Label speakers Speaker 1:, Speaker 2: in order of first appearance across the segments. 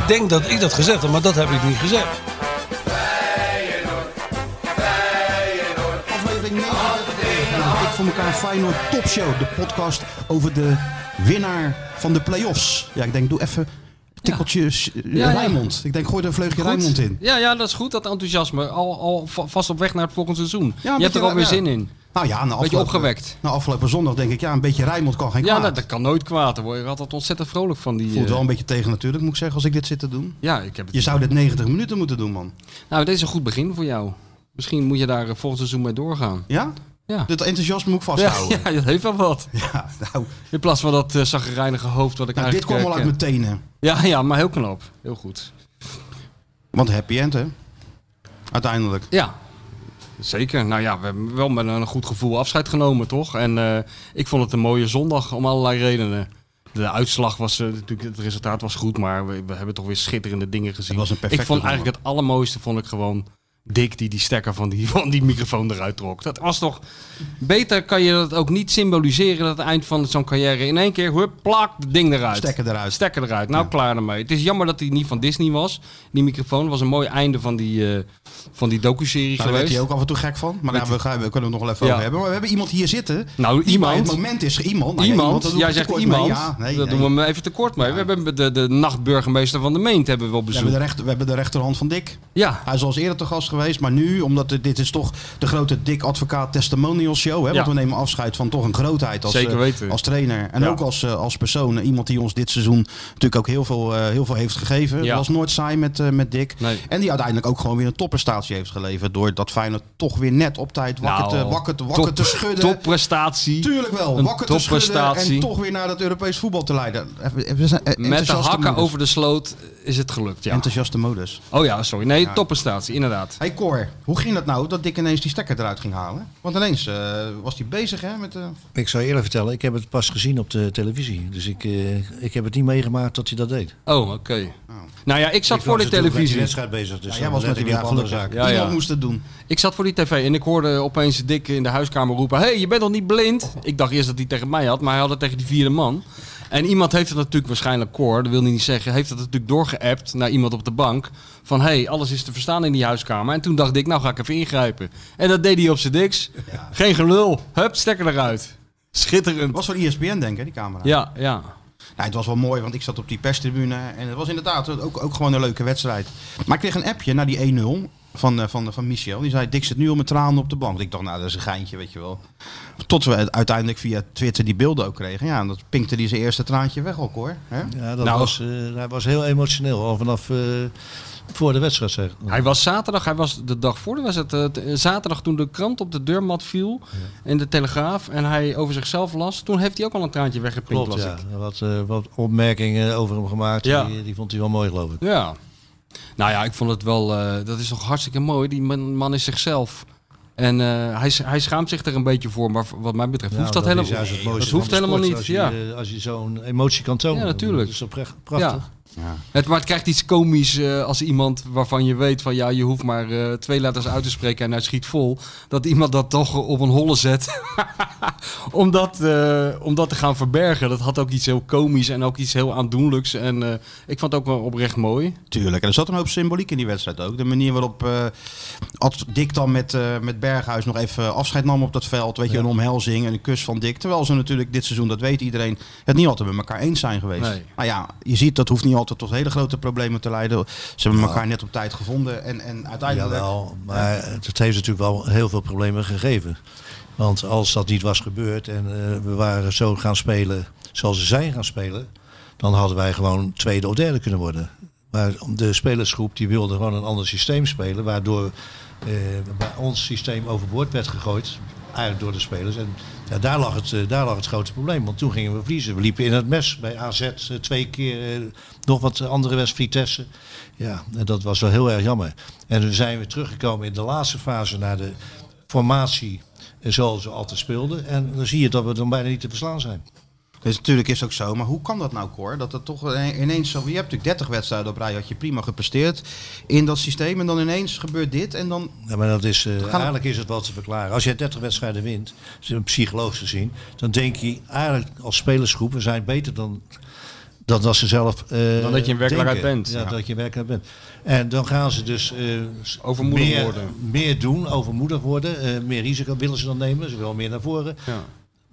Speaker 1: Ik denk dat ik dat gezegd heb, maar dat heb ik niet gezegd.
Speaker 2: aflevering 39. Ik voor elkaar Feyenoord Top Show, de podcast over de winnaar van de play-offs. Ja, ik denk, doe even tikkeltje eh,
Speaker 3: ja.
Speaker 2: Rijmond. Ik denk, gooi er een vleugje
Speaker 3: Goed.
Speaker 2: Rijmond in.
Speaker 3: Ja, ja, dat is goed, dat enthousiasme. Al, al va- vast op weg naar het volgend seizoen.
Speaker 2: een
Speaker 3: je hebt er
Speaker 2: beetje-
Speaker 3: alweer
Speaker 2: ja.
Speaker 3: zin in.
Speaker 2: Nou ja, na
Speaker 3: Beetje
Speaker 2: afgelopen,
Speaker 3: opgewekt.
Speaker 2: Na afgelopen zondag denk ik, ja, een beetje Rijmond kan geen
Speaker 3: Ja,
Speaker 2: kwaad.
Speaker 3: dat, dat kan nooit kwaad. Daar word je altijd ontzettend vrolijk van. Die,
Speaker 2: Voelt
Speaker 3: eh,
Speaker 2: wel een beetje tegen natuurlijk, moet ik zeggen, als ik dit zit te doen.
Speaker 3: ja, ik heb het.
Speaker 2: Je zou dit 90 minuten moeten doen, man.
Speaker 3: Nou, dit is een goed begin voor jou. Misschien moet je daar eh, volgend seizoen mee doorgaan.
Speaker 2: Ja?
Speaker 3: Ja.
Speaker 2: Dit enthousiasme moet ik
Speaker 3: Ja,
Speaker 2: vasthouden. Ja,
Speaker 3: ja, dat heeft wel wat.
Speaker 2: nou,
Speaker 3: In plaats van dat uh, zagrijnige hoofd wat ik
Speaker 2: nou, dit
Speaker 3: eigenlijk...
Speaker 2: kwam wel
Speaker 3: eh,
Speaker 2: uit mijn tenen.
Speaker 3: ken. Ja, ja, maar heel knap. Heel goed.
Speaker 2: Want happy end, hè? Uiteindelijk.
Speaker 3: Ja, zeker. Nou ja, we hebben wel met een goed gevoel afscheid genomen, toch? En eh, ik vond het een mooie zondag om allerlei redenen. De uitslag was eh, natuurlijk, het resultaat was goed, maar we, we hebben toch weer schitterende dingen gezien.
Speaker 2: was een perfecte
Speaker 3: ik vond
Speaker 2: zondag.
Speaker 3: eigenlijk het allermooiste vond ik gewoon Dick die die stekker van die, van die microfoon eruit trok. Dat was toch beter kan je dat ook niet symboliseren dat het eind van zo'n carrière in één keer hup, plak, het ding eruit.
Speaker 2: Stekker eruit.
Speaker 3: Stekker eruit. Nou,
Speaker 2: Ja.
Speaker 3: klaar ermee. Het is jammer dat hij niet van Disney was. Die microfoon was een mooi einde van die, eh, van die docu-serie
Speaker 2: Nou, daar
Speaker 3: geweest.
Speaker 2: werd hij ook af en toe gek van. Maar daar we, gaan- we kunnen het nog wel even
Speaker 3: Ja.
Speaker 2: over hebben. Maar we hebben iemand hier zitten.
Speaker 3: Nou,
Speaker 2: die bij
Speaker 3: iemand.
Speaker 2: het moment is iemand. Nou ja, dat
Speaker 3: Iemand,
Speaker 2: doe ik
Speaker 3: jij
Speaker 2: te
Speaker 3: zegt
Speaker 2: kort
Speaker 3: iemand,
Speaker 2: mee. Ja, nee,
Speaker 3: daar
Speaker 2: nee.
Speaker 3: doen we hem even tekort mee. We hebben de, de nachtburgemeester van de Meent hebben we op
Speaker 2: we,
Speaker 3: bezoek.
Speaker 2: hebben de rechter, we hebben de rechterhand van Dick.
Speaker 3: Ja,
Speaker 2: Hij is al eens eerder te gast geweest. Maar nu, omdat dit, dit is toch de grote Dick Advocaat Testimonial Show. Hè,
Speaker 3: Ja.
Speaker 2: Want we nemen afscheid van toch een grootheid als,
Speaker 3: Zeker
Speaker 2: eh,
Speaker 3: weten.
Speaker 2: als trainer. En
Speaker 3: Ja.
Speaker 2: ook als, eh, als persoon. Iemand die ons dit seizoen natuurlijk ook heel veel, eh, heel veel heeft gegeven.
Speaker 3: Ja.
Speaker 2: was nooit saai met, eh, met Dick.
Speaker 3: Nee.
Speaker 2: En die uiteindelijk ook gewoon weer een topprestatie heeft geleverd. Door dat Feyenoord toch weer net op tijd wakker,
Speaker 3: Nou,
Speaker 2: te, wakker, te- wakker
Speaker 3: top-
Speaker 2: te schudden.
Speaker 3: Topprestatie.
Speaker 2: Tuurlijk wel.
Speaker 3: Een
Speaker 2: Wakker te schudden en
Speaker 3: topprestatie.
Speaker 2: toch weer naar dat Europees voetbal te leiden. Even- even- we zijn, eh,
Speaker 3: Met de
Speaker 2: enthousiaste
Speaker 3: hakken
Speaker 2: modus.
Speaker 3: over de sloot is het gelukt. Ja.
Speaker 2: Enthousiaste modus.
Speaker 3: Oh ja, sorry. Nee, topprestatie, inderdaad.
Speaker 2: Hey Cor, hoe ging dat nou dat Dick ineens die stekker eruit ging halen? Want ineens eh, was hij bezig hè, met... eh,
Speaker 4: Ik zou je eerlijk vertellen, ik heb het pas gezien op de televisie. Dus ik, eh, ik heb het niet meegemaakt dat hij dat deed.
Speaker 3: Oh, oké. Nou ja, ik zat voor de televisie.
Speaker 4: wedstrijd bezig. Dus
Speaker 2: ja, jij was met die
Speaker 4: die
Speaker 2: ja,
Speaker 4: andere
Speaker 2: gelukkig.
Speaker 4: zaak.
Speaker 3: Ja,
Speaker 2: Iemand
Speaker 3: ja.
Speaker 2: moest het doen.
Speaker 3: Ik zat voor die tv en ik hoorde opeens Dick in de huiskamer roepen... Hé, hey, je bent nog niet blind? Ik dacht eerst dat hij tegen mij had, maar hij had het tegen die vierde man. En iemand heeft het natuurlijk waarschijnlijk, Cor, dat wil hij niet zeggen... heeft dat natuurlijk doorgeappt naar iemand op de bank... van hé, hey, alles is te verstaan in die huiskamer. En toen dacht ik, nou ga ik even ingrijpen. En dat deed hij op zijn diks. Geen gelul. Hup, stekker eruit. Schitterend.
Speaker 2: was voor E ESPN denk ik, die camera.
Speaker 3: Ja, ja.
Speaker 2: Nou, het was wel mooi, want ik zat op die perstribune. En het was inderdaad ook, ook gewoon een leuke wedstrijd. Maar ik kreeg een appje na die 1-0 van, eh, van, van Michel. Die zei, Dick zit nu al met tranen op de bank. Ik dacht, nou, dat is een geintje, weet je wel. Tot we het uiteindelijk via Twitter die beelden ook kregen. Ja, en dat pinkte hij zijn eerste traantje weg ook, hoor. Hè?
Speaker 4: Ja, dat
Speaker 3: Nou.
Speaker 4: was, eh, hij was heel emotioneel, al vanaf eh, voor de wedstrijd. Zeg.
Speaker 3: Hij was zaterdag, hij was de dag voor de wedstrijd, eh, t- eh, zaterdag toen de krant op de deurmat viel en de Telegraaf en hij over zichzelf las, toen heeft hij ook al een traantje weggepikt.
Speaker 4: Klopt,
Speaker 3: las
Speaker 4: ja.
Speaker 3: ik.
Speaker 4: Wat, eh, wat opmerkingen over hem gemaakt.
Speaker 3: Ja.
Speaker 4: Die, die vond hij wel mooi, geloof ik.
Speaker 3: ja. Nou ja, ik vond het wel, eh, dat is toch hartstikke mooi. Die man, man is zichzelf. En eh, hij, s- hij schaamt zich er een beetje voor, maar v- wat mij betreft
Speaker 4: Nou,
Speaker 3: hoeft dat,
Speaker 4: is
Speaker 3: helemaal
Speaker 4: juist het mooiste
Speaker 3: dat
Speaker 4: van
Speaker 3: hoeft
Speaker 4: de
Speaker 3: helemaal
Speaker 4: sport,
Speaker 3: niet.
Speaker 4: Als je,
Speaker 3: ja.
Speaker 4: eh, als je zo'n emotie kan tonen.
Speaker 3: Ja, natuurlijk.
Speaker 4: Dat is toch prech- prachtig.
Speaker 3: Het, maar het krijgt iets komisch eh, als iemand waarvan je weet van ja, je hoeft maar eh, twee letters uit te spreken en hij schiet vol. Dat iemand dat toch op een holle zet. om, dat, eh, om dat te gaan verbergen. Dat had ook iets heel komisch en ook iets heel aandoenlijks. En eh, ik vond het ook wel oprecht mooi.
Speaker 2: Tuurlijk. En er zat een hoop symboliek in die wedstrijd ook. De manier waarop eh Ad- Dick dan met, eh, met Berghuis nog even afscheid nam op dat veld. Weet je, een omhelzing en een kus van Dick. Terwijl ze natuurlijk dit seizoen, dat weet iedereen, het niet altijd met elkaar eens zijn geweest.
Speaker 3: Nee.
Speaker 2: Nou ja, je ziet dat hoeft niet altijd tot hele grote problemen te leiden. Ze hebben elkaar net op tijd gevonden. En, en uiteindelijk.
Speaker 4: Jawel, maar het heeft natuurlijk wel heel veel problemen gegeven. Want als dat niet was gebeurd en eh, we waren zo gaan spelen zoals ze zijn gaan spelen, dan hadden wij gewoon tweede of derde kunnen worden. Maar de spelersgroep die wilde gewoon een ander systeem spelen, waardoor eh, bij ons systeem overboord werd gegooid. Eigenlijk door de spelers. En ja, daar, lag het, eh, daar lag het grote probleem. Want toen gingen we verliezen. We liepen in het mes bij AZ eh, twee keer. eh, nog wat andere wedst Vitesse. Ja, en dat was wel heel erg jammer. En toen zijn we teruggekomen in de laatste fase naar de formatie eh, zoals we altijd speelden. En dan zie je dat we dan bijna niet te verslaan zijn.
Speaker 2: Dus natuurlijk is het ook zo, maar hoe kan dat nou, Cor? Dat het toch eh, ineens zo... Je hebt natuurlijk 30 wedstrijden op rij, had je prima gepresteerd in dat systeem. En dan ineens gebeurt dit en dan...
Speaker 4: Ja, maar dat is, eh,
Speaker 2: we-
Speaker 4: eigenlijk is het wel te verklaren. Als jij 30 wedstrijden wint, dus een psycholoog gezien, dan denk je eigenlijk als spelersgroep, we zijn beter dan, dan dat ze zelf. eh,
Speaker 3: Dan dat je in werkelijkheid
Speaker 4: denken.
Speaker 3: bent.
Speaker 4: Ja,
Speaker 3: Ja.
Speaker 4: dat je in werkelijkheid bent. En dan gaan ze dus eh, s-
Speaker 3: Overmoedig
Speaker 4: meer,
Speaker 3: worden.
Speaker 4: meer doen, overmoedig worden, eh, meer risico willen ze dan nemen, ze willen meer naar voren.
Speaker 3: Ja.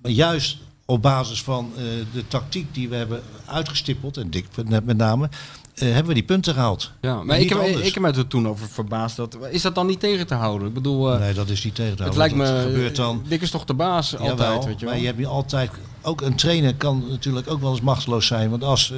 Speaker 4: Maar juist op basis van eh, de tactiek die we hebben uitgestippeld, en Dick met met name, eh, hebben we die punten gehaald.
Speaker 3: Ja, maar
Speaker 4: Niet
Speaker 3: ik heb,
Speaker 4: anders.
Speaker 3: ik heb me er toen over verbaasd. Dat, is dat dan niet tegen te houden? Ik bedoel, eh,
Speaker 4: Nee, dat is niet tegen te
Speaker 3: het
Speaker 4: houden,
Speaker 3: lijkt
Speaker 4: want
Speaker 3: me...
Speaker 4: dat gebeurt dan
Speaker 3: Dick is toch de baas altijd,
Speaker 4: Jawel,
Speaker 3: weet je wel?
Speaker 4: Maar je hebt niet altijd. Ook een trainer kan natuurlijk ook wel eens machteloos zijn. Want als, eh,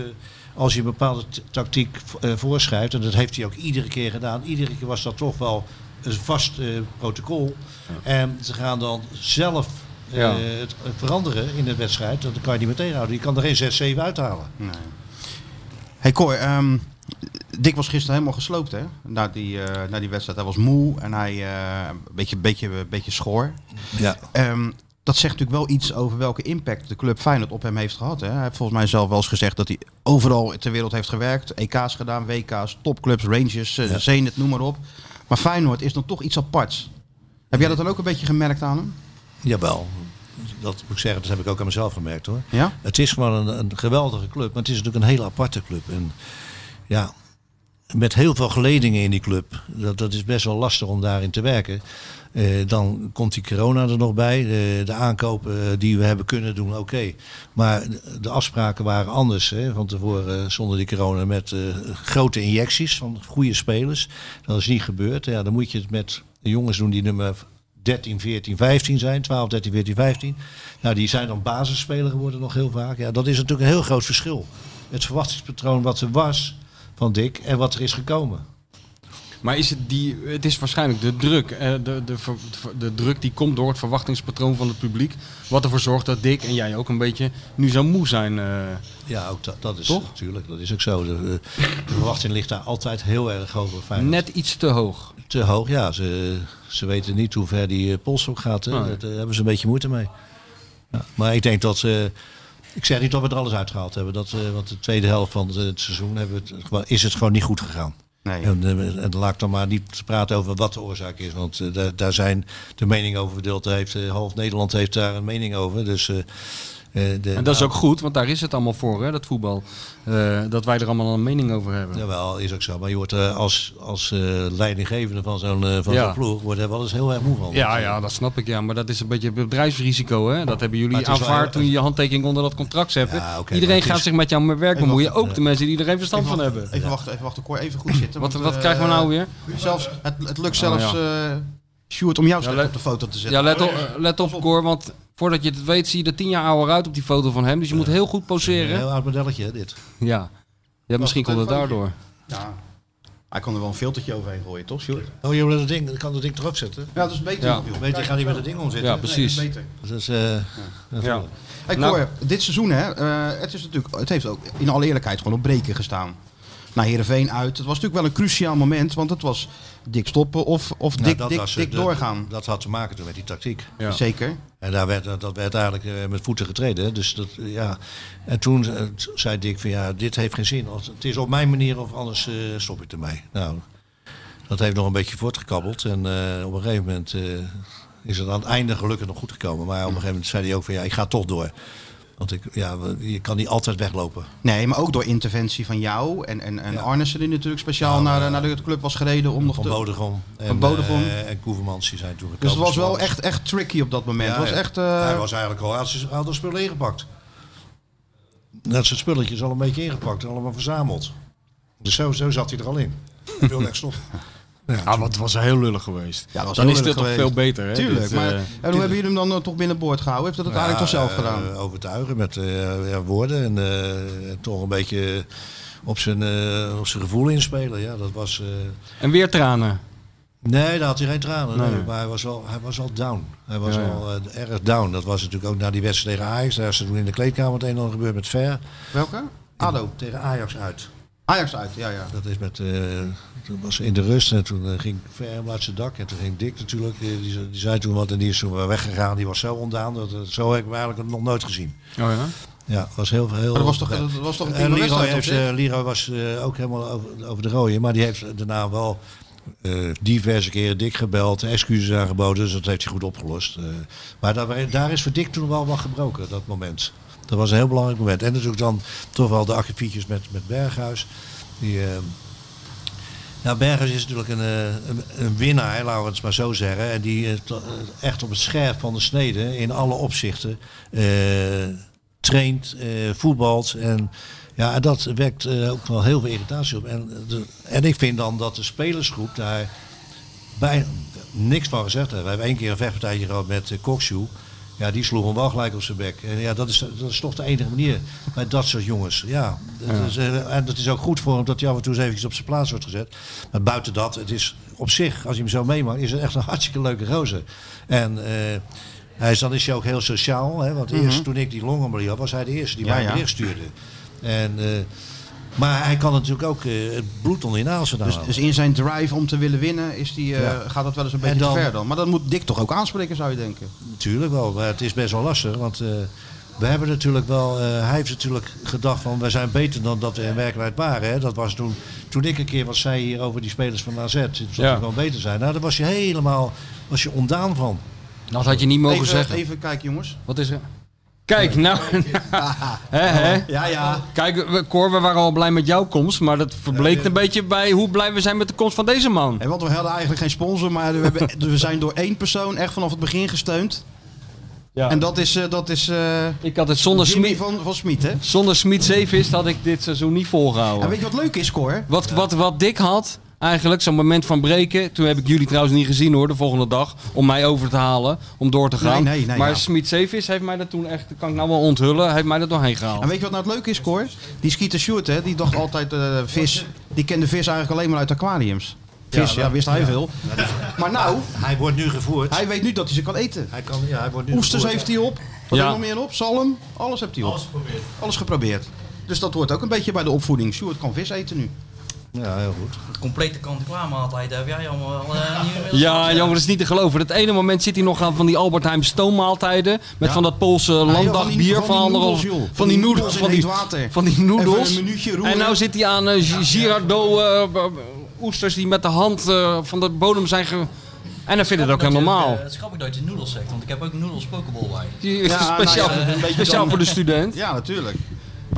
Speaker 4: als je een bepaalde t- tactiek eh, voorschrijft, en dat heeft hij ook iedere keer gedaan, iedere keer was dat toch wel een vast eh, protocol. En ze gaan dan zelf eh,
Speaker 3: Ja.
Speaker 4: het het veranderen in de wedstrijd. Dat kan je niet meer tegenhouden. Je kan er geen 6, 7 uithalen.
Speaker 2: Hey Cor, ehm, Dick was gisteren helemaal gesloopt, hè? Na die, eh, na die wedstrijd. Hij was moe en hij eh, een beetje, beetje, beetje schoor.
Speaker 4: Ja.
Speaker 2: Ehm, dat zegt natuurlijk wel iets over welke impact de club Feyenoord op hem heeft gehad. Hè? Hij heeft volgens mij zelf wel eens gezegd dat hij overal ter wereld heeft gewerkt. EK's gedaan, WK's, topclubs, Rangers, eh,
Speaker 4: Ja.
Speaker 2: Zenit, noem maar op. Maar Feyenoord is dan toch iets aparts. Heb jij dat dan ook een beetje gemerkt aan hem?
Speaker 4: Jawel. Dat moet ik zeggen, dat heb ik ook aan mezelf gemerkt hoor.
Speaker 2: Ja?
Speaker 4: Het is gewoon een, een geweldige club, maar het is natuurlijk een hele aparte club. En ja, met heel veel geledingen in die club, dat, dat is best wel lastig om daarin te werken. Eh, dan komt die corona er nog bij. Eh, de aankopen eh, die we hebben kunnen doen, oké. Maar de- de afspraken waren anders hè, van tevoren eh, zonder die corona. Met eh, grote injecties van goede spelers. Dat is niet gebeurd. Ja, dan moet je het met de jongens doen die nummer 13, 14, 15 zijn. 12, 13, 14, 15. Nou, die zijn dan basisspeler geworden nog heel vaak. Ja, dat is natuurlijk een heel groot verschil. Het verwachtingspatroon wat er was van Dick en wat er is gekomen.
Speaker 3: Maar is het, die, het is waarschijnlijk de druk. eh, De, de, ver- de druk die komt door het verwachtingspatroon van het publiek. Wat ervoor zorgt dat Dick en jij ook een beetje nu zo moe zijn. eh.
Speaker 4: Ja, ook dat, dat is
Speaker 3: Toch?
Speaker 4: natuurlijk. Dat is ook zo. De, eh, de verwachting ligt daar altijd heel erg hoog bij Feyenoord.
Speaker 3: net iets te hoog.
Speaker 4: te hoog. Ja, ze, ze weten niet hoe ver die eh, polstok gaat. hè.
Speaker 3: Nee.
Speaker 4: Daar daar hebben ze een beetje moeite mee. Ja, maar ik denk dat ze. Ik zeg niet dat we er alles uitgehaald hebben. Dat, eh, want de tweede helft van het seizoen hebben we het, gewoon- is het gewoon niet goed gegaan.
Speaker 2: Nee.
Speaker 4: En, eh, en laat ik dan maar niet praten over wat de oorzaak is. Want eh, daar, daar zijn de meningen over verdeeld. Daar Heeft, eh, half Nederland heeft daar een mening over. Dus, eh, eh, de,
Speaker 3: En dat is ook goed, want daar is het allemaal voor, hè, dat voetbal. Eh, dat wij er allemaal een mening over hebben.
Speaker 4: Jawel, is ook zo. Maar je wordt eh, als, als eh, leidinggevende van zo'n eh, van
Speaker 3: Ja.
Speaker 4: zo'n ploeg wordt er wel eh. eens heel erg moe van.
Speaker 3: Ja, ja, dat snap ik. Ja, maar dat is een beetje bedrijfsrisico. Hè? Dat hebben
Speaker 4: Maar
Speaker 3: jullie
Speaker 4: het is wel
Speaker 3: aanvaard
Speaker 4: heel-
Speaker 3: toen je je handtekening onder dat contract zette.
Speaker 4: Ja, oké,
Speaker 3: Iedereen
Speaker 4: maar het
Speaker 3: gaat
Speaker 4: is- eh,
Speaker 3: zich met jouw werk
Speaker 2: Even
Speaker 3: bemoeien.
Speaker 2: wachten,
Speaker 3: Ook de mensen die er geen verstand
Speaker 2: Even
Speaker 3: van
Speaker 2: wachten,
Speaker 3: hebben.
Speaker 2: Even wachten, even wachten. Cor, even goed zitten.
Speaker 3: Wat,
Speaker 2: want,
Speaker 3: wat
Speaker 2: eh,
Speaker 3: krijgen we nou weer?
Speaker 2: Zelfs, het, het lukt
Speaker 3: Oh,
Speaker 2: zelfs eh Sjoerd om jou
Speaker 3: Ja,
Speaker 2: slecht
Speaker 3: let-
Speaker 2: op de foto te zetten.
Speaker 3: Ja, let op, eh, let op Cor, want voordat je het weet zie je er tien jaar ouder uit op die foto van hem. Dus je moet heel goed
Speaker 4: Een
Speaker 3: poseren.
Speaker 4: heel oud modelletje, hè, dit.
Speaker 3: Ja, ja misschien komt het daardoor.
Speaker 2: Ja. Hij kan er wel een filtertje overheen gooien, toch Sjoerd?
Speaker 4: Oh, je wil dat ding, ik kan dat ding toch opzetten?
Speaker 2: Ja, dat is beter.
Speaker 3: Ja.
Speaker 2: joh. Nou,
Speaker 4: Weet je, ik ga niet met dat ding omzetten.
Speaker 3: Ja, precies.
Speaker 2: Nee, dat is beter.
Speaker 4: Dat is, eh,
Speaker 3: Ja.
Speaker 2: Hey,
Speaker 3: Nou-
Speaker 2: Cor, dit seizoen hè, eh, het, is natuurlijk, het heeft ook in alle eerlijkheid gewoon op breken gestaan. Naar Heerenveen uit. Het was natuurlijk wel een cruciaal moment, want het was dik stoppen of, of
Speaker 4: nou,
Speaker 2: dik,
Speaker 4: dat
Speaker 2: dik,
Speaker 4: was, eh,
Speaker 2: dik
Speaker 4: de-
Speaker 2: doorgaan.
Speaker 4: Dat had te maken toen met die tactiek.
Speaker 3: Ja.
Speaker 2: Zeker.
Speaker 4: En daar werd, dat werd eigenlijk eh, met voeten getreden. hè. Dus dat, eh, ja. En toen eh, t- zei Dick van ja, dit heeft geen zin. Als- Het is op mijn manier of anders eh, stop ik ermee. Nou, dat heeft nog een beetje voortgekabbeld. En eh, op een gegeven moment eh, is het aan het einde gelukkig nog goed gekomen. Maar op een gegeven moment zei hij ook van ja, ik ga toch door. Want ik, ja, we- je kan niet altijd weglopen.
Speaker 2: Nee, maar ook door interventie van jou en, en, en
Speaker 4: Ja.
Speaker 2: Arnissen die natuurlijk speciaal
Speaker 4: Nou,
Speaker 2: naar, de-
Speaker 4: eh,
Speaker 2: naar de club was gereden om nog
Speaker 4: Van
Speaker 2: te...
Speaker 4: Bodegom en,
Speaker 2: Van Bodegom.
Speaker 4: eh, en Koevermans die zijn toen gekomen.
Speaker 2: Dus het was wel
Speaker 4: Zoals-
Speaker 2: echt, echt tricky op dat moment.
Speaker 4: Ja,
Speaker 2: het was
Speaker 4: ja.
Speaker 2: echt... eh,
Speaker 4: Hij was eigenlijk al had zijn- had dat spul ingepakt. Net zijn spulletjes al een beetje ingepakt en allemaal verzameld. Dus zo, zo zat hij er al in. Hij wilde echt stoppen.
Speaker 3: Ja, wat was heel lullig geweest.
Speaker 2: Ja, dat was
Speaker 3: dan
Speaker 2: heel
Speaker 3: is dit
Speaker 2: lullig
Speaker 3: toch
Speaker 2: geweest.
Speaker 3: veel beter. Hè?
Speaker 2: Tuurlijk,
Speaker 3: Dit,
Speaker 2: maar
Speaker 3: eh,
Speaker 2: en hoe hebben jullie hem dan eh, toch binnenboord gehouden? Heeft dat het eigenlijk toch zelf
Speaker 4: Ja,
Speaker 2: gedaan?
Speaker 4: eh, overtuigen met eh, ja, woorden en eh, toch een beetje op zijn, eh, op zijn gevoel inspelen. Ja, dat was... eh,
Speaker 3: en weer tranen.
Speaker 4: Nee, daar had hij geen tranen.
Speaker 3: Nee,
Speaker 4: Nee,
Speaker 3: nee.
Speaker 4: Maar hij was, wel, hij was al down. Hij was
Speaker 3: Ja, ja.
Speaker 4: al eh, erg down. Dat was natuurlijk ook na die wedstrijd tegen Ajax. Daar is toen in de kleedkamer het een en ander gebeurd met Ver.
Speaker 2: Welke? ADO.
Speaker 4: Tegen Ajax uit.
Speaker 2: Ajax uit, ja, ja.
Speaker 4: Dat is met, eh, toen was ze in de rust en toen eh, ging Ver hem uit zijn dak. En toen ging Dick natuurlijk, eh, die, ze- die zei toen wat en die is toen weer weggegaan. Die was zo ontdaan, dat, eh, zo heb ik hem eigenlijk nog nooit gezien.
Speaker 3: Oh ja?
Speaker 4: Ja, was heel heel.
Speaker 2: Maar dat was toch- dat was toch een
Speaker 4: En
Speaker 2: prima
Speaker 4: Leroy,
Speaker 2: wedstrijd,
Speaker 4: heeft,
Speaker 2: op zich?
Speaker 4: eh, Leroy was eh, ook helemaal over, over de rode, maar die heeft daarna wel eh, diverse keren dik gebeld, excuses aangeboden, dus dat heeft hij goed opgelost. Eh, maar daar, daar is voor Dick toen wel wat gebroken, dat moment. Dat was een heel belangrijk moment. En natuurlijk dan toch wel de akkefietjes met, met Berghuis. Die, eh, nou, Berghuis is natuurlijk een, eh, een, een winnaar, laten we het maar zo zeggen. En die eh, to- eh, echt op het scherp van de snede in alle opzichten eh, traint, eh, voetbalt. En ja, en dat wekt eh, ook wel heel veel irritatie op. En, eh, de- en ik vind dan dat de spelersgroep daar bij niks van gezegd heeft. We hebben één keer een vechtpartijtje gehad met uh, Ja, die sloeg hem wel gelijk op zijn bek. En ja, dat is, dat is toch de enige manier bij dat soort jongens. Ja, dat Is, eh, en dat is ook goed voor hem dat hij af en toe eens eventjes op zijn plaats wordt gezet. Maar buiten dat, het is op zich, als je hem zo meemaakt, is het echt een hartstikke leuke gozer. En eh, hij is, dan is hij ook heel sociaal. Hè, want eerst toen ik die longenmarie had, was hij de eerste die
Speaker 2: Mhm. Ja,
Speaker 4: mij
Speaker 2: ja.
Speaker 4: bericht stuurde. En, eh, maar hij kan natuurlijk ook eh, het bloed onder je nagels vandaan
Speaker 2: Dus,
Speaker 4: halen.
Speaker 2: dus in zijn drive om te willen winnen is die, eh,
Speaker 4: Ja.
Speaker 2: gaat dat wel eens een beetje
Speaker 4: dan-
Speaker 2: te ver dan. Maar dat moet Dick toch ook aanspreken, zou je denken.
Speaker 4: Natuurlijk wel, maar het is best wel lastig. Want eh, we hebben natuurlijk wel, eh, hij heeft natuurlijk gedacht van wij zijn beter dan dat we in werkelijkheid waren. Hè. Dat was toen, toen ik een keer wat zei hier over die spelers van AZ, dat ze
Speaker 3: Ja.
Speaker 4: gewoon beter zijn. Nou, daar was je helemaal was je ondaan van.
Speaker 3: Dat had je niet mogen
Speaker 2: even,
Speaker 3: zeggen.
Speaker 2: even kijken, jongens.
Speaker 3: Wat is er? Kijk, nou. hè, hè.
Speaker 2: Ja, ja.
Speaker 3: Kijk, we- Cor, we waren al blij met jouw komst, maar dat verbleekt een beetje bij hoe blij we zijn met de komst van deze man.
Speaker 2: En want we hadden eigenlijk geen sponsor, maar we, hebben, we zijn door één persoon echt vanaf het begin gesteund.
Speaker 3: Ja.
Speaker 2: En dat is, eh, dat is eh
Speaker 3: Ik had het zonder
Speaker 2: Jimmy
Speaker 3: Smit,
Speaker 2: van, van Smit, hè?
Speaker 3: zonder Smit Zeevist had ik dit seizoen niet volgehouden.
Speaker 2: En weet je wat leuk is, Cor?
Speaker 3: Wat, wat, wat Dick had, eigenlijk, zo'n moment van breken. Toen heb ik jullie trouwens niet gezien hoor, de volgende dag. Om mij over te halen, om door te gaan.
Speaker 2: Nee, nee, nee,
Speaker 3: Nou, maar
Speaker 2: ja.
Speaker 3: Smit Zeevis heeft mij dat toen echt, dat kan ik nou wel onthullen, heeft mij dat doorheen gehaald.
Speaker 2: En weet je wat nou het leuke is, Cor? Die Skeeter Stewart, hè, die dacht altijd eh, vis. Die kende vis eigenlijk alleen maar uit aquariums. Vis, ja, wist hij veel.
Speaker 5: dus,
Speaker 2: Maar nou,
Speaker 4: Hij wordt nu gevoerd.
Speaker 2: hij weet nu dat hij ze kan eten.
Speaker 4: Hij kan, ja, hij wordt nu
Speaker 2: Oesters
Speaker 4: gevoerd.
Speaker 2: heeft hij op. Wat
Speaker 3: Ja.
Speaker 2: heb je nog meer op? Zalm. Alles heeft hij op. Alles geprobeerd. Dus dat hoort ook een beetje bij de opvoeding. Stuart kan vis eten nu.
Speaker 4: Ja, heel goed.
Speaker 6: complete kant-en-klaar maaltijd heb jij allemaal wel eh, niet inmiddels
Speaker 3: Ja,
Speaker 6: gezien?
Speaker 3: jongen, dat is niet te geloven. Dat ene moment zit hij nog aan van die Albert Heijn stoommaaltijden. Met
Speaker 2: Ja.
Speaker 3: van dat Poolse
Speaker 2: van die-
Speaker 3: landdag bier
Speaker 2: van
Speaker 3: van,
Speaker 2: die noedels,
Speaker 3: anderhalf.
Speaker 2: joh.
Speaker 3: Van,
Speaker 2: Van
Speaker 3: die
Speaker 2: die noedels
Speaker 3: noedels.
Speaker 2: in
Speaker 3: Van die,
Speaker 2: heet water.
Speaker 3: van die
Speaker 2: Even
Speaker 3: noedels.
Speaker 2: een minuutje roeren.
Speaker 3: En nou zit hij aan eh, Gi- Girardeau eh, b- b- oesters die met de hand eh, van de bodem zijn ge... En dan vindt het ook
Speaker 6: Dat je,
Speaker 3: helemaal.
Speaker 6: eh, Het is grappig dat je noedels zegt, want ik heb ook noedels pokeball bij.
Speaker 3: Die
Speaker 2: Ja, nou
Speaker 3: speciaal
Speaker 2: ja, een beetje
Speaker 3: speciaal
Speaker 2: dan-
Speaker 3: voor de student.
Speaker 2: Ja, natuurlijk. Maar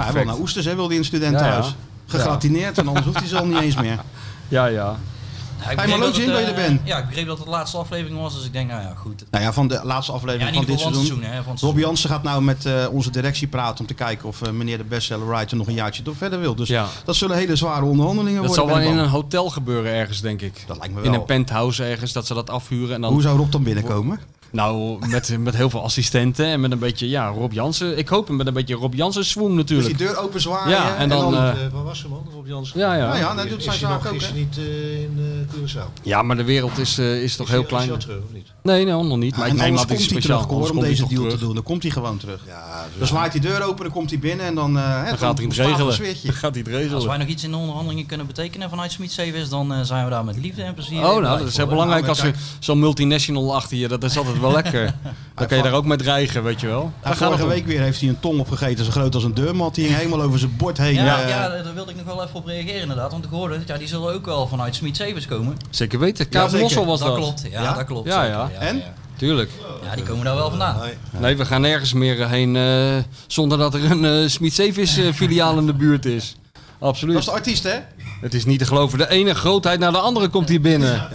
Speaker 2: hij wil
Speaker 3: Perfect.
Speaker 2: naar oesters, hè, wil hij in student
Speaker 3: Ja, ja.
Speaker 2: thuis. Gegratineerd en anders hoeft hij ze al niet eens meer.
Speaker 3: Ja, ja.
Speaker 6: Nou, ik
Speaker 2: maar
Speaker 6: begreep
Speaker 2: leuk,
Speaker 6: dat
Speaker 2: Jim,
Speaker 6: het,
Speaker 2: dat je
Speaker 6: eh,
Speaker 2: er bent.
Speaker 6: Ja, ik begreep dat het de laatste aflevering was, dus ik denk, nou ja, goed.
Speaker 2: Nou ja, van de laatste
Speaker 6: Ja,
Speaker 2: aflevering
Speaker 6: in
Speaker 2: van
Speaker 6: ieder
Speaker 2: dit
Speaker 6: geval van
Speaker 2: seizoen.
Speaker 6: het seizoen, hè. Van het
Speaker 2: Rob
Speaker 6: seizoen.
Speaker 2: Jansen gaat nou met eh, onze directie praten om te kijken of eh, meneer de bestseller writer nog een jaartje door verder wil. Dus
Speaker 3: Ja.
Speaker 2: dat zullen hele zware onderhandelingen
Speaker 3: Dat zal
Speaker 2: worden.
Speaker 3: wel
Speaker 2: ben ik
Speaker 3: in
Speaker 2: bang.
Speaker 3: een hotel gebeuren ergens, denk ik.
Speaker 2: Dat lijkt me
Speaker 3: In
Speaker 2: wel.
Speaker 3: een penthouse ergens, dat ze dat afhuren. En dan,
Speaker 2: Hoe zou Rob dan binnenkomen?
Speaker 3: Nou, met, met heel veel assistenten en met een beetje, ja, Rob Jansen. Ik hoop hem met een beetje Rob Jansen swoem
Speaker 2: Dus
Speaker 3: natuurlijk.
Speaker 2: die deur open zwaaien.
Speaker 3: Ja, en dan... eh,
Speaker 4: Eh, Waar was ze man? Rob Jansen?
Speaker 3: ja,
Speaker 2: nou
Speaker 3: ja.
Speaker 2: ja, dat doet
Speaker 4: Is
Speaker 2: zijn
Speaker 4: hij nog
Speaker 2: zaak ook. hè.
Speaker 4: gisteren niet eh, in eh, Curaçao?
Speaker 3: ja, maar de wereld is, eh, is toch
Speaker 4: Is
Speaker 3: heel
Speaker 4: hij- Is
Speaker 3: klein.
Speaker 4: hij al terug of niet?
Speaker 3: Nee, nee,
Speaker 2: Ah,
Speaker 3: nog niet. Maar ik
Speaker 2: en
Speaker 3: neem
Speaker 2: anders
Speaker 3: dat hij
Speaker 2: komt hij
Speaker 3: speciaal
Speaker 2: terug, hoor, om
Speaker 3: anders
Speaker 2: deze
Speaker 3: komt hij
Speaker 2: deal
Speaker 3: toch
Speaker 2: te doen. Dan komt hij gewoon terug.
Speaker 4: Ja, dus-
Speaker 2: Dan zwaait die deur open, dan komt hij binnen en dan... eh, hè,
Speaker 3: Dan gaat hij het
Speaker 2: ontstaat er een
Speaker 3: regelen.
Speaker 2: sfeertje.
Speaker 3: Dan gaat hij het
Speaker 6: Als wij
Speaker 3: regelen.
Speaker 6: nog iets in de onderhandelingen kunnen betekenen vanuit Smit Severs, dan eh, zijn we daar met liefde en plezier.
Speaker 3: Oh, nou, dat is heel belangrijk
Speaker 2: Nou,
Speaker 3: als
Speaker 2: maar
Speaker 3: er zo'n multinational achter je, dat is altijd wel lekker. Dan kan je daar ook mee dreigen, weet je wel.
Speaker 2: Hij
Speaker 3: Daar gaat het
Speaker 2: vorige
Speaker 3: om.
Speaker 2: week weer heeft hij een tong opgegeten, zo groot als een deurmat. Die hing helemaal over zijn bord heen.
Speaker 6: Ja, ja.
Speaker 2: eh,
Speaker 6: daar wilde ik nog wel even op reageren inderdaad, want ik hoorde, het, ja, die zullen ook wel vanuit Smit Severs komen.
Speaker 3: Zeker weten.
Speaker 2: Ja,
Speaker 3: Kaap
Speaker 2: zeker.
Speaker 3: Mossel was
Speaker 6: Dat,
Speaker 3: dat.
Speaker 6: klopt, ja,
Speaker 2: Ja?
Speaker 6: dat klopt.
Speaker 3: Ja,
Speaker 6: zeker,
Speaker 3: ja.
Speaker 2: En?
Speaker 6: Ja,
Speaker 3: Tuurlijk.
Speaker 6: Ja, die komen daar wel vandaan.
Speaker 4: Nee.
Speaker 3: Nee, we gaan nergens meer heen eh, zonder dat er een eh Smit Zeevis eh, filiaal in de buurt is. Absoluut.
Speaker 2: Dat is de artiest, hè?
Speaker 3: Het is niet te geloven. De ene grootheid naar de andere komt hier binnen.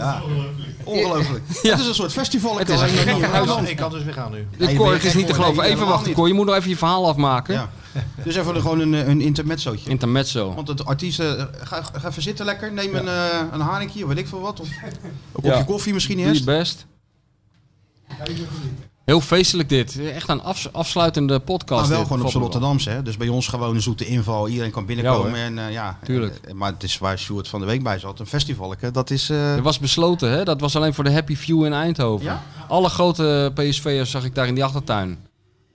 Speaker 2: Ongelooflijk.
Speaker 3: Ja.
Speaker 2: Het is een soort festival.
Speaker 3: Het is
Speaker 2: alleen
Speaker 3: een
Speaker 2: nog
Speaker 3: gekke
Speaker 2: niet in
Speaker 3: huis.
Speaker 2: Nederland.
Speaker 4: Ik kan dus weer gaan nu.
Speaker 3: Dit
Speaker 2: Nee, ben
Speaker 3: Cor,
Speaker 2: je
Speaker 3: het is
Speaker 2: gek,
Speaker 3: niet te
Speaker 2: hoor.
Speaker 3: geloven.
Speaker 2: Nee,
Speaker 3: Even
Speaker 2: helemaal
Speaker 3: wachten,
Speaker 2: niet.
Speaker 3: Cor. Je moet nog even je verhaal afmaken.
Speaker 2: Ja. Dus even er gewoon een, eh, een intermezzootje.
Speaker 3: Intermezzo.
Speaker 2: Want het artiest, eh, ga, ga even zitten lekker. Neem een, eh een haringje, of weet ik veel wat. Of een kopje
Speaker 3: Ja.
Speaker 2: koffie misschien
Speaker 3: Doe je
Speaker 2: eerst.
Speaker 3: best. Heel feestelijk dit. Echt een afs- afsluitende podcast.
Speaker 2: Maar Ah, wel
Speaker 3: dit,
Speaker 2: gewoon op z'n
Speaker 3: voetbal.
Speaker 2: Rotterdamse. Hè? Dus bij ons gewoon een zoete inval. Iedereen kan binnenkomen.
Speaker 3: Ja,
Speaker 2: en, eh, ja,
Speaker 3: Tuurlijk.
Speaker 2: Eh, maar het is waar Sjoerd van de Week bij zat. Een festivalke. Dat is... eh,
Speaker 3: Er was besloten, hè? Dat was alleen voor de Happy View in Eindhoven.
Speaker 2: Ja?
Speaker 3: Alle grote PSV'ers zag ik daar in die achtertuin.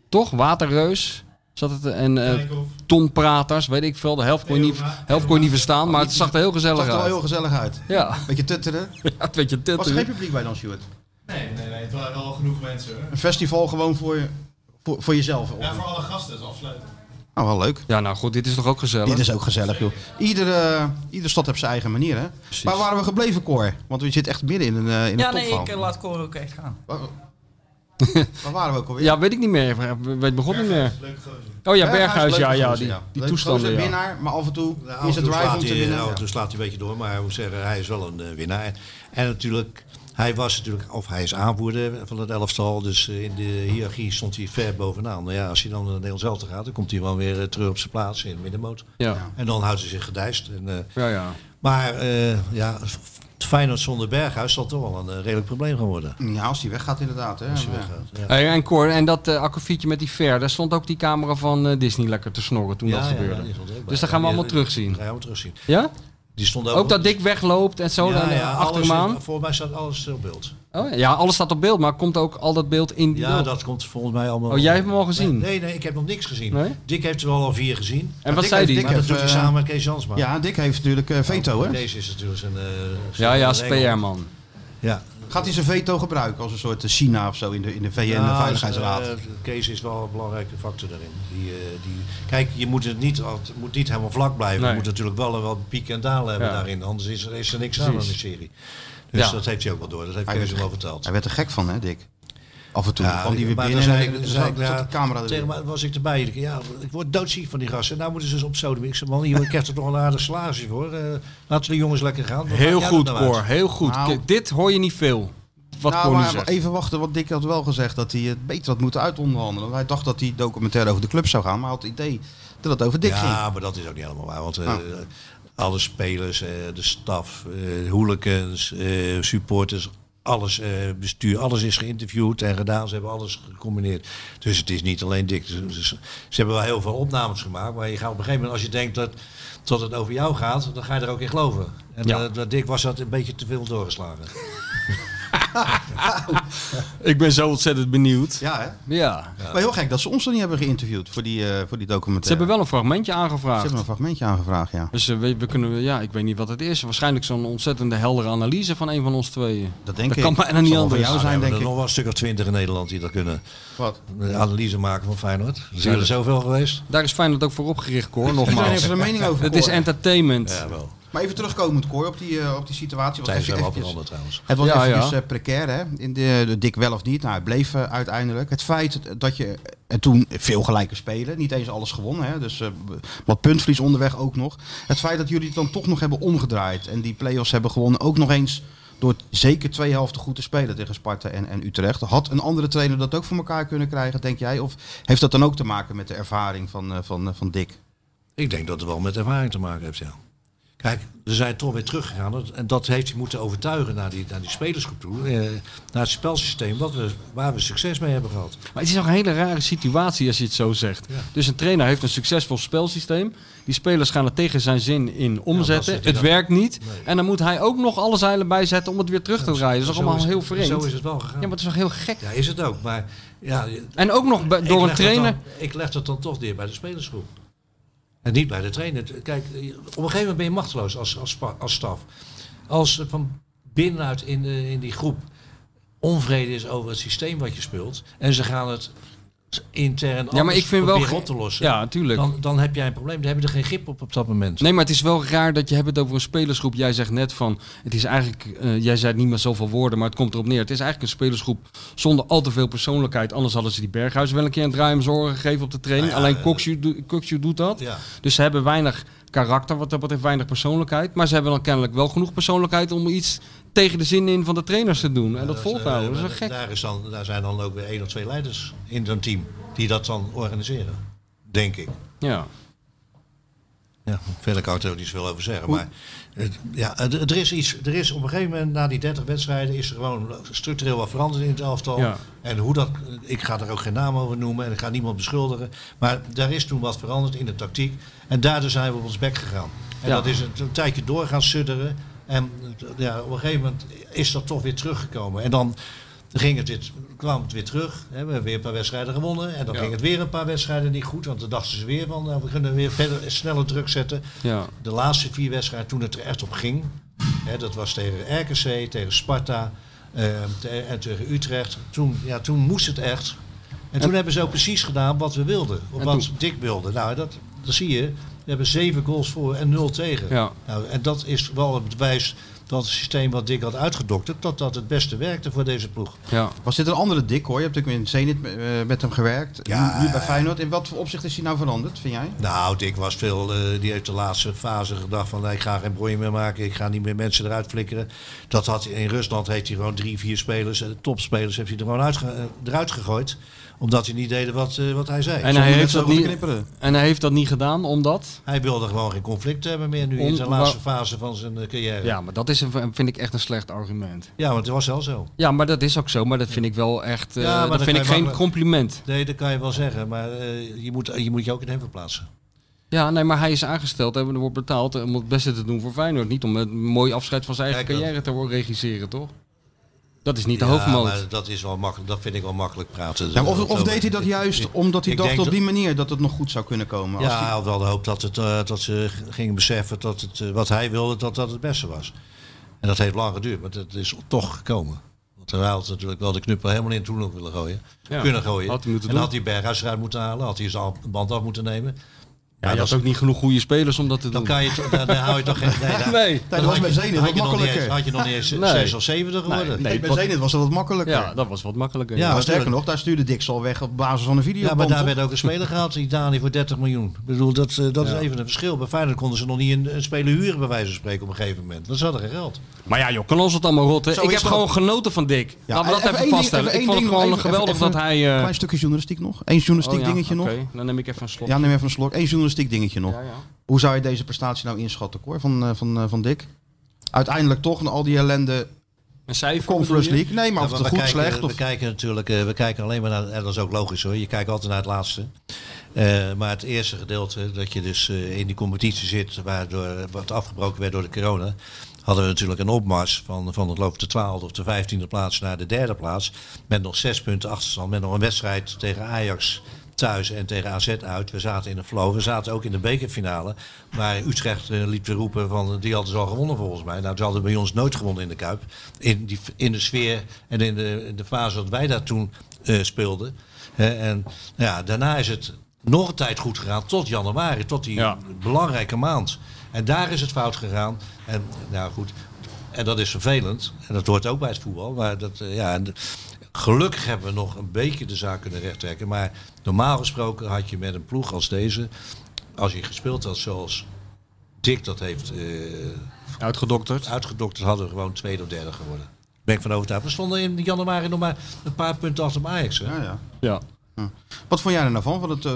Speaker 3: Toch? Waterreus. Zat het, en eh Tom Praters, weet ik veel. De helft kon je niet, helft kon je niet verstaan, maar het zag er heel
Speaker 2: het
Speaker 3: gezellig
Speaker 2: zag er wel
Speaker 3: uit.
Speaker 2: heel gezellig uit.
Speaker 3: Ja,
Speaker 2: Beetje tutteren.
Speaker 3: het weet je,
Speaker 2: Was er geen
Speaker 3: dit.
Speaker 2: publiek bij dan, Sjoerd?
Speaker 7: Nee, nee, nee, het waren wel genoeg mensen. hoor.
Speaker 2: Een festival gewoon voor, je, voor, voor jezelf.
Speaker 7: Ja, voor alle gasten is afsluiten.
Speaker 2: Nou, wel leuk.
Speaker 3: Ja, nou goed, dit is toch ook gezellig?
Speaker 2: Dit is ook gezellig, joh. Iedere, iedere stad heeft zijn eigen manier, hè? Maar waar waren we gebleven, Cor? Want we zitten echt midden in een, eh, in Oh,
Speaker 6: Ja,
Speaker 2: een
Speaker 6: nee,
Speaker 2: topverhaal.
Speaker 6: ik eh, laat Cor ook echt gaan.
Speaker 2: Waar, waar waren we ook alweer?
Speaker 3: Ja, weet ik niet meer. Weet begon niet meer.
Speaker 7: Leuke gozer.
Speaker 3: Oh ja, Berghuis, ja,
Speaker 2: leuke
Speaker 3: ja.
Speaker 2: gozer,
Speaker 3: Die, die
Speaker 2: Leuke
Speaker 3: toestanden,
Speaker 2: gozer,
Speaker 3: ja.
Speaker 2: winnaar, maar af en toe
Speaker 4: Nou,
Speaker 2: is het
Speaker 4: af
Speaker 2: drive
Speaker 4: en toe slaat
Speaker 2: om te
Speaker 4: hij- eh,
Speaker 2: winnen.
Speaker 4: af en
Speaker 2: Ja.
Speaker 4: toe slaat hij een beetje door, maar ik moet zeggen, hij is wel een eh, winnaar. En, en natuurlijk, hij was natuurlijk, of hij is aanvoerder van het elftal, dus eh, in de hiërarchie stond hij ver bovenaan. Nou ja, als hij dan naar Nederland zelf gaat, dan komt hij wel weer eh, terug op zijn plaats in de middenmoot.
Speaker 3: Ja,
Speaker 4: En dan houdt hij zich gedijst. En, eh,
Speaker 3: ja, ja.
Speaker 4: maar eh ja, Feyenoord zonder Berghuis zal toch wel een eh, redelijk probleem gaan worden.
Speaker 2: Ja, als hij weggaat inderdaad. Hè.
Speaker 4: Als hij
Speaker 2: Ja.
Speaker 4: weggaat. Ja.
Speaker 3: Hey, en Cor, en dat eh akkefietje met die ver, daar stond ook die camera van eh, Disney lekker te snorren toen dat gebeurde. dus dat gaan we allemaal terugzien.
Speaker 4: Dat gaan we terugzien.
Speaker 3: Ja?
Speaker 4: Die stond
Speaker 3: Ook dat Dick wegloopt en zo, dan, eh, achter
Speaker 4: alles,
Speaker 3: hem aan.
Speaker 4: Volgens mij staat alles op beeld.
Speaker 3: Oh, ja, alles staat op beeld, maar komt ook al dat beeld in die
Speaker 4: Ja,
Speaker 3: beeld?
Speaker 4: dat komt volgens mij allemaal.
Speaker 3: Oh, jij hebt hem al gezien?
Speaker 4: Nee, nee, ik heb nog niks gezien.
Speaker 3: Nee?
Speaker 4: Dick heeft er wel al vier gezien.
Speaker 3: En wat
Speaker 2: Dick
Speaker 3: zei
Speaker 2: heeft-
Speaker 3: die?
Speaker 2: Dick
Speaker 4: maar dat
Speaker 2: heeft,
Speaker 4: doet hij
Speaker 2: eh,
Speaker 4: samen met Kees Jansma.
Speaker 2: Ja, Dick heeft natuurlijk eh, veto, hè?
Speaker 4: Deze is natuurlijk zijn. eh,
Speaker 3: Ja,
Speaker 4: zijn
Speaker 3: ja,
Speaker 4: regel.
Speaker 3: speerman.
Speaker 4: Ja.
Speaker 2: Gaat hij zijn veto gebruiken als een soort eh, China of zo in de, in de VN
Speaker 4: Ja,
Speaker 2: Veiligheidsraad?
Speaker 4: Nou, eh, Kees is wel een belangrijke factor daarin. Die, eh, die, kijk, je moet het niet, al- het moet niet helemaal vlak blijven.
Speaker 3: Nee.
Speaker 4: Je moet natuurlijk wel een wat piek en dalen hebben
Speaker 3: Ja.
Speaker 4: daarin. Anders is er, is er niks aan aan de serie. Dus
Speaker 3: Ja.
Speaker 4: dat heeft hij ook wel door. Dat heeft
Speaker 2: Hij
Speaker 4: Kees
Speaker 2: is-
Speaker 4: hem wel verteld.
Speaker 2: Hij werd er gek van, hè, Dick? Af en toe
Speaker 4: Ja,
Speaker 2: kwam die weer
Speaker 4: maar
Speaker 2: binnen
Speaker 4: dan
Speaker 2: en
Speaker 4: zei-
Speaker 2: dan
Speaker 4: zei
Speaker 2: zat
Speaker 4: ik,
Speaker 2: zat
Speaker 4: ja,
Speaker 2: de camera
Speaker 4: Tegen
Speaker 2: er
Speaker 4: mij was ik erbij. Ik, ja, ik word doodziek van die gasten. Nou moeten ze eens op sodem. Ik zei, man, hier krijgt er toch een aardig salaris voor. Eh, laten we de jongens lekker gaan. Wat
Speaker 3: Heel
Speaker 4: maakt jou
Speaker 3: goed,
Speaker 4: dat nou uit?
Speaker 3: Cor. Heel goed.
Speaker 2: Nou.
Speaker 3: Kijk, dit hoor je niet veel. Wat
Speaker 2: Nou,
Speaker 3: Cor nu
Speaker 2: maar
Speaker 3: zegt.
Speaker 2: even wachten, want Dick had wel gezegd dat hij het beter had moeten uitonderhandelen. Want Hij dacht dat die documentaire over de club zou gaan, maar had het idee dat het over Dick Oh. ging.
Speaker 4: Ja, maar dat is ook niet helemaal waar. Want eh, alle spelers, eh, de staf, eh hooligans, eh, supporters, alles, eh, bestuur, alles is geïnterviewd en gedaan. Ze hebben alles gecombineerd. Dus het is niet alleen dik. Ze, ze- ze hebben wel heel veel opnames gemaakt. Maar je gaat op een gegeven moment, als je denkt dat, dat het over jou gaat, dan ga je er ook in geloven. En
Speaker 3: Ja.
Speaker 4: eh, dat Dick was dat een beetje te veel doorgeslagen.
Speaker 3: Ik ben zo ontzettend benieuwd.
Speaker 2: Ja, hè?
Speaker 3: Ja.
Speaker 2: Maar heel gek dat ze ons er niet hebben geïnterviewd voor die, eh, voor die
Speaker 3: Ze
Speaker 2: documentaire.
Speaker 3: hebben wel een fragmentje
Speaker 2: Ze
Speaker 3: aangevraagd.
Speaker 2: hebben een fragmentje aangevraagd, ja.
Speaker 3: Dus eh, we, we kunnen, ja, ik weet niet wat het is. Waarschijnlijk zo'n ontzettende heldere analyse van een van ons tweeën.
Speaker 2: Dat denk
Speaker 3: dat
Speaker 2: ik.
Speaker 3: kan bijna niet
Speaker 2: Zal wel van
Speaker 3: anders.
Speaker 2: jou
Speaker 4: Nou,
Speaker 2: zijn,
Speaker 4: we hebben
Speaker 2: denk
Speaker 4: er
Speaker 2: ik.
Speaker 4: nog wel een stuk of twintig in Nederland die dat kunnen.
Speaker 2: Wat?
Speaker 4: Een analyse maken van Feyenoord. Zijn er zoveel geweest?
Speaker 3: Daar is Feyenoord ook voor opgericht, Cor.
Speaker 2: Iedereen
Speaker 3: Nogmaals.
Speaker 2: heeft er een mening over.
Speaker 3: Het is
Speaker 2: Cor.
Speaker 3: entertainment.
Speaker 4: wel.
Speaker 2: Maar even terugkomend, Cor, op die, eh, op die situatie. Want
Speaker 4: Tijdens
Speaker 2: even,
Speaker 4: wel wat
Speaker 2: eventjes-
Speaker 4: veranderd trouwens.
Speaker 2: Het was
Speaker 3: Ja,
Speaker 2: eventjes
Speaker 3: ja.
Speaker 2: eh, precair, hè? In de, de dik wel of niet. Nou, hij bleef eh, uiteindelijk. Het feit dat je eh, en toen veel gelijke spelen, niet eens alles gewonnen, hè? Dus eh, wat puntvlies onderweg ook nog. Het feit dat jullie het dan toch nog hebben omgedraaid en die play-offs hebben gewonnen, ook nog eens door zeker twee helften goed te spelen tegen Sparta en, en Utrecht. Had een andere trainer dat ook voor elkaar kunnen krijgen, denk jij? Of heeft dat dan ook te maken met de ervaring van, eh, van, eh, van Dick?
Speaker 4: Ik denk dat het wel met ervaring te maken heeft, ja. Kijk, we zijn toch weer teruggegaan. Dat- En dat heeft hij moeten overtuigen naar die, naar die spelersgroep toe. eh, naar het spelsysteem wat we, waar we succes mee hebben gehad.
Speaker 3: Maar het is nog een hele rare situatie als je het zo zegt. Dus een trainer heeft een succesvol spelsysteem. Die spelers gaan er tegen zijn zin in omzetten.
Speaker 4: zit
Speaker 3: het
Speaker 4: hij dan.
Speaker 3: werkt niet.
Speaker 4: Nee.
Speaker 3: En dan moet hij ook nog alle zeilen bijzetten om het weer terug te draaien. Dat is
Speaker 4: Zo
Speaker 3: toch allemaal
Speaker 4: het-
Speaker 3: heel vreemd.
Speaker 4: Zo is het wel gegaan.
Speaker 3: Ja,
Speaker 4: Ja,
Speaker 3: maar het is toch heel gek.
Speaker 4: is het ook. Maar ja, je-
Speaker 3: En ook nog bij-
Speaker 4: ik
Speaker 3: door
Speaker 4: leg
Speaker 3: een
Speaker 4: dat
Speaker 3: trainer.
Speaker 4: dan- ik leg dat dan toch neer bij de spelersgroep. En niet bij de trainer. Kijk, eh, op een gegeven moment ben je machteloos als, als, spa- als staf. Als er van binnenuit in, de, in die groep onvrede is over het systeem wat je speelt. En ze gaan het intern
Speaker 3: Ja, maar
Speaker 4: anders
Speaker 3: ik vind wel.
Speaker 4: proberen
Speaker 3: ge-
Speaker 4: op te lossen.
Speaker 3: Ja, natuurlijk.
Speaker 4: dan, dan heb jij een probleem. Daar hebben er geen grip op op dat moment.
Speaker 3: Nee, maar het is wel raar dat je hebt het over een spelersgroep. Jij zegt net van, het is eigenlijk, eh, jij zei het niet met zoveel woorden, maar het komt erop neer. Het is eigenlijk een spelersgroep zonder al te veel persoonlijkheid. Anders hadden ze die Berghuis wel een keer een draai om zorgen gegeven op de training.
Speaker 4: Nou ja,
Speaker 3: Alleen
Speaker 4: eh,
Speaker 3: Coxu doe- Coxu doet dat.
Speaker 4: Ja.
Speaker 3: Dus ze hebben weinig karakter, wat dat betreft weinig persoonlijkheid. Maar ze hebben dan kennelijk wel genoeg persoonlijkheid om iets tegen de zin in van de trainers te doen. En dat vol te
Speaker 4: eh,
Speaker 3: houden. Dat is wel
Speaker 4: maar
Speaker 3: gek.
Speaker 4: Daar, is dan, daar zijn dan ook weer één of twee leiders in zo'n team die dat dan organiseren. Denk ik.
Speaker 3: Ja.
Speaker 4: Ja, verder kan ik er ook niet zoveel over zeggen.
Speaker 2: Hoe-
Speaker 4: Maar het- ja, het- het- er is iets. Er is op een gegeven moment, na die 30 wedstrijden, is er gewoon structureel wat veranderd in het elftal.
Speaker 3: Ja.
Speaker 4: En hoe dat. Ik ga er ook geen naam over noemen en ik ga niemand beschuldigen. Maar daar is toen wat veranderd in de tactiek. En daardoor zijn we op ons bek gegaan. En
Speaker 3: Ja.
Speaker 4: dat is een, een tijdje door gaan sudderen. En ja, op een gegeven moment is dat toch weer teruggekomen. En dan. Ging het weer, kwam het weer terug. Hè, we hebben weer een paar wedstrijden gewonnen. En dan
Speaker 3: Ja.
Speaker 4: ging het weer een paar wedstrijden niet goed. Want dan dachten ze weer van, nou, we kunnen weer verder sneller druk zetten.
Speaker 3: Ja.
Speaker 4: De laatste vier wedstrijden toen het er echt op ging. Hè, dat was tegen RKC, tegen Sparta eh, te- en tegen Utrecht. Toen, ja, toen moest het echt. En toen hebben ze ook precies gedaan wat we wilden. Of
Speaker 3: En
Speaker 4: wat
Speaker 3: toen-
Speaker 4: Dick wilde. Nou, dat, dat zie je. We hebben zeven goals voor en nul tegen.
Speaker 3: Ja.
Speaker 4: Nou, en dat is wel het bewijs dat het systeem wat Dick had uitgedokterd... dat dat het beste werkte voor deze ploeg.
Speaker 3: Ja.
Speaker 2: Was dit een andere dik hoor? Je hebt natuurlijk in Zenit eh, met hem gewerkt.
Speaker 4: Ja.
Speaker 2: Nu, nu bij Feyenoord. In wat voor opzicht is hij nou veranderd, vind jij?
Speaker 4: Nou, Dick was veel, eh, die heeft de laatste fase gedacht van nee, ik ga geen broei meer maken, ik ga niet meer mensen eruit flikkeren. Dat had, in Rusland heeft hij gewoon drie, vier spelers, eh, topspelers, heeft hij er gewoon uitge- eh, eruit gegooid. Omdat hij niet deden wat, eh, wat hij zei.
Speaker 3: En hij,
Speaker 2: net
Speaker 3: heeft
Speaker 2: zo
Speaker 3: dat
Speaker 2: goed
Speaker 3: niet,
Speaker 2: knipperen.
Speaker 3: en hij heeft dat niet gedaan omdat...
Speaker 4: Hij wilde gewoon geen conflict hebben meer nu
Speaker 3: Om-
Speaker 4: in zijn laatste fase van zijn eh, carrière. Ja.
Speaker 3: Ja, maar dat is een, vind ik echt een slecht argument.
Speaker 4: want het was wel zo.
Speaker 3: Ja, maar dat is ook zo. Maar dat vind ik wel echt... eh,
Speaker 4: Ja, maar
Speaker 3: dat
Speaker 4: dan
Speaker 3: vind
Speaker 4: kan
Speaker 3: ik
Speaker 4: je
Speaker 3: geen
Speaker 4: makkelijk-
Speaker 3: compliment.
Speaker 4: Nee, dat kan je wel zeggen, maar eh, je, moet, je moet je ook in hem verplaatsen.
Speaker 3: Ja, nee, maar hij is aangesteld en er wordt betaald om het beste te doen voor Feyenoord. Niet om een mooi afscheid van zijn eigen
Speaker 4: Kijk, dat-
Speaker 3: carrière te regisseren, toch? Dat is niet de
Speaker 4: ja,
Speaker 3: hoofdmoot.
Speaker 4: maar dat is wel makkelijk, dat vind ik wel makkelijk praten.
Speaker 2: Ja, maar of,
Speaker 4: Dat-
Speaker 2: of deed hij dat juist Dus omdat hij
Speaker 4: ik
Speaker 2: dacht
Speaker 4: denk
Speaker 2: op
Speaker 4: dat-
Speaker 2: die manier dat het nog goed zou kunnen komen? Als
Speaker 4: Ja,
Speaker 2: die-
Speaker 4: hij had wel de hoop dat, het, eh, dat ze g- gingen beseffen dat het, eh, wat hij wilde, dat dat het beste was. En dat heeft lang geduurd, maar dat is toch gekomen. Want hij had natuurlijk wel de knuppel helemaal in het toenog willen gooien.
Speaker 3: Ja,
Speaker 4: kunnen gooien.
Speaker 3: had hij moeten
Speaker 4: en
Speaker 3: doen.
Speaker 4: had hij Berghuis eruit moeten halen, had hij zijn al- band af moeten nemen.
Speaker 3: ja, je
Speaker 4: dat
Speaker 3: had
Speaker 4: is-
Speaker 3: ook niet genoeg goede spelers om dat te
Speaker 4: Dan
Speaker 3: doen.
Speaker 4: kan je toch, daar, daar hou je toch geen... Nee, daar-
Speaker 3: Nee.
Speaker 2: dat
Speaker 4: dan
Speaker 2: was
Speaker 4: had
Speaker 2: bij
Speaker 4: je-
Speaker 2: Zenit
Speaker 4: had
Speaker 2: wat
Speaker 4: je nog niet
Speaker 2: makkelijker.
Speaker 4: eens- Had je nog niet eens
Speaker 3: Nee.
Speaker 4: 6 of 70 geworden.
Speaker 3: nee.
Speaker 2: Kijk, bij
Speaker 3: wat-
Speaker 2: Zenit was dat wat makkelijker.
Speaker 3: Ja, dat was wat makkelijker.
Speaker 4: Ja,
Speaker 2: Ja,
Speaker 4: maar
Speaker 2: sterker
Speaker 4: tuurlijk.
Speaker 2: nog, daar stuurde Dixel weg op basis van een video.
Speaker 4: Ja, maar daar werd ook een speler gehaald, die Dani voor 30 miljoen. Ik bedoel, dat, eh, dat
Speaker 3: Ja.
Speaker 4: is even een verschil. Bij Feyenoord konden ze nog niet een, een speler huren, bij wijze van spreken, op een gegeven moment. Want ze hadden geen geld.
Speaker 3: Maar ja, joh, kan ons het allemaal rotten.
Speaker 2: Zo
Speaker 3: Dus ik
Speaker 2: is dat.
Speaker 3: heb gewoon genoten van Dick. Laten we dat even, vaststellen. ik vond het gewoon geweldig dat hij... eh,
Speaker 2: Een klein stukje journalistiek nog. Eén journalistiek
Speaker 3: oh ja,
Speaker 2: dingetje
Speaker 3: oké.
Speaker 2: nog.
Speaker 3: Dan neem ik even een slok.
Speaker 2: Ja, neem even een slok. Eén journalistiek dingetje nog.
Speaker 3: Ja, ja.
Speaker 2: Hoe zou je deze prestatie nou inschatten, Cor, van, eh, van, eh, van Dick? Uiteindelijk toch, na al die ellende,
Speaker 3: Een cijfer
Speaker 2: Conference
Speaker 3: bedoel je?
Speaker 2: League. Nee, maar
Speaker 4: Ja,
Speaker 2: of het
Speaker 4: maar
Speaker 2: goed,
Speaker 4: we kijken,
Speaker 2: slecht.
Speaker 4: We
Speaker 2: Of...
Speaker 4: kijken natuurlijk eh, we kijken alleen maar naar, en dat is ook logisch hoor, je kijkt altijd naar het laatste. Eh, maar het eerste gedeelte, dat je dus eh, in die competitie zit, waardoor, wat afgebroken werd door de corona, hadden we natuurlijk een opmars van, van het loop de 12e of de 15e plaats naar de derde plaats. Met nog zes punten achterstand, met nog een wedstrijd tegen Ajax thuis en tegen AZ uit. We zaten in de flow, we zaten ook in de bekerfinale. Maar Utrecht eh, liep te roepen van, eh, die hadden ze al gewonnen volgens mij. Nou, ze hadden bij ons nooit gewonnen in de Kuip. In, die, in de sfeer en in de, in de fase dat wij daar toen eh, speelden. Hè, en nou ja, daarna is het nog een tijd goed gegaan tot januari, tot die
Speaker 3: Ja.
Speaker 4: belangrijke maand. En daar is het fout gegaan. En nou goed, en dat is vervelend. En dat hoort ook bij het voetbal. Maar dat, eh, ja, en de- gelukkig hebben we nog een beetje de zaak kunnen rechttrekken. Maar normaal gesproken had je met een ploeg als deze, als je gespeeld had zoals Dick dat heeft eh,
Speaker 3: Uitgedokterd.
Speaker 4: uitgedokterd, hadden we gewoon tweede of derde geworden. Ben ik van overtuigd. We stonden in januari nog maar een paar punten achter op Ajax. Hè?
Speaker 2: Ja, ja.
Speaker 3: Ja.
Speaker 2: Wat vond jij er nou van? Vond het, eh,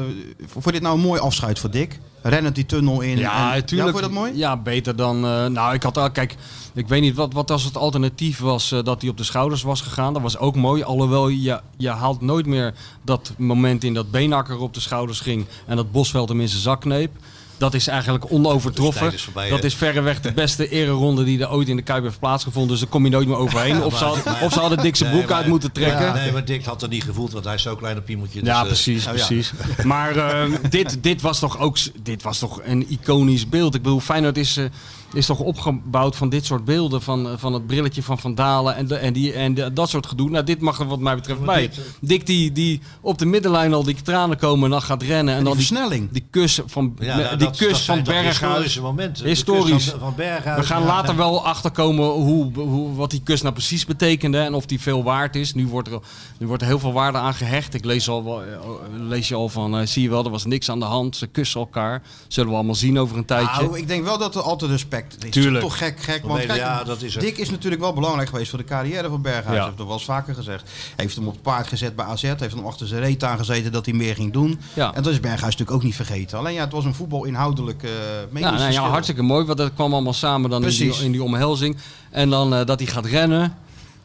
Speaker 2: vond je dit nou een mooi afscheid voor Dick? Rennend die tunnel in.
Speaker 3: Ja,
Speaker 2: en...
Speaker 3: tuurlijk.
Speaker 2: Ja, vond je dat mooi?
Speaker 3: Ja, beter dan... eh, nou, ik had al... Kijk, ik weet niet wat, wat als het alternatief was eh, dat hij op de schouders was gegaan. Dat was ook mooi. Alhoewel, je, je haalt nooit meer dat moment in dat Beenakker op de schouders ging. En dat Bosveld hem in zijn zak kneep. Dat is eigenlijk
Speaker 4: De
Speaker 3: onovertroffen.
Speaker 4: tijd is voorbij,
Speaker 3: dat
Speaker 4: hè?
Speaker 3: is verreweg de beste ereronde die er ooit in de Kuip heeft plaatsgevonden. Dus daar kom je nooit meer overheen. Of ze, hadden- of ze hadden Dick zijn
Speaker 4: Nee,
Speaker 3: broek uit
Speaker 4: maar-
Speaker 3: moeten trekken.
Speaker 4: Ja, nee, maar Dick had dat niet gevoeld, want hij is zo'n kleine piemeltje. dus,
Speaker 3: ja,
Speaker 4: eh,
Speaker 3: precies,
Speaker 2: Oh
Speaker 4: nou ja.
Speaker 3: precies. Maar eh, dit, dit was toch ook s- dit was toch een iconisch beeld. Ik bedoel, Feyenoord is, eh, is toch opgebouwd van dit soort beelden. Van, eh, van het brilletje van Van Dalen en, de, en, die, en de- dat soort gedoe. Nou, dit mag er wat mij betreft bij.
Speaker 4: eh,
Speaker 3: Dick die, die op de middenlijn al die tranen komen en dan gaat rennen.
Speaker 2: En die
Speaker 3: En dan die,
Speaker 2: versnelling.
Speaker 3: die kus van,
Speaker 4: Ja,
Speaker 3: met-
Speaker 4: nou,
Speaker 3: die
Speaker 4: dat-
Speaker 3: kus
Speaker 4: dat
Speaker 3: van
Speaker 4: zijn toch
Speaker 3: Berghuis.
Speaker 4: historische momenten. De
Speaker 3: Historisch.
Speaker 4: kus van, van Berghuis.
Speaker 3: We gaan
Speaker 4: Ja,
Speaker 3: later
Speaker 4: nee.
Speaker 3: wel achterkomen hoe, hoe, wat die kus nou precies betekende en of die veel waard is. Nu wordt er, nu wordt er heel veel waarde aan gehecht. Ik lees, al, wel- eh, lees je al van, eh, zie je wel, er was niks aan de hand. Ze kussen elkaar. Zullen we allemaal zien over een tijdje.
Speaker 2: Nou, ik denk wel dat er altijd respect gek. Het is
Speaker 3: Tuurlijk.
Speaker 2: toch gek, gek.
Speaker 4: Maar
Speaker 2: Want
Speaker 4: mede-
Speaker 2: kijk,
Speaker 4: ja, dat is het.
Speaker 2: Dick is natuurlijk wel belangrijk geweest voor de carrière van Berghuis.
Speaker 3: Ja.
Speaker 2: Heeft dat wel eens vaker gezegd. Heeft hem op het paard gezet bij AZ. Heeft hem achter zijn reet aangezeten dat hij meer ging doen.
Speaker 3: Ja.
Speaker 2: En dat is Berghuis natuurlijk ook niet vergeten. Alleen ja, het was een voetbalinhoudelijk eh
Speaker 3: Ja, nou,
Speaker 2: meningsverschil.
Speaker 3: ja, hartstikke mooi, want dat kwam allemaal samen dan in die,
Speaker 2: Precies.
Speaker 3: in die omhelzing. En dan eh, dat hij gaat rennen.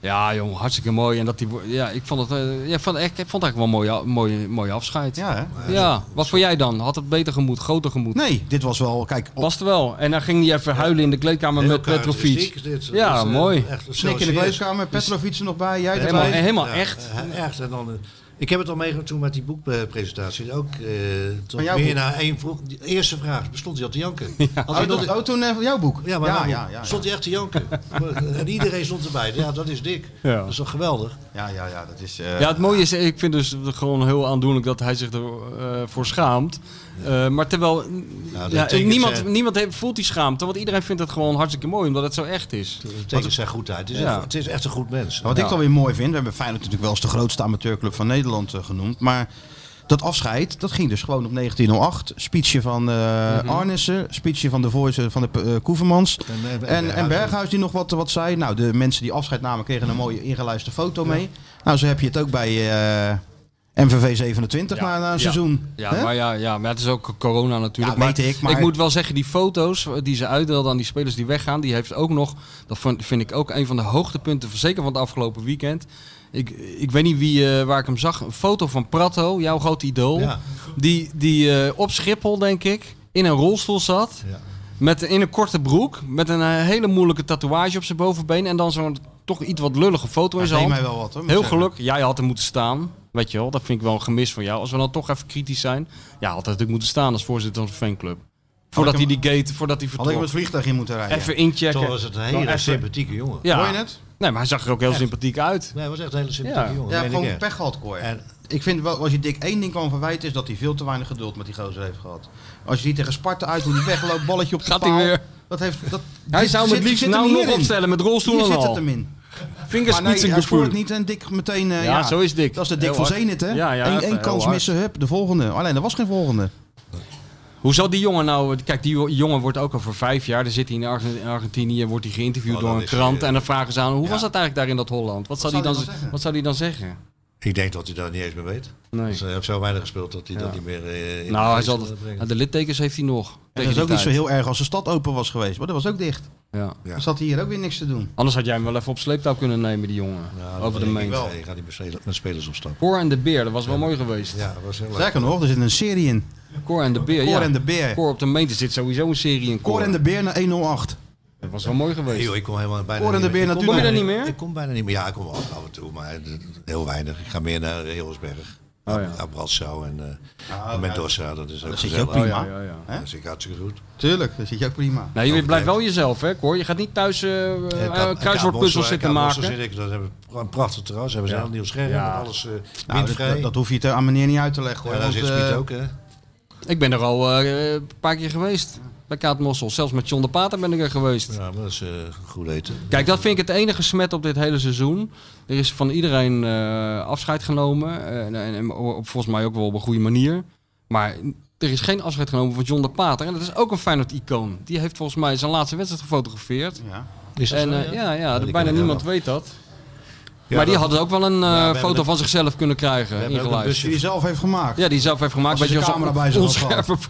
Speaker 3: Ja, jong, hartstikke mooi. En dat die, wo- ja, ik vond het, eh, ja, ik vond, ik, ik vond het eigenlijk wel een mooie, a- mooie, mooie afscheid. Ja.
Speaker 2: Ja, hè?
Speaker 3: wat voor jij dan? Had het beter gemoet, groter gemoet?
Speaker 2: Nee, dit was wel... Kijk, op,
Speaker 3: Past wel. En dan ging hij even huilen in de kleedkamer
Speaker 4: Heel
Speaker 3: met Petrovic.
Speaker 4: karakteristiek dit.
Speaker 3: Ja,
Speaker 4: Dat is, eh,
Speaker 3: mooi.
Speaker 4: Echt, een
Speaker 2: Snik in de
Speaker 4: serieus-
Speaker 2: kleedkamer, Petrovic er nog bij, jij
Speaker 3: Helemaal,
Speaker 2: erbij.
Speaker 3: helemaal
Speaker 4: Ja,
Speaker 3: echt.
Speaker 4: eh, Echt. En dan, eh, ik heb het al meegemaakt toen met die boekpresentatie. Ook eh tot
Speaker 2: jouw
Speaker 4: meer
Speaker 2: boek?
Speaker 4: na één vroeg. die eerste vraag. Bestond hij al te janken? Had hij
Speaker 2: Oh,
Speaker 4: nog-
Speaker 2: dat, oh, toen eh, van jouw boek?
Speaker 4: ja, maar
Speaker 2: ja,
Speaker 4: nou,
Speaker 2: ja, ja, ja.
Speaker 4: stond hij echt te janken. eh, en iedereen stond erbij. Ja, dat is dik.
Speaker 3: Ja.
Speaker 4: Dat is toch geweldig.
Speaker 2: Ja, ja, ja, dat is... eh,
Speaker 3: Ja, het mooie is, ik vind dus gewoon heel aandoenlijk dat hij zich ervoor voor schaamt. Eh, maar terwijl
Speaker 4: Nou, dat
Speaker 3: ja,
Speaker 4: betekent,
Speaker 3: niemand,
Speaker 4: eh,
Speaker 3: niemand heeft, voelt die schaamte, want iedereen vindt het gewoon hartstikke mooi omdat het zo echt is.
Speaker 4: Dat betekent zijn goedheid. Het is,
Speaker 3: Ja.
Speaker 4: echt, het is echt een goed mens.
Speaker 2: Wat
Speaker 3: Ja.
Speaker 2: ik dan weer mooi vind, we hebben Feyenoord natuurlijk wel als de grootste amateurclub van Nederland eh, genoemd, maar dat afscheid, dat ging dus gewoon op 1908. Speechje van eh
Speaker 4: Mhm.
Speaker 3: Mhm.
Speaker 2: Arnissen, speechje van de voorzitter van de eh, Koevermans
Speaker 4: En,
Speaker 2: en,
Speaker 4: eh,
Speaker 2: en,
Speaker 4: Berghuis ook.
Speaker 2: Berghuis die nog wat, wat zei. Nou, de mensen die afscheid namen kregen een mooie ingeluisterde foto mee. Nou, zo heb je het ook bij eh, MVV 27
Speaker 3: Ja.
Speaker 2: na, na een
Speaker 3: Ja.
Speaker 2: seizoen.
Speaker 3: Ja,
Speaker 2: Hè?
Speaker 3: maar ja, ja, maar het is ook corona natuurlijk.
Speaker 2: Ja, weet ik, maar-
Speaker 3: moet wel zeggen, die foto's die ze uitdeelden aan die spelers die weggaan, die heeft ook nog, dat vind, vind ik ook een van de hoogtepunten, zeker van het afgelopen weekend. Ik, ik weet niet wie, eh, waar ik hem zag, een foto van Pratto, jouw grote idool,
Speaker 4: Ja.
Speaker 3: die, die eh, op Schiphol, denk ik, in een rolstoel zat.
Speaker 4: Ja.
Speaker 3: Met, in een korte broek, met een eh, hele moeilijke tatoeage op zijn bovenbeen en dan zo'n toch iets wat lullige foto in
Speaker 2: Dat
Speaker 3: zijn
Speaker 2: deed
Speaker 3: hand.
Speaker 2: mij wel wat hoor. moet
Speaker 3: Heel
Speaker 2: ik
Speaker 3: geluk. Jij had er moeten staan. Weet je wel, dat vind ik wel een gemis van jou. Als we dan toch even kritisch zijn. Ja, had hij natuurlijk moeten staan als voorzitter van de fanclub. Voordat
Speaker 2: ik
Speaker 3: hij
Speaker 2: hem-
Speaker 3: die gate, voordat hij
Speaker 2: zeggen. Had ik met
Speaker 3: vertrok.
Speaker 2: het vliegtuig in moeten rijden.
Speaker 3: even inchecken.
Speaker 4: Toch was het een
Speaker 3: Dan
Speaker 4: hele
Speaker 3: even-
Speaker 4: sympathieke jongen.
Speaker 3: Ja.
Speaker 2: Hoor je het?
Speaker 3: Nee, maar hij zag er ook heel sympathiek uit.
Speaker 4: Nee, hij was echt een hele sympathieke
Speaker 3: Ja.
Speaker 4: jongen.
Speaker 2: Ja,
Speaker 4: meen ik
Speaker 2: gewoon
Speaker 4: echt.
Speaker 2: pech gehad, Cor.
Speaker 4: En
Speaker 2: Ik vind wel, als je Dick één ding kan verwijten, is dat hij veel te weinig geduld met die gozer heeft gehad. Als je ziet tegen Sparta uit hoe die wegloopt, balletje op de
Speaker 3: Gaat hij
Speaker 2: paal.
Speaker 3: weer.
Speaker 2: Dat heeft, dat,
Speaker 3: Hij
Speaker 2: dit
Speaker 3: zou hem
Speaker 2: zit-
Speaker 3: het liefst
Speaker 2: zit er
Speaker 3: nou
Speaker 2: meer
Speaker 3: nog
Speaker 2: in.
Speaker 3: opstellen met
Speaker 2: Hier
Speaker 3: rolstoel en
Speaker 2: zit het
Speaker 3: al.
Speaker 2: hem in. Maar nee, hij
Speaker 3: Vingerspitsengevoel.
Speaker 2: scoort niet en Dick meteen... eh,
Speaker 3: Ja, zo is Dick.
Speaker 2: Dat is de Dick
Speaker 3: Heel
Speaker 2: van
Speaker 3: hard.
Speaker 2: Zenit, hè?
Speaker 3: Ja, ja,
Speaker 2: Eén-
Speaker 3: echt,
Speaker 2: één
Speaker 3: heel
Speaker 2: kans
Speaker 3: hard.
Speaker 2: missen, hup, de volgende. Alleen, er was geen volgende.
Speaker 3: Hoe zal die jongen nou... Kijk, die jo- jongen wordt ook al voor vijf jaar. Dan zit hij in Argen- in Argentinië, wordt hij geïnterviewd
Speaker 4: Oh,
Speaker 3: door
Speaker 4: dat
Speaker 3: een
Speaker 4: is,
Speaker 3: krant.
Speaker 4: eh,
Speaker 3: en dan vragen ze aan, hoe
Speaker 4: ja.
Speaker 3: was dat eigenlijk daar in dat Holland? Wat, zou,
Speaker 2: zou
Speaker 3: hij
Speaker 2: hij
Speaker 3: dan,
Speaker 2: dan
Speaker 3: z-
Speaker 2: zeggen?
Speaker 3: wat zou hij dan zeggen?
Speaker 4: ik denk dat hij dat niet eens meer weet.
Speaker 3: Nee.
Speaker 4: Dus hij heeft zo weinig gespeeld dat hij dat niet meer eh, in
Speaker 3: Nou, hij
Speaker 4: de
Speaker 3: zal,
Speaker 4: feesten brengt.
Speaker 3: nou, de littekens heeft hij nog.
Speaker 2: Dat
Speaker 3: Tegen
Speaker 2: is
Speaker 3: die
Speaker 2: ook niet zo
Speaker 3: tijd.
Speaker 2: heel erg als de stad open was geweest. Maar dat was ook dicht.
Speaker 3: Ja.
Speaker 2: Dan zat hij hier ook weer niks te doen.
Speaker 3: Anders had jij hem wel even op sleeptouw kunnen nemen, die jongen.
Speaker 4: Ja, dat
Speaker 3: over de
Speaker 4: denk ik
Speaker 3: meent.
Speaker 4: wel. Je gaat niet met spelers- met spelers op stap.
Speaker 3: Cor en de Beer, dat was wel mooi geweest.
Speaker 4: Ja, dat was heel leuk.
Speaker 2: Sterker nog, er zit een serie in.
Speaker 3: Cor en de Beer,
Speaker 2: Cor
Speaker 3: ja.
Speaker 2: en de Beer.
Speaker 3: Cor op de meent, er zit sowieso een serie in Cor.
Speaker 2: Cor en de Beer naar 108.
Speaker 3: Dat was wel mooi
Speaker 4: Nee,
Speaker 3: geweest.
Speaker 4: joh, ik kom helemaal bijna
Speaker 2: Cor en de
Speaker 4: niet
Speaker 2: Beer
Speaker 4: meer. Ik kom
Speaker 3: Kom je daar
Speaker 2: natuurlijk.
Speaker 3: niet meer?
Speaker 4: Ik kom bijna niet meer. Ja, ik kom wel af en toe, maar eh, heel weinig. Ik ga meer naar Hilversberg.
Speaker 3: Oh, ja.
Speaker 4: Abrassau en, eh en Mendoza, dat is ook
Speaker 2: Ah, zit je ook
Speaker 4: gezellig.
Speaker 3: Oh, ja,
Speaker 4: Dat
Speaker 2: prima.
Speaker 3: ja, ja.
Speaker 2: hè?
Speaker 4: is ik hartstikke goed.
Speaker 2: Tuurlijk, dat zit je ook prima.
Speaker 3: Nou, je
Speaker 4: Overdreven.
Speaker 3: blijft wel jezelf, hè, Cor. Je gaat niet thuis eh, eh,
Speaker 4: Eh, Ka- eh,
Speaker 3: kruiswoordpuzzels
Speaker 4: Kaapmossel,
Speaker 3: zitten
Speaker 4: Kaapmossel
Speaker 3: maken.
Speaker 4: Zit ik, dat hebben we een prachtig terras. Hebben ze een heel nieuw scherm.
Speaker 3: Ja.
Speaker 4: met Alles eh
Speaker 2: Nou, dat,
Speaker 4: windvrij.
Speaker 2: dat, dat hoef je het aan meneer niet uit te leggen. Hoor,
Speaker 4: ja, daar
Speaker 2: want,
Speaker 4: zit
Speaker 2: eh,
Speaker 4: Spiet ook, hè?
Speaker 3: Ik ben er al eh, een paar keer geweest. Bij Kaat Mossel. Zelfs met John de Pater ben ik er geweest.
Speaker 4: Ja, maar dat is eh, goed eten.
Speaker 3: Kijk, dat vind ik het enige smet op dit hele seizoen. Er is van iedereen eh, afscheid genomen. eh, en, en, en op- volgens mij ook wel op een goede manier. Maar er is geen afscheid genomen van John de Pater. En dat is ook een Feyenoord-icoon. Die heeft volgens mij zijn laatste wedstrijd gefotografeerd.
Speaker 2: Ja.
Speaker 4: Is dat
Speaker 3: En
Speaker 4: zo,
Speaker 3: eh, ja, ja,
Speaker 4: die
Speaker 3: bijna
Speaker 4: ken ik
Speaker 3: niemand
Speaker 4: wel.
Speaker 3: weet dat.
Speaker 4: Ja,
Speaker 3: maar die
Speaker 4: dat-
Speaker 3: hadden ook wel een eh,
Speaker 4: hebben
Speaker 3: foto
Speaker 4: het-
Speaker 3: van zichzelf kunnen
Speaker 4: We
Speaker 3: krijgen
Speaker 4: hebben ook een
Speaker 3: ingeluisterd.
Speaker 4: busje.
Speaker 2: Die hij zelf heeft gemaakt.
Speaker 3: Ja, die zelf heeft gemaakt.
Speaker 2: Als hij
Speaker 3: Weet je,
Speaker 2: zijn
Speaker 3: als een
Speaker 2: camera bij zich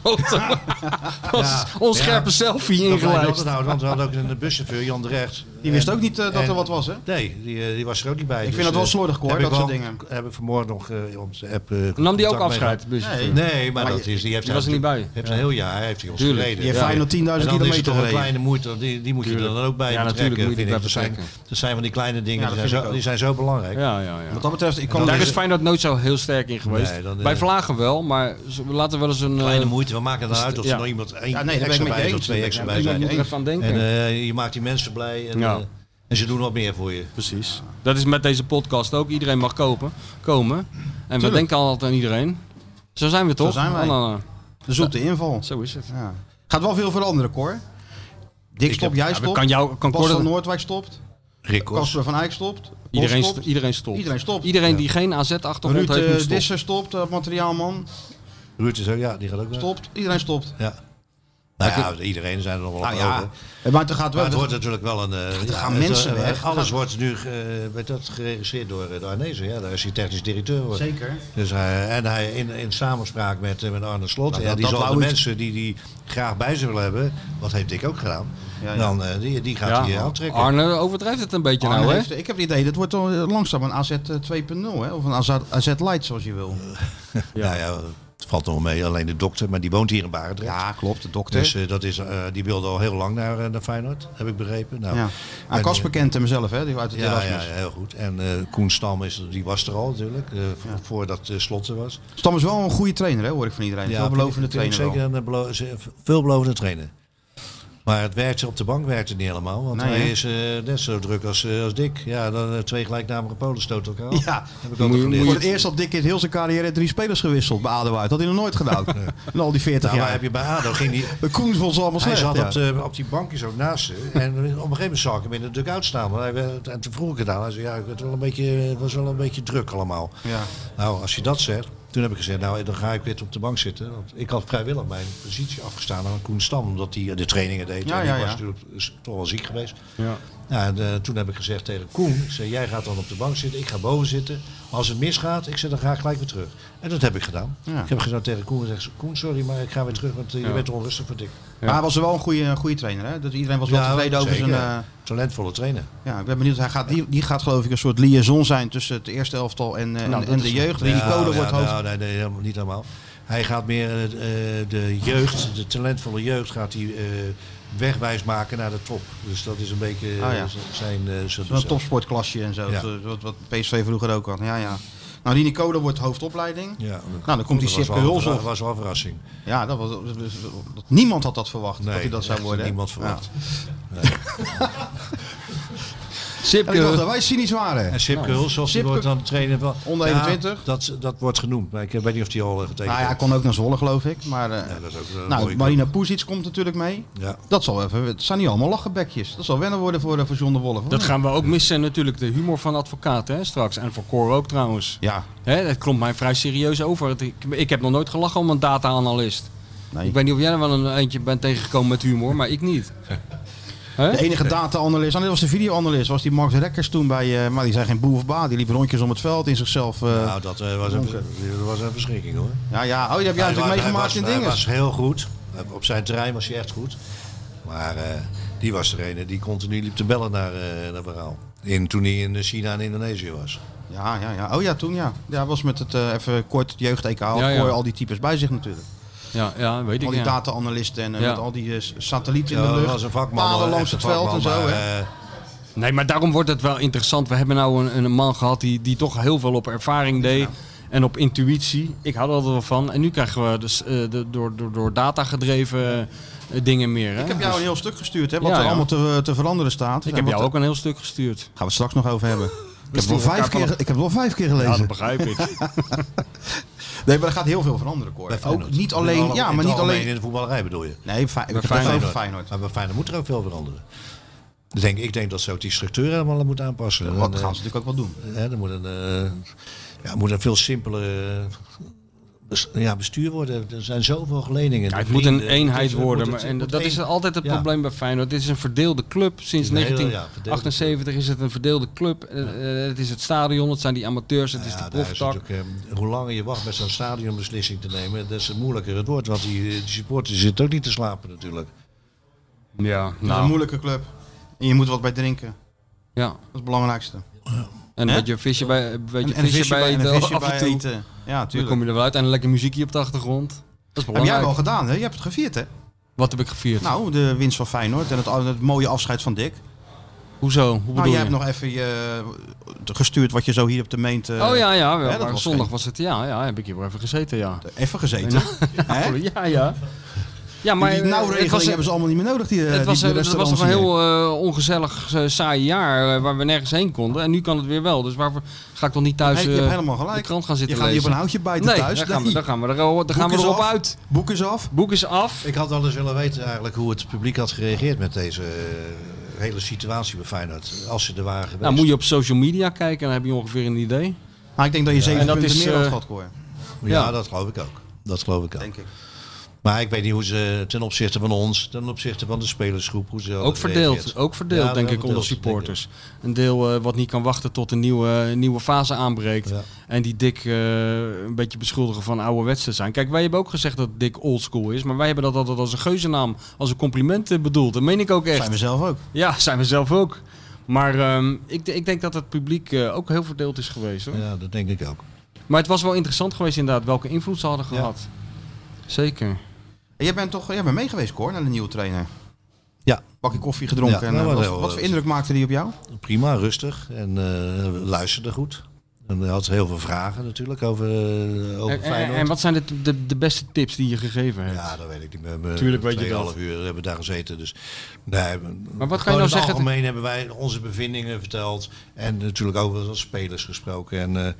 Speaker 2: had
Speaker 3: onscherpe foto. Ons- Onscherpe selfie
Speaker 4: Dat blijkt altijd
Speaker 3: ingeluisterd.
Speaker 4: houden, want we hadden ook een buschauffeur, Jan de Recht.
Speaker 2: Die wist
Speaker 4: En-
Speaker 2: ook niet eh, dat
Speaker 4: en-
Speaker 2: er wat was, hè?
Speaker 4: Nee, die, eh, die was er ook niet bij. Ik
Speaker 2: vind dat wel slordig, hoor, dat soort dingen.
Speaker 4: Heb ik vanmorgen nog eh op de app... eh,
Speaker 3: Nam die ook
Speaker 4: contact mee
Speaker 3: afscheid? busje?
Speaker 2: Nee.
Speaker 4: gehad. Nee, maar, dat is, die heeft
Speaker 3: die was er niet bij.
Speaker 4: Heeft een heel jaar heeft hij ons
Speaker 3: Tuurlijk.
Speaker 4: gereden.
Speaker 2: Die heeft
Speaker 3: Ja.
Speaker 2: Feyenoord 10.000
Speaker 4: En dan is
Speaker 2: kilometer
Speaker 4: het toch een
Speaker 2: gereden.
Speaker 4: kleine moeite, die, die moet je er dan ook bij
Speaker 3: Ja,
Speaker 4: betrekken,
Speaker 3: natuurlijk moet je
Speaker 4: vind
Speaker 3: die
Speaker 4: ik. Dat
Speaker 3: bij
Speaker 4: zijn,
Speaker 3: betrekken.
Speaker 4: dat zijn van die kleine dingen,
Speaker 2: Ja,
Speaker 4: die,
Speaker 2: dat
Speaker 4: zijn
Speaker 2: vind ik
Speaker 4: zo,
Speaker 2: ook.
Speaker 4: die zijn zo belangrijk.
Speaker 3: Ja, ja, ja.
Speaker 2: Wat dat betreft, ik kan
Speaker 3: Daar
Speaker 2: deze-
Speaker 3: is Feyenoord nooit zo heel sterk in geweest.
Speaker 4: dus- Nee, dan, eh,
Speaker 3: Bij Vlagen wel, maar ze- we laten wel eens een... eh,
Speaker 4: Kleine moeite, we maken het dan uit of er
Speaker 3: ja.
Speaker 4: nog iemand één
Speaker 2: Ja, nee, daar ben
Speaker 4: extra
Speaker 2: ik mee
Speaker 4: bij is of
Speaker 2: eens.
Speaker 4: twee extra
Speaker 2: Ja,
Speaker 4: bij
Speaker 2: daar ben
Speaker 4: zijn.
Speaker 2: ik
Speaker 3: moet
Speaker 2: mee
Speaker 3: er
Speaker 2: eens.
Speaker 3: even aan denken.
Speaker 4: En eh, je maakt die mensen blij en,
Speaker 3: Ja.
Speaker 4: eh, en ze doen wat meer voor je.
Speaker 3: Precies. Dat is met deze podcast ook. Iedereen mag kopen, komen. En we denken altijd aan iedereen. Zo zijn we toch?
Speaker 2: zijn wij.
Speaker 3: Ah, ah, ah.
Speaker 2: de zoete inval.
Speaker 3: Zo is het.
Speaker 2: Ja. Gaat wel veel veranderen, Cor. Dik stopt, jij stopt.
Speaker 3: Kan jou, kan
Speaker 2: Bas van
Speaker 3: Cor,
Speaker 2: Noordwijk stopt.
Speaker 4: Rick
Speaker 2: Casper van Eyck stopt. Bos
Speaker 3: iedereen, st-
Speaker 2: stopt.
Speaker 3: iedereen stopt.
Speaker 2: Iedereen stopt.
Speaker 3: Iedereen die geen
Speaker 2: Ruud
Speaker 3: AZ-achtergrond heeft, moet
Speaker 2: eh,
Speaker 3: stoppen.
Speaker 2: Disser stopt, eh, materiaalman
Speaker 4: Ruud is ook, ja, die gaat ook wel.
Speaker 2: stopt. Iedereen stopt.
Speaker 4: Ja. Nou ja, iedereen zijn er nog wel
Speaker 2: Nou
Speaker 4: op
Speaker 2: ja,
Speaker 4: over.
Speaker 2: maar er gaat wel...
Speaker 4: Maar het wordt natuurlijk wel een... eh,
Speaker 2: er gaan
Speaker 4: het-
Speaker 2: mensen
Speaker 4: eh,
Speaker 2: weg.
Speaker 4: Alles
Speaker 2: Gaan-
Speaker 4: wordt nu eh, werd dat geregisseerd door eh, de Arnezen. Ja, daar is hij technisch directeur. Wordt.
Speaker 2: Zeker.
Speaker 4: Dus hij, en hij in, in samenspraak met, eh, met Arne Slot.
Speaker 2: Nou,
Speaker 4: ja,
Speaker 2: dat-
Speaker 4: die
Speaker 2: dat
Speaker 4: zal de
Speaker 2: wou ik-
Speaker 4: mensen die die graag bij zich willen hebben, wat heeft Dick ook gedaan,
Speaker 2: Ja, ja.
Speaker 4: Dan, eh, die, die gaat hij eh, aantrekken.
Speaker 3: Arne overdrijft het een beetje
Speaker 2: Arne
Speaker 3: nou, hè?
Speaker 2: heeft- ik heb het idee, dat wordt al langzaam een eh, AZ 2.0, hè? of een AZ, AZ Light, zoals je
Speaker 3: Eh,
Speaker 2: wil.
Speaker 4: Nou ja, het valt nog wel mee. Alleen de dokter, maar die woont hier in Barendrecht.
Speaker 2: Ja, klopt, de dokter.
Speaker 4: Dus eh, dat is, eh, die wilde al heel lang naar, eh, naar Feyenoord, heb ik begrepen. Nou,
Speaker 2: ja.
Speaker 4: en,
Speaker 2: Ah, Kasper kent hem zelf, hè? Die uit het
Speaker 4: Ja,
Speaker 2: Erasmus.
Speaker 4: ja, heel goed. En eh, Koen Stam is, die was er al natuurlijk, eh, vo- voordat eh, Slot er was.
Speaker 2: Stam is wel een goede trainer, hè? hoor ik van iedereen. Ja, belovende
Speaker 4: vind ik-
Speaker 2: trainer.
Speaker 4: vind ik
Speaker 2: wel.
Speaker 4: Zeker een belo- ze- veelbelovende trainer. Maar het werkte op de bank werkte niet helemaal, want
Speaker 2: Nee,
Speaker 4: hij
Speaker 2: hè?
Speaker 4: is eh, net zo druk als, eh, als Dick. Ja, dan eh, twee gelijknamige polen stoten elkaar af.
Speaker 2: Ja,
Speaker 4: heb ik altijd geleerd.
Speaker 2: voor het eerst had Dick in heel zijn carrière drie spelers gewisseld bij ADO uit. Dat had hij nog nooit gedaan. In al die 40
Speaker 4: Nou, maar
Speaker 2: jaar.
Speaker 4: heb je bij ADO ging die,
Speaker 2: De Koens vond ze allemaal
Speaker 4: Hij
Speaker 2: slecht.
Speaker 4: zat
Speaker 2: ja.
Speaker 4: op, de, op die bankjes ook naast ze. En op een gegeven moment zag ik hem in de dugout staan. Maar hij werd- en toen vroeg ik het aan. Hij zei, ja, ik werd wel een beetje, het was wel een beetje druk allemaal.
Speaker 2: Ja.
Speaker 4: Nou, als je dat zegt. Toen heb ik gezegd, nou, dan ga ik weer op de bank zitten. Want ik had vrijwillig mijn positie afgestaan aan Koen Stam. Omdat hij eh, de trainingen deed.
Speaker 2: Ja,
Speaker 4: en die
Speaker 2: ja, ja.
Speaker 4: was natuurlijk is toch wel ziek geweest. Nou, en, eh, toen heb ik gezegd tegen Koen, ik zei, jij gaat dan op de bank zitten, ik ga boven zitten. Maar als het misgaat, ik zeg, dan ga ik gelijk weer terug. En dat heb ik gedaan.
Speaker 2: Ja.
Speaker 4: Ik heb gezegd tegen Koen, ik zeg, Koen, sorry, maar ik ga weer terug, want eh, je bent onrustig voor dik.
Speaker 2: Maar hij was wel een goede, een goede trainer. Hè? Dat iedereen was wel tevreden over zijn...
Speaker 4: zeker.
Speaker 2: eh,
Speaker 4: Talentvolle trainer.
Speaker 2: ja, ik ben benieuwd. Hij gaat, die, die gaat geloof ik een soort liaison zijn tussen het eerste elftal en, eh,
Speaker 4: Nou,
Speaker 2: en, en de jeugd. Rini
Speaker 4: Ja,
Speaker 2: Kolen
Speaker 4: ja,
Speaker 2: wordt hoofd.
Speaker 4: nou, nee, nee, helemaal, niet helemaal. Hij gaat meer eh, eh, de jeugd, de talentvolle jeugd, gaat hij eh, wegwijs maken naar de top. Dus dat is een beetje eh,
Speaker 2: Ah, ja.
Speaker 4: z- zijn... eh, zijn-
Speaker 2: Zo'n topsportklasje en zo.
Speaker 4: Ja.
Speaker 2: Zo- Wat, wat PSV vroeger ook had. Ja, ja. Nou, Rini Kolen wordt hoofdopleiding.
Speaker 4: Ja,
Speaker 2: Nou, dan komt die
Speaker 4: dat was
Speaker 2: Sipke
Speaker 4: wel-
Speaker 2: Hulshoff.
Speaker 4: Dat was wel een verrassing.
Speaker 2: Ja, dat was, dat- dat- dat- niemand had dat verwacht. dat hij dat zou
Speaker 4: echt
Speaker 2: worden. hè?
Speaker 4: Niemand
Speaker 2: Ja.
Speaker 4: verwacht.
Speaker 2: En ik dacht
Speaker 3: Sipke, Nou,
Speaker 2: dat wij cynisch waren.
Speaker 4: En Sipke Hulshoff, die
Speaker 2: Sipke-
Speaker 4: wordt dan trainer van...
Speaker 2: Onder
Speaker 4: Ja,
Speaker 2: 21?
Speaker 4: dat, dat wordt genoemd, maar ik weet niet of die al eh, getekend
Speaker 2: Nou ja, hij kon ook naar Zwolle, geloof ik. Maar eh,
Speaker 4: Ja, dat is ook een mooie
Speaker 2: nou,
Speaker 4: club.
Speaker 2: Marina Puzic komt natuurlijk mee.
Speaker 4: Ja.
Speaker 2: Dat zal even, het zijn niet allemaal lachenbekjes. Dat zal wennen worden voor, eh, voor John de Wolf. of
Speaker 3: dat
Speaker 2: niet?
Speaker 3: gaan we ook missen natuurlijk. De humor van advocaat hè, straks. En voor Cor ook trouwens.
Speaker 2: Ja,
Speaker 3: Hè, het klonk mij vrij serieus over. Het- Ik, ik heb nog nooit gelachen om een data-analyst.
Speaker 2: nee.
Speaker 3: Ik weet niet of jij er wel een eentje bent tegengekomen met humor, maar ik niet. Hè?
Speaker 2: De enige data-analyst, ah, nee, dat was de video-analyst, was die Max Rekkers toen bij, eh, maar die zijn geen boe of ba, die liepen rondjes om het veld in zichzelf. eh,
Speaker 4: Nou, dat eh, was, een,
Speaker 2: Donker.
Speaker 4: dat was een verschrikking hoor.
Speaker 2: ja, ja, oh, die heb jij
Speaker 4: Hij
Speaker 2: natuurlijk
Speaker 4: was-
Speaker 2: meegemaakt
Speaker 4: hij
Speaker 2: in
Speaker 4: was, Hij
Speaker 2: dingen.
Speaker 4: was heel goed. Op zijn terrein was hij echt goed. Maar eh, die was er een die continu liep te bellen naar, eh naar verhaal. In, toen hij in China en Indonesië was.
Speaker 2: Ja, ja, ja. Oh ja, toen ja. Ja, was met het, eh, even kort, jeugd-EK, had
Speaker 3: Ja, ja.
Speaker 2: Kooi al die types bij zich natuurlijk.
Speaker 3: Ja, ja, weet
Speaker 2: Al
Speaker 3: ik
Speaker 2: die
Speaker 3: ja.
Speaker 2: data-analysten en eh,
Speaker 3: Ja.
Speaker 2: met al die eh, s- satellieten in
Speaker 4: Ja,
Speaker 2: de
Speaker 4: dat
Speaker 2: lucht.
Speaker 4: was een vakman.
Speaker 2: palen
Speaker 4: hoor,
Speaker 2: langs
Speaker 4: echt
Speaker 2: het
Speaker 4: een
Speaker 2: veld en
Speaker 4: vakman,
Speaker 2: zo.
Speaker 4: maar,
Speaker 2: hè.
Speaker 4: eh,
Speaker 3: Nee, maar daarom wordt het wel interessant. We hebben nou een, een man gehad die, die toch heel veel op ervaring deed. En op intuïtie. Ik had er altijd wel van. En nu krijgen we dus, eh, de, door, door, door data gedreven eh, dingen meer. Hè?
Speaker 2: Ik heb jou een heel stuk gestuurd, hè, wat
Speaker 3: Ja,
Speaker 2: er
Speaker 3: ja.
Speaker 2: allemaal te, te veranderen staat.
Speaker 3: ik
Speaker 2: En
Speaker 3: heb
Speaker 2: wat-
Speaker 3: jou ook een heel stuk gestuurd.
Speaker 2: Gaan we het straks nog over hebben. Ik heb, het wel
Speaker 3: sturen
Speaker 2: vijf
Speaker 3: elkaar
Speaker 2: keer,
Speaker 3: van
Speaker 2: ik heb het wel vijf keer
Speaker 3: Ja,
Speaker 2: gelezen.
Speaker 3: dat begrijp ik.
Speaker 2: nee, maar er gaat heel veel veranderen,
Speaker 4: bij
Speaker 2: Cor.
Speaker 4: Feyenoord.
Speaker 2: Ook niet
Speaker 4: In
Speaker 2: alleen...
Speaker 4: alle-
Speaker 2: Ja,
Speaker 4: in
Speaker 2: maar niet
Speaker 4: het algemeen
Speaker 2: alleen...
Speaker 4: In de voetballerij bedoel je.
Speaker 2: Nee, Fey- ik heb het
Speaker 3: Feyenoord.
Speaker 2: over Feyenoord.
Speaker 4: Maar bij Feyenoord moet er ook veel veranderen. Ik denk, ik denk dat ze ook die structuur helemaal moeten aanpassen. En,
Speaker 2: Wat
Speaker 4: eh,
Speaker 2: gaan ze natuurlijk ook wel doen.
Speaker 4: Hè, er moet een, eh, ja, er moet een veel simpeler eh, bes- ja, bestuur worden. Er zijn zoveel leningen.
Speaker 3: Ja,
Speaker 4: De
Speaker 3: het moet een
Speaker 4: vrienden,
Speaker 3: eenheid
Speaker 4: dus het
Speaker 3: worden.
Speaker 4: moet
Speaker 3: Maar,
Speaker 4: het-
Speaker 3: en
Speaker 4: het
Speaker 3: dat
Speaker 4: moet
Speaker 3: is
Speaker 4: één-
Speaker 3: altijd het
Speaker 4: ja.
Speaker 3: probleem bij Feyenoord. Dit is een verdeelde club. Sinds
Speaker 4: Een hele, ja, verdeelde
Speaker 3: 1978 is het een verdeelde club. Eh, eh, het is het stadion, het zijn die amateurs, het is de
Speaker 4: Ja, Nou, daar is
Speaker 3: proftak.
Speaker 4: natuurlijk, eh, hoe langer je wacht met zo'n stadionbeslissing te nemen, des te moeilijker het wordt. Want die, die supporters zitten ook niet te slapen natuurlijk.
Speaker 3: Ja,
Speaker 2: Het is een
Speaker 3: nou.
Speaker 2: moeilijke club. En je moet wat bij drinken.
Speaker 3: Ja.
Speaker 2: Dat is het belangrijkste. Nou,
Speaker 3: En een
Speaker 2: Hè?
Speaker 3: beetje visje bij, een beetje
Speaker 2: en een
Speaker 3: visje bij,
Speaker 2: en
Speaker 3: eten,
Speaker 2: een visje
Speaker 3: af en
Speaker 2: bij
Speaker 3: toe.
Speaker 2: eten. Ja,
Speaker 3: Dan
Speaker 2: tuurlijk.
Speaker 3: kom je er wel uit en een lekker muziekje op de achtergrond. Dat is
Speaker 2: Heb jij
Speaker 3: belangrijk.
Speaker 2: wel gedaan, hè? Je hebt het gevierd, hè?
Speaker 3: Wat heb ik gevierd?
Speaker 2: Nou, de winst van Feyenoord en het, het mooie afscheid van Dick.
Speaker 3: Hoezo? Hoe bedoel
Speaker 2: Nou, jij
Speaker 3: je?
Speaker 2: hebt nog even je, gestuurd wat je zo hier op de meente...
Speaker 3: oh ja, ja. wel,
Speaker 2: hè, dat
Speaker 3: maar
Speaker 2: was
Speaker 3: zondag
Speaker 2: geen-
Speaker 3: was het. Ja, ja, heb ik hier wel even gezeten, ja.
Speaker 2: Even gezeten. Hè?
Speaker 3: Ja, ja. Ja, maar
Speaker 2: Maar die
Speaker 3: eh,
Speaker 2: nauwregeling
Speaker 3: het was,
Speaker 2: hebben ze allemaal niet meer nodig. Die, eh,
Speaker 3: het was,
Speaker 2: die,
Speaker 3: eh,
Speaker 2: die
Speaker 3: het was nog een
Speaker 2: restaurants hier.
Speaker 3: heel eh, ongezellig, eh, saai jaar eh, waar we nergens heen konden. En nu kan het weer wel. Dus waarvoor ga ik dan niet thuis
Speaker 2: Nee, je hebt
Speaker 3: eh,
Speaker 2: helemaal gelijk.
Speaker 3: de krant gaan
Speaker 2: Je
Speaker 3: zitten
Speaker 2: gaat niet op
Speaker 3: lezen?
Speaker 2: een houtje bijten
Speaker 3: nee,
Speaker 2: thuis.
Speaker 3: daar gaan, we,
Speaker 2: Nee.
Speaker 3: daar gaan we, er al- daar gaan we
Speaker 2: Boek is
Speaker 3: erop
Speaker 2: af.
Speaker 3: uit.
Speaker 2: Boek is af.
Speaker 3: Boek is af.
Speaker 4: Ik had wel eens willen weten eigenlijk hoe het publiek had gereageerd met deze eh, hele situatie bij Feyenoord. Als ze er waren geweest.
Speaker 3: Nou, moet je op social media kijken en dan heb je ongeveer een idee.
Speaker 2: Maar Nou, ik denk dat je zeven
Speaker 3: En dat
Speaker 2: punten
Speaker 3: is,
Speaker 2: meer had
Speaker 3: eh,
Speaker 2: gehad, Cor.
Speaker 4: ja,
Speaker 3: ja.
Speaker 4: dat geloof ik ook. Dat geloof ik ook.
Speaker 2: Denk ik.
Speaker 4: Maar ik weet niet hoe ze ten opzichte van ons, ten opzichte van de spelersgroep, hoe ze
Speaker 3: Ook
Speaker 4: hadden
Speaker 3: verdeeld,
Speaker 4: gereageerd.
Speaker 3: ook verdeeld
Speaker 4: Ja,
Speaker 3: denk
Speaker 4: wel
Speaker 3: ik onder
Speaker 4: verdeeld,
Speaker 3: supporters. Een deel eh, wat niet kan wachten tot een nieuwe, nieuwe fase aanbreekt.
Speaker 4: Ja.
Speaker 3: En die Dick eh, een beetje beschuldigen van ouderwets te zijn. Kijk, wij hebben ook gezegd dat Dick oldschool is. Maar wij hebben dat altijd als een geuzennaam, als een compliment eh, bedoeld. Dat meen ik ook echt.
Speaker 2: Zijn we zelf ook.
Speaker 3: Ja, zijn we zelf ook. Maar ehm, ik, ik denk dat het publiek eh, ook heel verdeeld is geweest. Hoor.
Speaker 4: denk ik. Ja, dat denk ik ook.
Speaker 3: Maar het was wel interessant geweest inderdaad welke invloed ze hadden gehad. Zeker.
Speaker 2: En Jij bent toch jij bent meegeweest, Cor, naar de nieuwe trainer?
Speaker 4: Ja.
Speaker 2: Bakje koffie gedronken.
Speaker 4: Ja,
Speaker 2: en,
Speaker 4: nou,
Speaker 2: eh,
Speaker 4: wel
Speaker 2: wat,
Speaker 4: heel-
Speaker 2: wat voor indruk maakte die op jou?
Speaker 4: Prima, rustig en eh, luisterde goed. En hij had heel veel vragen natuurlijk over, eh, over
Speaker 3: En, en,
Speaker 4: Feyenoord.
Speaker 3: en wat zijn de, de, de beste tips die je gegeven hebt?
Speaker 4: Ja, dat weet ik niet. We hebben
Speaker 3: Tuurlijk weet je
Speaker 4: tweeënhalf uur hebben we daar gezeten. Dus, nee, maar
Speaker 3: wat kan je nou
Speaker 4: in
Speaker 3: zeggen-
Speaker 4: het algemeen hebben wij onze bevindingen verteld. En natuurlijk ook wel als spelers gesproken. En, eh,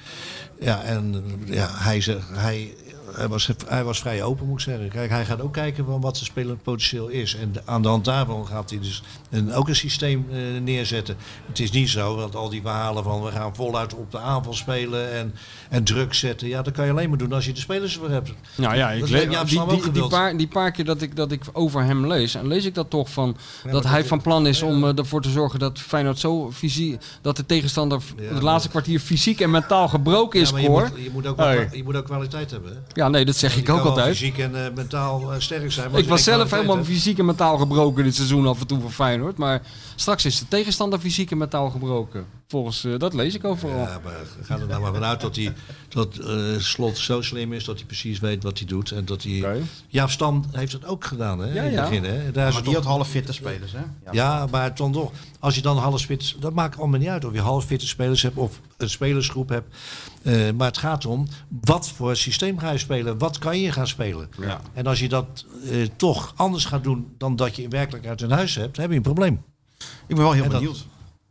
Speaker 4: ja, en eh, ja, hij, ze- hij, hij, was, hij was vrij open, moet ik zeggen. Kijk, hij gaat ook kijken van wat de speler potentieel is. En de- aan de hand daarvan gaat hij dus een, ook een systeem eh, neerzetten. Het is niet zo dat al die verhalen van we gaan voluit op de aanval spelen en, en druk zetten. Ja, dat kan je alleen maar doen als je de spelers ervoor hebt.
Speaker 3: Nou ja, ik
Speaker 4: Dat
Speaker 3: lees
Speaker 4: heeft Jaap
Speaker 3: die,
Speaker 4: Stam ook
Speaker 3: die, die,
Speaker 4: gewild.
Speaker 3: paar, die paar keer dat ik, dat ik over hem lees, en lees ik dat toch van dat
Speaker 4: dat
Speaker 3: hij
Speaker 4: is-
Speaker 3: van plan is om eh, ervoor te zorgen dat Feyenoord zo fysiek, dat de tegenstander v-
Speaker 4: Ja,
Speaker 3: het
Speaker 4: maar-
Speaker 3: laatste kwartier fysiek en mentaal gebroken is,
Speaker 4: Ja,
Speaker 3: ja,
Speaker 4: maar je moet, je, moet ook wel-
Speaker 3: Hey.
Speaker 4: je moet ook kwaliteit hebben. hè?
Speaker 3: Ja, nee, dat zeg
Speaker 4: Je
Speaker 3: ik
Speaker 4: kan
Speaker 3: ook
Speaker 4: wel
Speaker 3: altijd.
Speaker 4: fysiek en eh, mentaal eh, sterk zijn. maar
Speaker 3: Ik
Speaker 4: als
Speaker 3: was
Speaker 4: je geen
Speaker 3: zelf
Speaker 4: kwaliteit
Speaker 3: helemaal
Speaker 4: hebt-
Speaker 3: fysiek en mentaal gebroken dit seizoen af en toe voor Feyenoord, maar straks is de tegenstander fysiek en mentaal gebroken. Volgens, eh, dat lees ik overal.
Speaker 4: Ja, maar ga er nou maar vanuit dat hij dat eh, slot zo slim is dat hij precies weet wat hij doet en dat hij.
Speaker 3: Oké.
Speaker 4: Jaap Stam heeft dat ook gedaan, hè?
Speaker 3: Ja,
Speaker 4: in
Speaker 3: ja.
Speaker 4: het begin, hè? Daar is
Speaker 2: Maar
Speaker 4: het
Speaker 2: die
Speaker 4: toch-
Speaker 2: had half fitte spelers, hè? Ja.
Speaker 4: Ja, maar dan toch, als je dan half fit, dat maakt allemaal niet uit of je half fitte spelers hebt of een spelersgroep hebt. Eh, maar het gaat om wat voor systeem ga je spelen, wat kan je gaan spelen.
Speaker 2: Ja.
Speaker 4: En als je dat eh, toch anders gaat doen dan dat je in werkelijkheid in huis hebt, dan heb je een probleem.
Speaker 2: Ik ben wel heel
Speaker 4: En dat-
Speaker 2: benieuwd.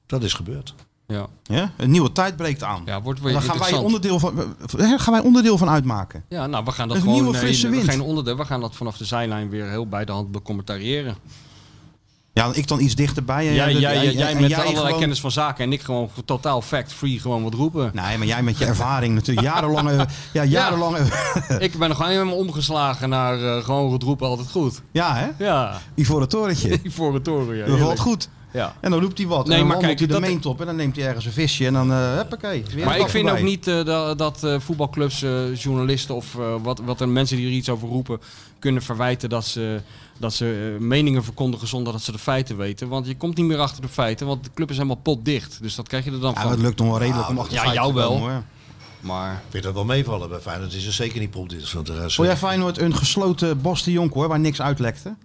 Speaker 4: Dat is gebeurd.
Speaker 3: Ja,
Speaker 2: Ja? Een nieuwe tijd breekt aan.
Speaker 3: ja wordt weer
Speaker 2: En daar gaan wij,
Speaker 3: interessant.
Speaker 2: onderdeel van, eh, hè, gaan wij onderdeel van uitmaken.
Speaker 3: Ja, nou, we gaan dat
Speaker 2: Een
Speaker 3: gewoon...
Speaker 2: nieuwe frisse
Speaker 3: nee,
Speaker 2: wind.
Speaker 3: Geen onderdeel, we gaan dat vanaf de zijlijn weer heel bij de hand becommentariëren.
Speaker 2: Ja, ik dan iets dichterbij. en
Speaker 3: Jij,
Speaker 2: dat-
Speaker 3: jij,
Speaker 2: en-
Speaker 3: jij,
Speaker 2: en-
Speaker 3: jij
Speaker 2: en
Speaker 3: met
Speaker 2: jij
Speaker 3: allerlei
Speaker 2: gewoon-
Speaker 3: kennis van zaken en ik gewoon totaal fact-free gewoon wat roepen.
Speaker 2: Nee, maar jij met je ervaring natuurlijk. eh, Jarenlange... ja, jarenlange...
Speaker 3: ik ben nog helemaal omgeslagen naar eh, gewoon het roepen altijd goed.
Speaker 2: ja, hè?
Speaker 3: Ja,
Speaker 2: Ivoren torentje.
Speaker 3: voor het toren. Ja,
Speaker 2: Dat valt
Speaker 3: heerlijk.
Speaker 2: goed.
Speaker 3: ja.
Speaker 2: En dan roept hij wat.
Speaker 3: Nee,
Speaker 2: en dan
Speaker 3: maar
Speaker 2: wandelt
Speaker 3: kijk,
Speaker 2: hij de
Speaker 3: dat-
Speaker 2: meent op en dan neemt hij ergens een visje en dan... eh huppakee. is weer
Speaker 3: Maar
Speaker 2: een
Speaker 3: ik
Speaker 2: dag
Speaker 3: vind ook
Speaker 2: voorbij.
Speaker 3: niet eh, dat, dat eh, voetbalclubs, eh, journalisten of eh, wat, wat er mensen die er iets over roepen, kunnen verwijten dat ze, dat ze eh, meningen verkondigen zonder dat ze de feiten weten. Want je komt niet meer achter de feiten, want de club is helemaal potdicht. Dus dat krijg je er dan
Speaker 2: Ja, maar
Speaker 3: van.
Speaker 2: het lukt nog wel redelijk om
Speaker 4: Ja,
Speaker 2: achter
Speaker 3: Nou, ja,
Speaker 2: feiten te
Speaker 3: jou wel.
Speaker 2: komen, hoor.
Speaker 3: Maar
Speaker 4: Ik vind dat wel meevallen bij Feyenoord. Is er zeker niet popdienst van de rest.
Speaker 2: Vond jij Feyenoord een gesloten Bos de Jonk hoor, waar niks uitlekte?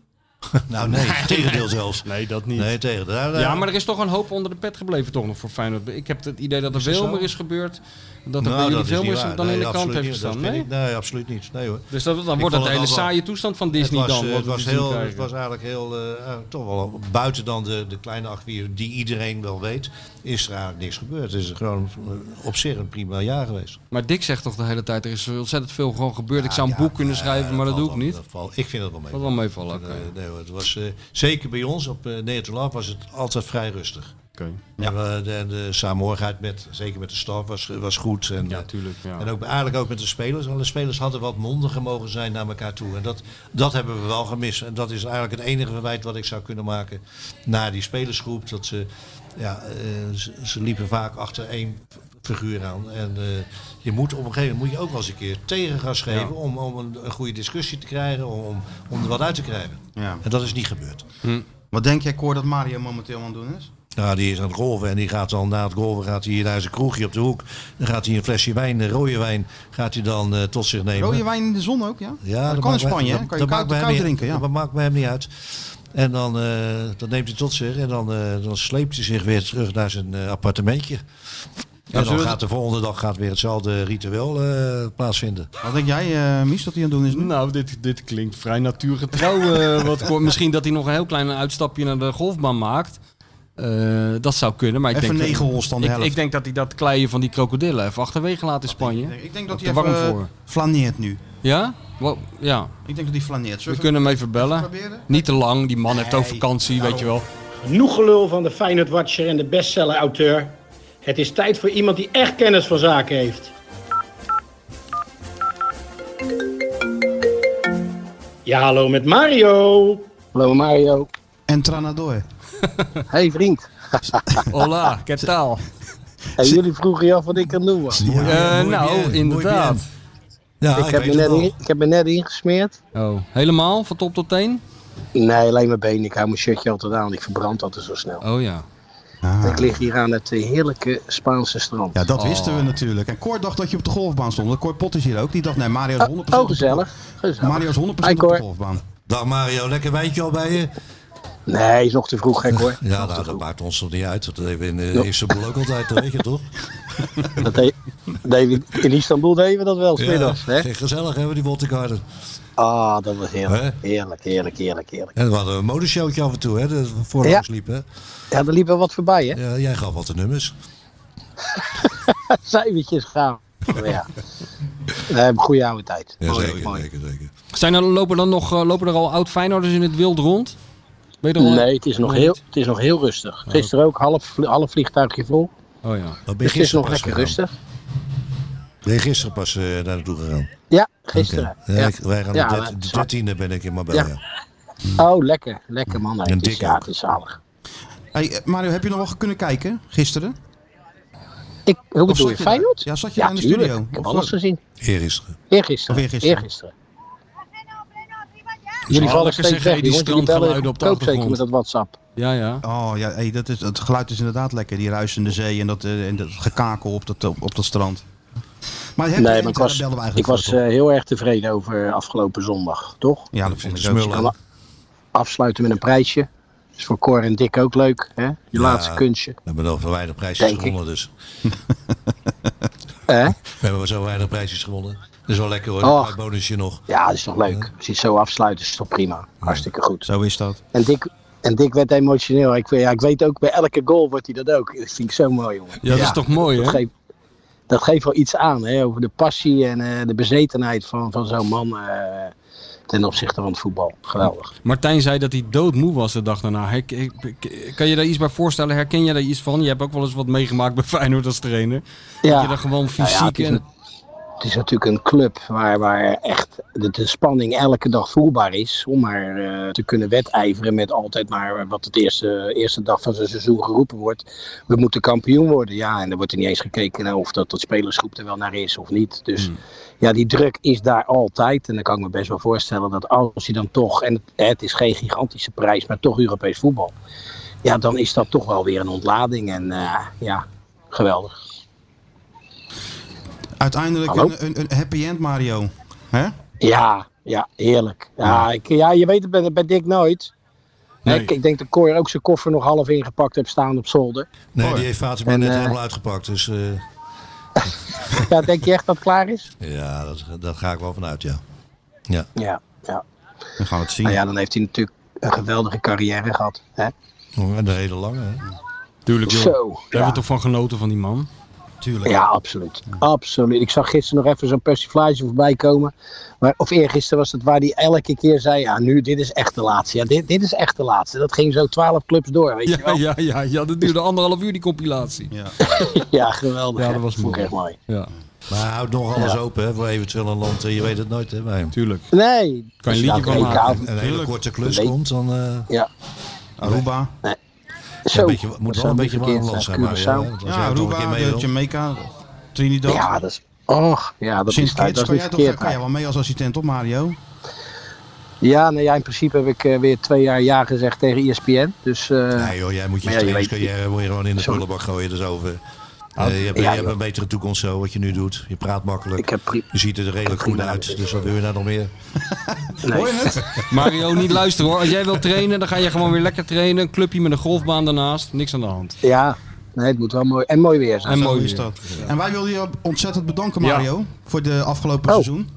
Speaker 4: Nou nee, tegendeel zelfs.
Speaker 3: nee, dat niet.
Speaker 4: Nee, tegendeel. Nou, nou,
Speaker 3: Ja, maar er is toch een hoop onder de pet gebleven toch nog voor Feyenoord. Ik heb het idee dat er
Speaker 4: Is dat
Speaker 3: veel
Speaker 4: zo?
Speaker 3: meer is gebeurd. Dat er
Speaker 4: Nou,
Speaker 3: bij jullie
Speaker 4: dat is
Speaker 3: veel
Speaker 4: niet
Speaker 3: meer
Speaker 4: waar.
Speaker 3: dan in
Speaker 4: Nee,
Speaker 3: de krant
Speaker 4: absoluut
Speaker 3: heeft
Speaker 4: niet. Dat
Speaker 3: gestaan.
Speaker 4: vind
Speaker 3: Nee?
Speaker 4: ik- Nee, absoluut niet. Nee hoor.
Speaker 3: Dus dat, dan
Speaker 4: Ik
Speaker 3: wordt
Speaker 4: vond
Speaker 3: het
Speaker 4: het
Speaker 3: een hele
Speaker 4: wel-
Speaker 3: saaie toestand van
Speaker 4: Het
Speaker 3: Disney
Speaker 4: was,
Speaker 3: dan.
Speaker 4: eh,
Speaker 3: wat
Speaker 4: het
Speaker 3: we
Speaker 4: was,
Speaker 3: te
Speaker 4: heel,
Speaker 3: zien
Speaker 4: het
Speaker 3: krijgen.
Speaker 4: was eigenlijk heel, eh, eh, toch wel buiten dan de, de kleine achtwier die iedereen wel weet, is er eigenlijk niks gebeurd. Het is gewoon eh, op zich een prima jaar geweest.
Speaker 3: Maar Dick zegt toch de hele tijd, er is ontzettend veel gewoon gebeurd. ik zou een boek kunnen schrijven, maar dat doe ik niet.
Speaker 4: Dat valt- ik vind dat wel mee.
Speaker 3: Dat wel meevallen, oké.
Speaker 4: Eh, nee, hoor, het was, eh, zeker bij ons op eh Nederland was het altijd vrij rustig. Ja. En, eh, de, de saamhorigheid met, zeker met de staf, was, was goed. En,
Speaker 3: Ja,
Speaker 4: eh,
Speaker 3: tuurlijk. Ja.
Speaker 4: En ook, eigenlijk ook met de spelers. Alle spelers hadden wat mondiger mogen zijn naar elkaar toe. En dat, dat hebben we wel gemist. En dat is eigenlijk het enige verwijt wat ik zou kunnen maken naar die spelersgroep. Dat ze, ja, eh, ze, ze liepen vaak achter één figuur aan. En eh, je moet op een gegeven moment moet je ook wel eens een keer tegengas geven om, om een, een goede discussie te krijgen, om, om, om er wat uit te krijgen.
Speaker 2: Ja.
Speaker 4: En dat is niet gebeurd.
Speaker 2: Wat denk jij, Cor, dat Mario momenteel aan het doen is?
Speaker 4: Nou, die is aan het golven en die gaat dan na het golven gaat hij hier naar zijn kroegje op de hoek. Dan gaat hij een flesje wijn, eh, rode wijn, gaat hij dan eh, tot zich nemen.
Speaker 2: Rode wijn in de zon ook, ja?
Speaker 4: Ja,
Speaker 2: dat kan in
Speaker 4: maakt mij-
Speaker 2: Spanje, hè?
Speaker 4: dat-
Speaker 2: kan je
Speaker 4: dat maakt
Speaker 2: koud,
Speaker 4: mij
Speaker 2: koud
Speaker 4: niet-
Speaker 2: drinken, ja.
Speaker 4: Dat maakt bij hem niet uit. En dan eh, dat neemt hij tot zich en dan, eh, dan sleept hij zich weer terug naar zijn eh, appartementje. en dan
Speaker 3: zullen we-
Speaker 4: gaat de volgende dag gaat weer hetzelfde ritueel eh, plaatsvinden.
Speaker 2: Wat denk jij, eh Mies, dat hij aan het doen is nu?
Speaker 3: Nou, dit, dit klinkt vrij natuurgetrouw. eh, wat, Cor- misschien dat hij nog een heel klein uitstapje naar de golfbaan maakt. Eh, dat zou kunnen, maar ik
Speaker 2: Even
Speaker 3: denk...
Speaker 2: negen hols dan de
Speaker 3: ik,
Speaker 2: helft.
Speaker 3: ik denk dat hij dat kleien van die krokodillen even achterwege laat in Spanje.
Speaker 2: Ik denk dat
Speaker 3: Te
Speaker 2: hij even
Speaker 3: warm
Speaker 2: eh,
Speaker 3: voor.
Speaker 2: flaneert nu.
Speaker 3: Ja? Wel, ja,
Speaker 2: Ik denk dat hij flaneert.
Speaker 3: we
Speaker 2: Zullen we
Speaker 3: kunnen hem even bellen.
Speaker 2: proberen?
Speaker 3: Niet te lang, die man heeft ook
Speaker 2: Nee,
Speaker 3: vakantie, weet je wel.
Speaker 8: Genoeg gelul van de Feyenoord Watcher en de bestseller auteur. Het is tijd voor iemand die echt kennis van zaken heeft. Ja, hallo met Mario.
Speaker 9: Hallo Mario.
Speaker 2: En Tranador.
Speaker 9: Hey vriend.
Speaker 3: Hola, que tal?
Speaker 9: Hey, jullie vroegen je af wat ik aan het doen was.
Speaker 3: Eh, nou, inderdaad.
Speaker 4: Ja,
Speaker 9: ik, heb
Speaker 4: weet het
Speaker 9: me net
Speaker 4: wel.
Speaker 9: in- ik heb me net ingesmeerd.
Speaker 3: Oh, helemaal? Van top tot teen?
Speaker 9: Nee, alleen mijn benen. Ik hou mijn shirtje altijd aan. Ik verbrand altijd zo snel.
Speaker 3: Oh ja.
Speaker 9: Ik lig hier aan het eh, heerlijke Spaanse strand.
Speaker 2: Ja, dat
Speaker 3: Oh.
Speaker 2: wisten we natuurlijk. En Cor dacht dat je op de golfbaan stond. Cor Pot is hier ook. Die dacht, nee, Mario is 100%
Speaker 9: Oh,
Speaker 2: op
Speaker 9: oh,
Speaker 2: de-
Speaker 9: gezellig. gezellig.
Speaker 2: Mario is 100%
Speaker 9: Hi,
Speaker 2: op
Speaker 9: Cor.
Speaker 2: de golfbaan.
Speaker 4: Dag Mario, lekker wijntje al bij je?
Speaker 9: Nee, is nog te vroeg gek hoor.
Speaker 4: Ja, nou, dat maakt ons toch niet uit. Dat hebben we in de eh, eerste blok altijd, dat weet je toch?
Speaker 9: Dat deed- deden we- in Istanbul deden we dat wel, smiddags. hè?
Speaker 4: Ge- gezellig hebben we die Woltegarden.
Speaker 9: Ah, dat was heerlijk.
Speaker 4: Hè?
Speaker 9: Heerlijk, heerlijk, heerlijk, heerlijk.
Speaker 4: En we hadden een modeshowtje af en toe, hè, dat we voor
Speaker 9: Ja.
Speaker 4: ons liep. Hè.
Speaker 9: Ja, er liepen wat voorbij, hè?
Speaker 4: Ja, jij gaf wat de nummers.
Speaker 9: Cijfertjes gaan. Ja. We hebben goede oude tijd.
Speaker 4: Ja,
Speaker 9: Mooi,
Speaker 4: zeker,
Speaker 9: mooi.
Speaker 4: zeker, zeker.
Speaker 3: Zijn er, lopen, dan nog, eh, lopen er al oud Feyenoorders in het wild rond? Weet je er al-
Speaker 9: Nee, het is nog
Speaker 3: Nee,
Speaker 9: heel,
Speaker 3: niet?
Speaker 9: het is nog heel rustig. Gisteren ook half, vlie- half vliegtuigje vol.
Speaker 3: Oh ja.
Speaker 4: Dan ben je
Speaker 9: Dus het is
Speaker 4: gisteren
Speaker 9: nog
Speaker 4: pas
Speaker 9: lekker
Speaker 4: gegaan.
Speaker 9: rustig.
Speaker 4: Ben je gisteren pas eh, daar naartoe gegaan?
Speaker 9: Ja, gisteren.
Speaker 4: Oké. Ja,
Speaker 9: Ja.
Speaker 4: ik- Wij gaan
Speaker 9: Ja,
Speaker 4: de
Speaker 9: maar
Speaker 4: dert-
Speaker 9: het
Speaker 4: de
Speaker 9: is-
Speaker 4: dertiende ben ik in Marbella.
Speaker 9: Oh, lekker. Lekker man. hè.
Speaker 4: En
Speaker 9: Het is,
Speaker 4: dik
Speaker 9: ja,
Speaker 4: ook.
Speaker 9: het is zalig.
Speaker 2: Hey, eh, Mario, heb je nog wel kunnen kijken gisteren?
Speaker 9: Ik, hoe
Speaker 2: Of
Speaker 9: bedoel je,
Speaker 2: zat je
Speaker 9: Feyenoord?
Speaker 2: daar? Ja, zat je
Speaker 9: ja,
Speaker 2: daar in de
Speaker 9: tuurlijk.
Speaker 2: studio?
Speaker 9: Ik
Speaker 2: Of
Speaker 9: heb alles
Speaker 2: wat?
Speaker 9: gezien.
Speaker 4: Eergisteren.
Speaker 9: Eergisteren.
Speaker 2: Of eergisteren.
Speaker 9: Jullie
Speaker 3: Oh,
Speaker 9: vallen
Speaker 3: lekker
Speaker 9: steeds
Speaker 3: zeggen,
Speaker 9: weg,
Speaker 3: die
Speaker 9: jongens. Jullie bellen
Speaker 3: strandgeluiden op de
Speaker 9: ook zeker met
Speaker 3: achtergrond.
Speaker 9: dat WhatsApp.
Speaker 3: Ja, ja.
Speaker 2: Oh ja, hey, dat, is, het geluid is inderdaad lekker. Die ruisende zee en dat, eh, en dat gekakel op dat, op, op dat strand. Maar heb je
Speaker 9: Nee,
Speaker 2: en
Speaker 9: maar ik
Speaker 2: daar
Speaker 9: was,
Speaker 2: belden we eigenlijk
Speaker 9: ik was
Speaker 2: voor, toch?
Speaker 9: eh, heel erg tevreden over afgelopen zondag, toch?
Speaker 2: ja, dat vond ik ook.
Speaker 4: Smullen.
Speaker 9: Alla- Afsluiten met een prijsje. Is voor Cor en Dick ook leuk, hè? Je laatste kunstje.
Speaker 4: We hebben nog weinig prijsjes
Speaker 9: Denk ik.
Speaker 4: gewonnen, dus.
Speaker 9: Hè?
Speaker 4: We hebben maar zo weinig prijsjes gewonnen. Dat is wel lekker hoor,
Speaker 9: Och.
Speaker 4: een klein bonusje nog.
Speaker 9: Ja, dat is toch leuk. Als je het zo afsluit, is het toch prima. Hartstikke goed.
Speaker 2: Zo is dat.
Speaker 9: En Dick, en Dick werd emotioneel. Ik, weet- ja, ik weet ook, bij elke goal wordt hij dat ook. Dat vind ik zo mooi, jongen.
Speaker 3: Ja, dat is toch mooi,
Speaker 9: Dat
Speaker 3: hè?
Speaker 9: geeft, dat geeft wel iets aan, hè? Over de passie en eh, de bezetenheid van, van zo'n man eh, ten opzichte van het voetbal. Geweldig.
Speaker 3: Martijn zei dat hij doodmoe was de dag daarna. Her- kan je daar iets bij voorstellen? Herken je daar iets van? Je hebt ook wel eens wat meegemaakt bij Feyenoord als trainer.
Speaker 9: Ja.
Speaker 3: Dat je daar gewoon
Speaker 9: Nou ja,
Speaker 3: fysiek...
Speaker 9: het, is,
Speaker 3: en...
Speaker 9: een- het is natuurlijk een club waar, waar echt de, de spanning elke dag voelbaar is. Om maar eh, te kunnen wedijveren met altijd maar wat het eerste, eerste dag van zijn seizoen geroepen wordt. We moeten kampioen worden. Ja, en er wordt er niet eens gekeken naar of dat, dat spelersgroep er wel naar is of niet. Dus
Speaker 3: Hmm.
Speaker 9: ja, die druk is daar altijd. En dan kan ik me best wel voorstellen dat als hij dan toch... En het, het is geen gigantische prijs, maar toch Europees voetbal. Ja, dan is dat toch wel weer een ontlading. En eh, ja, geweldig.
Speaker 2: Uiteindelijk
Speaker 9: Hallo?
Speaker 2: een, een, een happy end, Mario. Hè?
Speaker 9: Ja, ja, heerlijk. Ja, ik, ja je weet het bij, bij Dick nooit.
Speaker 3: Nee.
Speaker 9: Ik, ik denk dat Cor ook zijn koffer nog half ingepakt heeft staan op zolder.
Speaker 4: Nee, die heeft Fatima
Speaker 9: En,
Speaker 4: net
Speaker 9: eh,
Speaker 4: helemaal uitgepakt. Dus eh,
Speaker 9: Ja, denk je echt dat het klaar is?
Speaker 4: ja, dat, daar ga ik wel vanuit, ja.
Speaker 9: Ja, ja.
Speaker 2: Dan gaan we het zien.
Speaker 9: Nou ja, dan heeft hij natuurlijk een geweldige carrière gehad. Hè?
Speaker 4: En de Oh, hele lange. Hè.
Speaker 3: Tuurlijk, joh. Daar
Speaker 9: Zo.
Speaker 3: hebben we
Speaker 9: Ja.
Speaker 3: toch van genoten van die man?
Speaker 2: Tuurlijk.
Speaker 9: ja, absoluut. Absoluut. Ik zag gisteren nog even zo'n persiflage voorbij komen. Maar, of eergisteren was het waar hij elke keer zei: Ja, nu, dit is echt de laatste. Ja, dit, dit is echt de laatste. Dat ging zo twaalf clubs door. Weet je
Speaker 3: Ja,
Speaker 9: wel?
Speaker 3: ja, ja, ja. Dat duurde anderhalf uur, die compilatie.
Speaker 2: Ja.
Speaker 9: Ja, geweldig.
Speaker 3: Ja,
Speaker 9: hè?
Speaker 3: dat was
Speaker 9: Vond ik
Speaker 3: mooi.
Speaker 9: echt mooi.
Speaker 3: Ja,
Speaker 4: Maar hij houdt nog alles open hè, voor eventueel een land. eh, Je weet het nooit hè, bij hem.
Speaker 3: tuurlijk.
Speaker 9: Nee.
Speaker 3: Kan je
Speaker 9: dus ja,
Speaker 3: liedje van
Speaker 9: WK
Speaker 3: maken.
Speaker 4: En een hele korte klus
Speaker 9: Nee.
Speaker 4: komt, dan eh,
Speaker 9: Ja,
Speaker 2: Aruba.
Speaker 9: zo.
Speaker 4: een beetje, moet wel
Speaker 9: Zou
Speaker 4: een
Speaker 9: niet
Speaker 4: beetje
Speaker 9: verkeerd
Speaker 4: warm land
Speaker 9: zijn.
Speaker 4: zijn. Maar, eh, ja,
Speaker 9: Curaçao.
Speaker 4: want als
Speaker 2: Ja,
Speaker 4: jij toch een keer
Speaker 2: Aruba,
Speaker 4: mee
Speaker 2: de
Speaker 4: wil.
Speaker 2: Jamaica, Trinidad.
Speaker 9: Ja, dat is. Och, ja, dat
Speaker 2: Sinds
Speaker 9: is, dat
Speaker 2: kids
Speaker 9: is
Speaker 2: kan
Speaker 9: niet
Speaker 2: jij, toch,
Speaker 9: verkeerd.
Speaker 2: kan jij wel mee als assistent op Mario?
Speaker 9: Ja, nou ja, in principe heb ik eh, weer twee jaar ja gezegd tegen ESPN. Dus eh,
Speaker 4: Nee joh, jij moet je
Speaker 9: Maar ja, je weet-
Speaker 4: trainingscarrière moet je gewoon in de
Speaker 9: Sorry. Oh,
Speaker 4: prullenbak gooien. Dat is over. Eh, je hebt,
Speaker 9: Ja,
Speaker 4: je hebt
Speaker 9: joh.
Speaker 4: een betere toekomst zo, wat je nu doet. Je praat makkelijk.
Speaker 9: ik heb pri-
Speaker 4: Je ziet er redelijk goed
Speaker 9: prima
Speaker 4: uit,
Speaker 9: gedaan.
Speaker 4: dus wat wil je nou nog meer?
Speaker 9: nee.
Speaker 3: Mario, niet luisteren hoor. Als jij wilt trainen, dan ga je gewoon weer lekker trainen. Een clubje met een golfbaan daarnaast. Niks aan de hand.
Speaker 9: Ja, nee, het moet wel mooi en mooi weer zijn.
Speaker 3: En
Speaker 2: Zo
Speaker 3: mooi
Speaker 2: is
Speaker 3: weer.
Speaker 2: dat. En wij wilden je ontzettend bedanken,
Speaker 3: Ja.
Speaker 2: Mario, voor de afgelopen
Speaker 9: Oh.
Speaker 2: seizoen.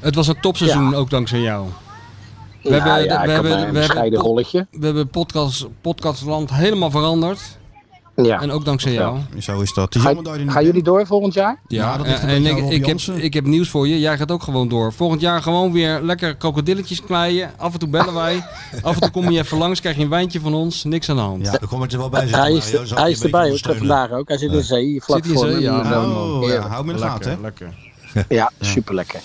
Speaker 3: Het was een topseizoen, ook dankzij jou. We
Speaker 9: Nou
Speaker 3: hebben-
Speaker 9: ja,
Speaker 3: we
Speaker 9: ik had
Speaker 3: hebben-
Speaker 9: een
Speaker 3: we hebben-
Speaker 9: bescheiden rolletje.
Speaker 3: We hebben podcast, podcastland helemaal veranderd.
Speaker 9: Ja.
Speaker 3: En ook dankzij jou.
Speaker 2: Zo is dat. Het is
Speaker 9: Ga-
Speaker 2: jammer dat je er niet
Speaker 9: gaan jullie
Speaker 2: bent.
Speaker 9: door volgend jaar?
Speaker 3: Ja, eh,
Speaker 2: Ja, dat ligt een
Speaker 3: en
Speaker 2: beetje
Speaker 3: ik,
Speaker 2: aan Rob
Speaker 3: ik, heb,
Speaker 2: Jansen.
Speaker 3: ik heb nieuws voor je. Jij gaat ook gewoon door. Volgend jaar gewoon weer lekker krokodilletjes kleien. Af en toe bellen wij. Af en toe kom je even langs, krijg je een wijntje van ons. Niks aan de hand.
Speaker 2: Ja.
Speaker 4: Dan kom ik er wel bij zitten,
Speaker 9: Hij is,
Speaker 4: Mario. Zal
Speaker 9: hij
Speaker 4: je een
Speaker 9: is
Speaker 4: beetje
Speaker 9: erbij, ook
Speaker 4: ondersteunen.
Speaker 9: vandaag ook. Hij zit in de zee, vlak
Speaker 3: Zit hij in
Speaker 9: voor
Speaker 3: zee?
Speaker 9: me.
Speaker 3: Ja.
Speaker 9: Zo, man.
Speaker 2: Oh, ja.
Speaker 9: Heerlijk.
Speaker 2: Hou me in de gaten, hè?
Speaker 3: lekker.
Speaker 9: Ja, super lekker.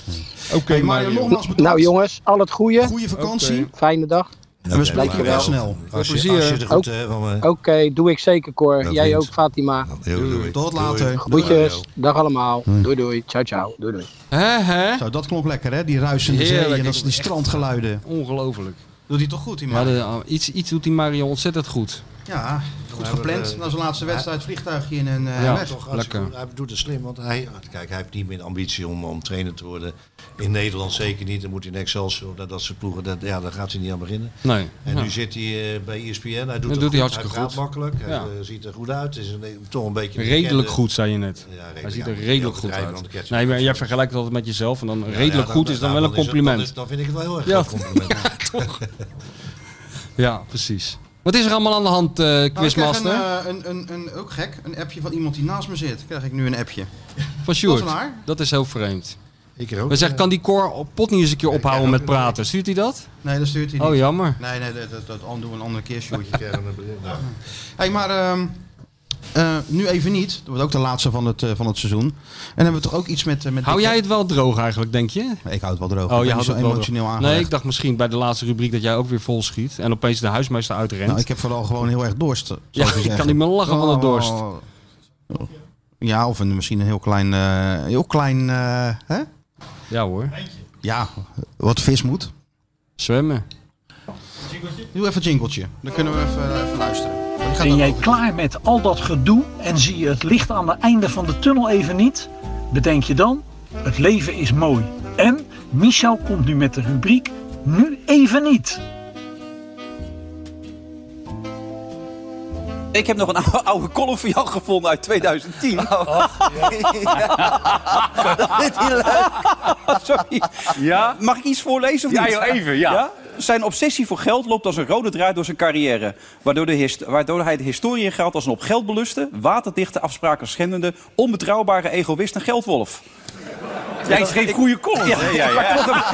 Speaker 2: Oké, maar nogmaals bedankt.
Speaker 9: Nou jongens, al het goede.
Speaker 2: Goeie vakantie.
Speaker 9: Fijne dag.
Speaker 2: En we spreken elkaar
Speaker 9: Dankjewel.
Speaker 2: snel.
Speaker 4: Als je,
Speaker 3: plezier.
Speaker 4: als je er goed hè, van, eh,
Speaker 9: Oké, doe ik zeker Cor.
Speaker 4: Dat
Speaker 9: Jij
Speaker 4: vindt.
Speaker 9: ook Fatima.
Speaker 4: heel doei.
Speaker 2: Tot
Speaker 4: Doei.
Speaker 2: later.
Speaker 9: Groetjes. Dag allemaal. Doei doei. Ciao ciao. Doei doei.
Speaker 3: Hè, hè?
Speaker 2: Zo, dat klonk lekker, hè? Die ruisende zee
Speaker 3: Heerlijk,
Speaker 2: en dat,
Speaker 3: ik-
Speaker 2: die strandgeluiden.
Speaker 3: Ongelooflijk.
Speaker 2: Doet hij toch goed, die
Speaker 3: Ja,
Speaker 2: man?
Speaker 3: de- iets, iets doet die Mario ontzettend goed.
Speaker 2: Ja, goed gepland. Na zijn laatste wedstrijd vliegtuigje in een eh
Speaker 3: Ja.
Speaker 2: wedstrijd.
Speaker 4: Toch hartstikke
Speaker 3: Lekker.
Speaker 4: goed. Hij doet het slim, want hij, kijk, hij heeft niet meer de ambitie om, om trainer te worden. In Nederland zeker niet. Dan moet hij in Excelsior, dat, dat soort ploegen, dat, ja, daar gaat hij niet aan beginnen.
Speaker 3: Nee.
Speaker 4: En
Speaker 3: Ja.
Speaker 4: nu zit hij eh, bij ESPN. Hij doet, het
Speaker 3: doet
Speaker 4: goed.
Speaker 3: hij hartstikke
Speaker 4: praat
Speaker 3: goed.
Speaker 4: makkelijk. Hij
Speaker 3: Ja.
Speaker 4: eh, ziet er goed uit. Is een, toch een beetje een
Speaker 3: Redelijk
Speaker 4: bekende-
Speaker 3: goed, zei je net.
Speaker 4: Ja, redelijk,
Speaker 3: Hij ziet
Speaker 4: ja,
Speaker 3: er
Speaker 4: moet je
Speaker 3: redelijk
Speaker 4: niet
Speaker 3: goed
Speaker 4: overdrijven, want
Speaker 3: uit.
Speaker 4: dan krijg je-
Speaker 3: Nee, maar jij vergelijkt het altijd met jezelf en dan
Speaker 4: Ja,
Speaker 3: redelijk
Speaker 4: ja,
Speaker 3: goed
Speaker 4: dan-
Speaker 3: is dan
Speaker 4: nou,
Speaker 3: wel een
Speaker 4: is het-
Speaker 3: compliment.
Speaker 4: Dan, is- dan vind ik het wel heel erg
Speaker 3: Ja.
Speaker 4: een compliment.
Speaker 3: Ja, precies. Wat is er allemaal aan de hand, eh,
Speaker 2: Nou, ik krijg een,
Speaker 3: Quizmaster?
Speaker 2: eh, een, een, een, ook gek, een appje van iemand die naast me zit. Krijg ik nu een appje.
Speaker 3: van
Speaker 2: Dat
Speaker 3: Sjoerd.
Speaker 2: is waar.
Speaker 3: Dat is heel vreemd.
Speaker 4: Ik ook.
Speaker 3: We zeggen, kan die Cor op pot niet eens een keer ophouden
Speaker 2: ook
Speaker 3: met
Speaker 2: een eh,
Speaker 3: praten? Stuurt hij dat?
Speaker 2: Nee, dat stuurt hij niet.
Speaker 3: Oh, jammer.
Speaker 2: Nee, nee, dat, dat, dat doen we een andere keer, Sjoerd.
Speaker 4: Ik krijg een bericht. Nou,
Speaker 2: Hey, maar ehm, eh, nu even niet. Dat wordt ook de laatste van het, eh, van het seizoen. En dan hebben we toch ook iets met... eh, met
Speaker 3: Hou
Speaker 2: Dick-
Speaker 3: jij het wel droog eigenlijk, denk je?
Speaker 2: Ik houd het wel droog. ik
Speaker 3: Oh,
Speaker 2: ben
Speaker 3: je houdt
Speaker 2: niet
Speaker 3: het
Speaker 2: zo
Speaker 3: wel
Speaker 2: emotioneel
Speaker 3: droog.
Speaker 2: aan.
Speaker 3: Nee, ik dacht misschien bij de laatste rubriek dat jij ook weer vol schiet. En opeens de huismeester uitrent.
Speaker 2: Nou, ik heb vooral gewoon heel erg dorst. zou
Speaker 3: Ja,
Speaker 2: ik
Speaker 3: ik
Speaker 2: zeggen.
Speaker 3: kan niet meer lachen van de dorst.
Speaker 2: Oh. Ja, of een, misschien een heel klein... eh, heel klein eh, hè?
Speaker 3: Ja hoor.
Speaker 2: Ja, wat vis moet.
Speaker 3: Zwemmen.
Speaker 2: Doe even een jingletje. Dan kunnen we even, eh, even luisteren. Want die gaat
Speaker 10: Ben
Speaker 2: ook
Speaker 10: jij
Speaker 2: over.
Speaker 10: klaar met al dat gedoe en zie je het licht aan het einde van de tunnel even niet? Bedenk je dan, het leven is mooi. En Michel komt nu met de rubriek Nu even niet.
Speaker 11: Ik heb nog een oude, oude column van jou gevonden uit 2010. Vindt hij leuk? Sorry. Mag ik iets voorlezen of niet? Ja, even, ja. Zijn obsessie voor geld loopt als een rode draad door zijn carrière. Waardoor, de hist- waardoor hij de historie geldt als een op geld beluste, waterdichte afspraken schendende, onbetrouwbare egoïst en geldwolf. Jij schreef goede columns. Ja, ja, ja.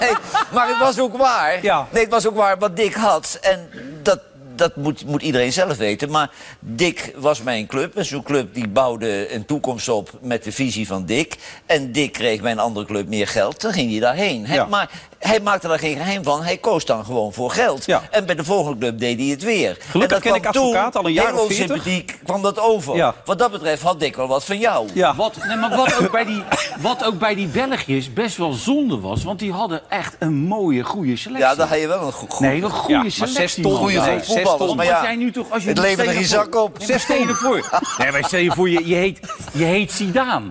Speaker 12: Nee, maar het was ook waar.
Speaker 11: Ja.
Speaker 12: Nee, het was ook waar wat Dick had. En dat, dat moet, moet iedereen zelf weten. Maar Dick was mijn club. En zo'n club die bouwde een toekomst op met de visie van Dick. En Dick kreeg bij een andere club meer geld. Dan ging hij daarheen. Hè?
Speaker 11: Ja.
Speaker 12: Maar hij maakte daar geen geheim van. Hij koos dan gewoon voor geld.
Speaker 11: Ja.
Speaker 12: En bij de volgende club deed hij het weer.
Speaker 11: Gelukkig
Speaker 12: en dat
Speaker 11: ken ik
Speaker 12: kwam toen
Speaker 11: advocaat al een jaar
Speaker 12: heel
Speaker 11: of 40.
Speaker 12: sympathiek kwam dat over.
Speaker 11: Ja.
Speaker 12: Wat dat betreft had Dick wel wat van jou.
Speaker 11: ja.
Speaker 13: Wat, nee, maar wat ook, bij die, wat ook bij die Belgiërs best wel zonde was. Want die hadden echt een mooie, goede selectie.
Speaker 12: Ja, daar had je wel een goed...
Speaker 13: Nee, een goede
Speaker 11: maar
Speaker 13: selectie.
Speaker 11: zes ton,
Speaker 13: man.
Speaker 11: goede
Speaker 13: Ja.
Speaker 11: reeks, zes ton.
Speaker 13: Want
Speaker 12: Maar
Speaker 13: als jij
Speaker 12: ja,
Speaker 13: nu toch, als je
Speaker 12: het
Speaker 13: nu-
Speaker 12: levert
Speaker 13: stel
Speaker 12: een
Speaker 13: je voor-
Speaker 12: zak op.
Speaker 13: Nee, maar stel je voor. Nee, maar stel je voor, je, je heet, je heet Zidane.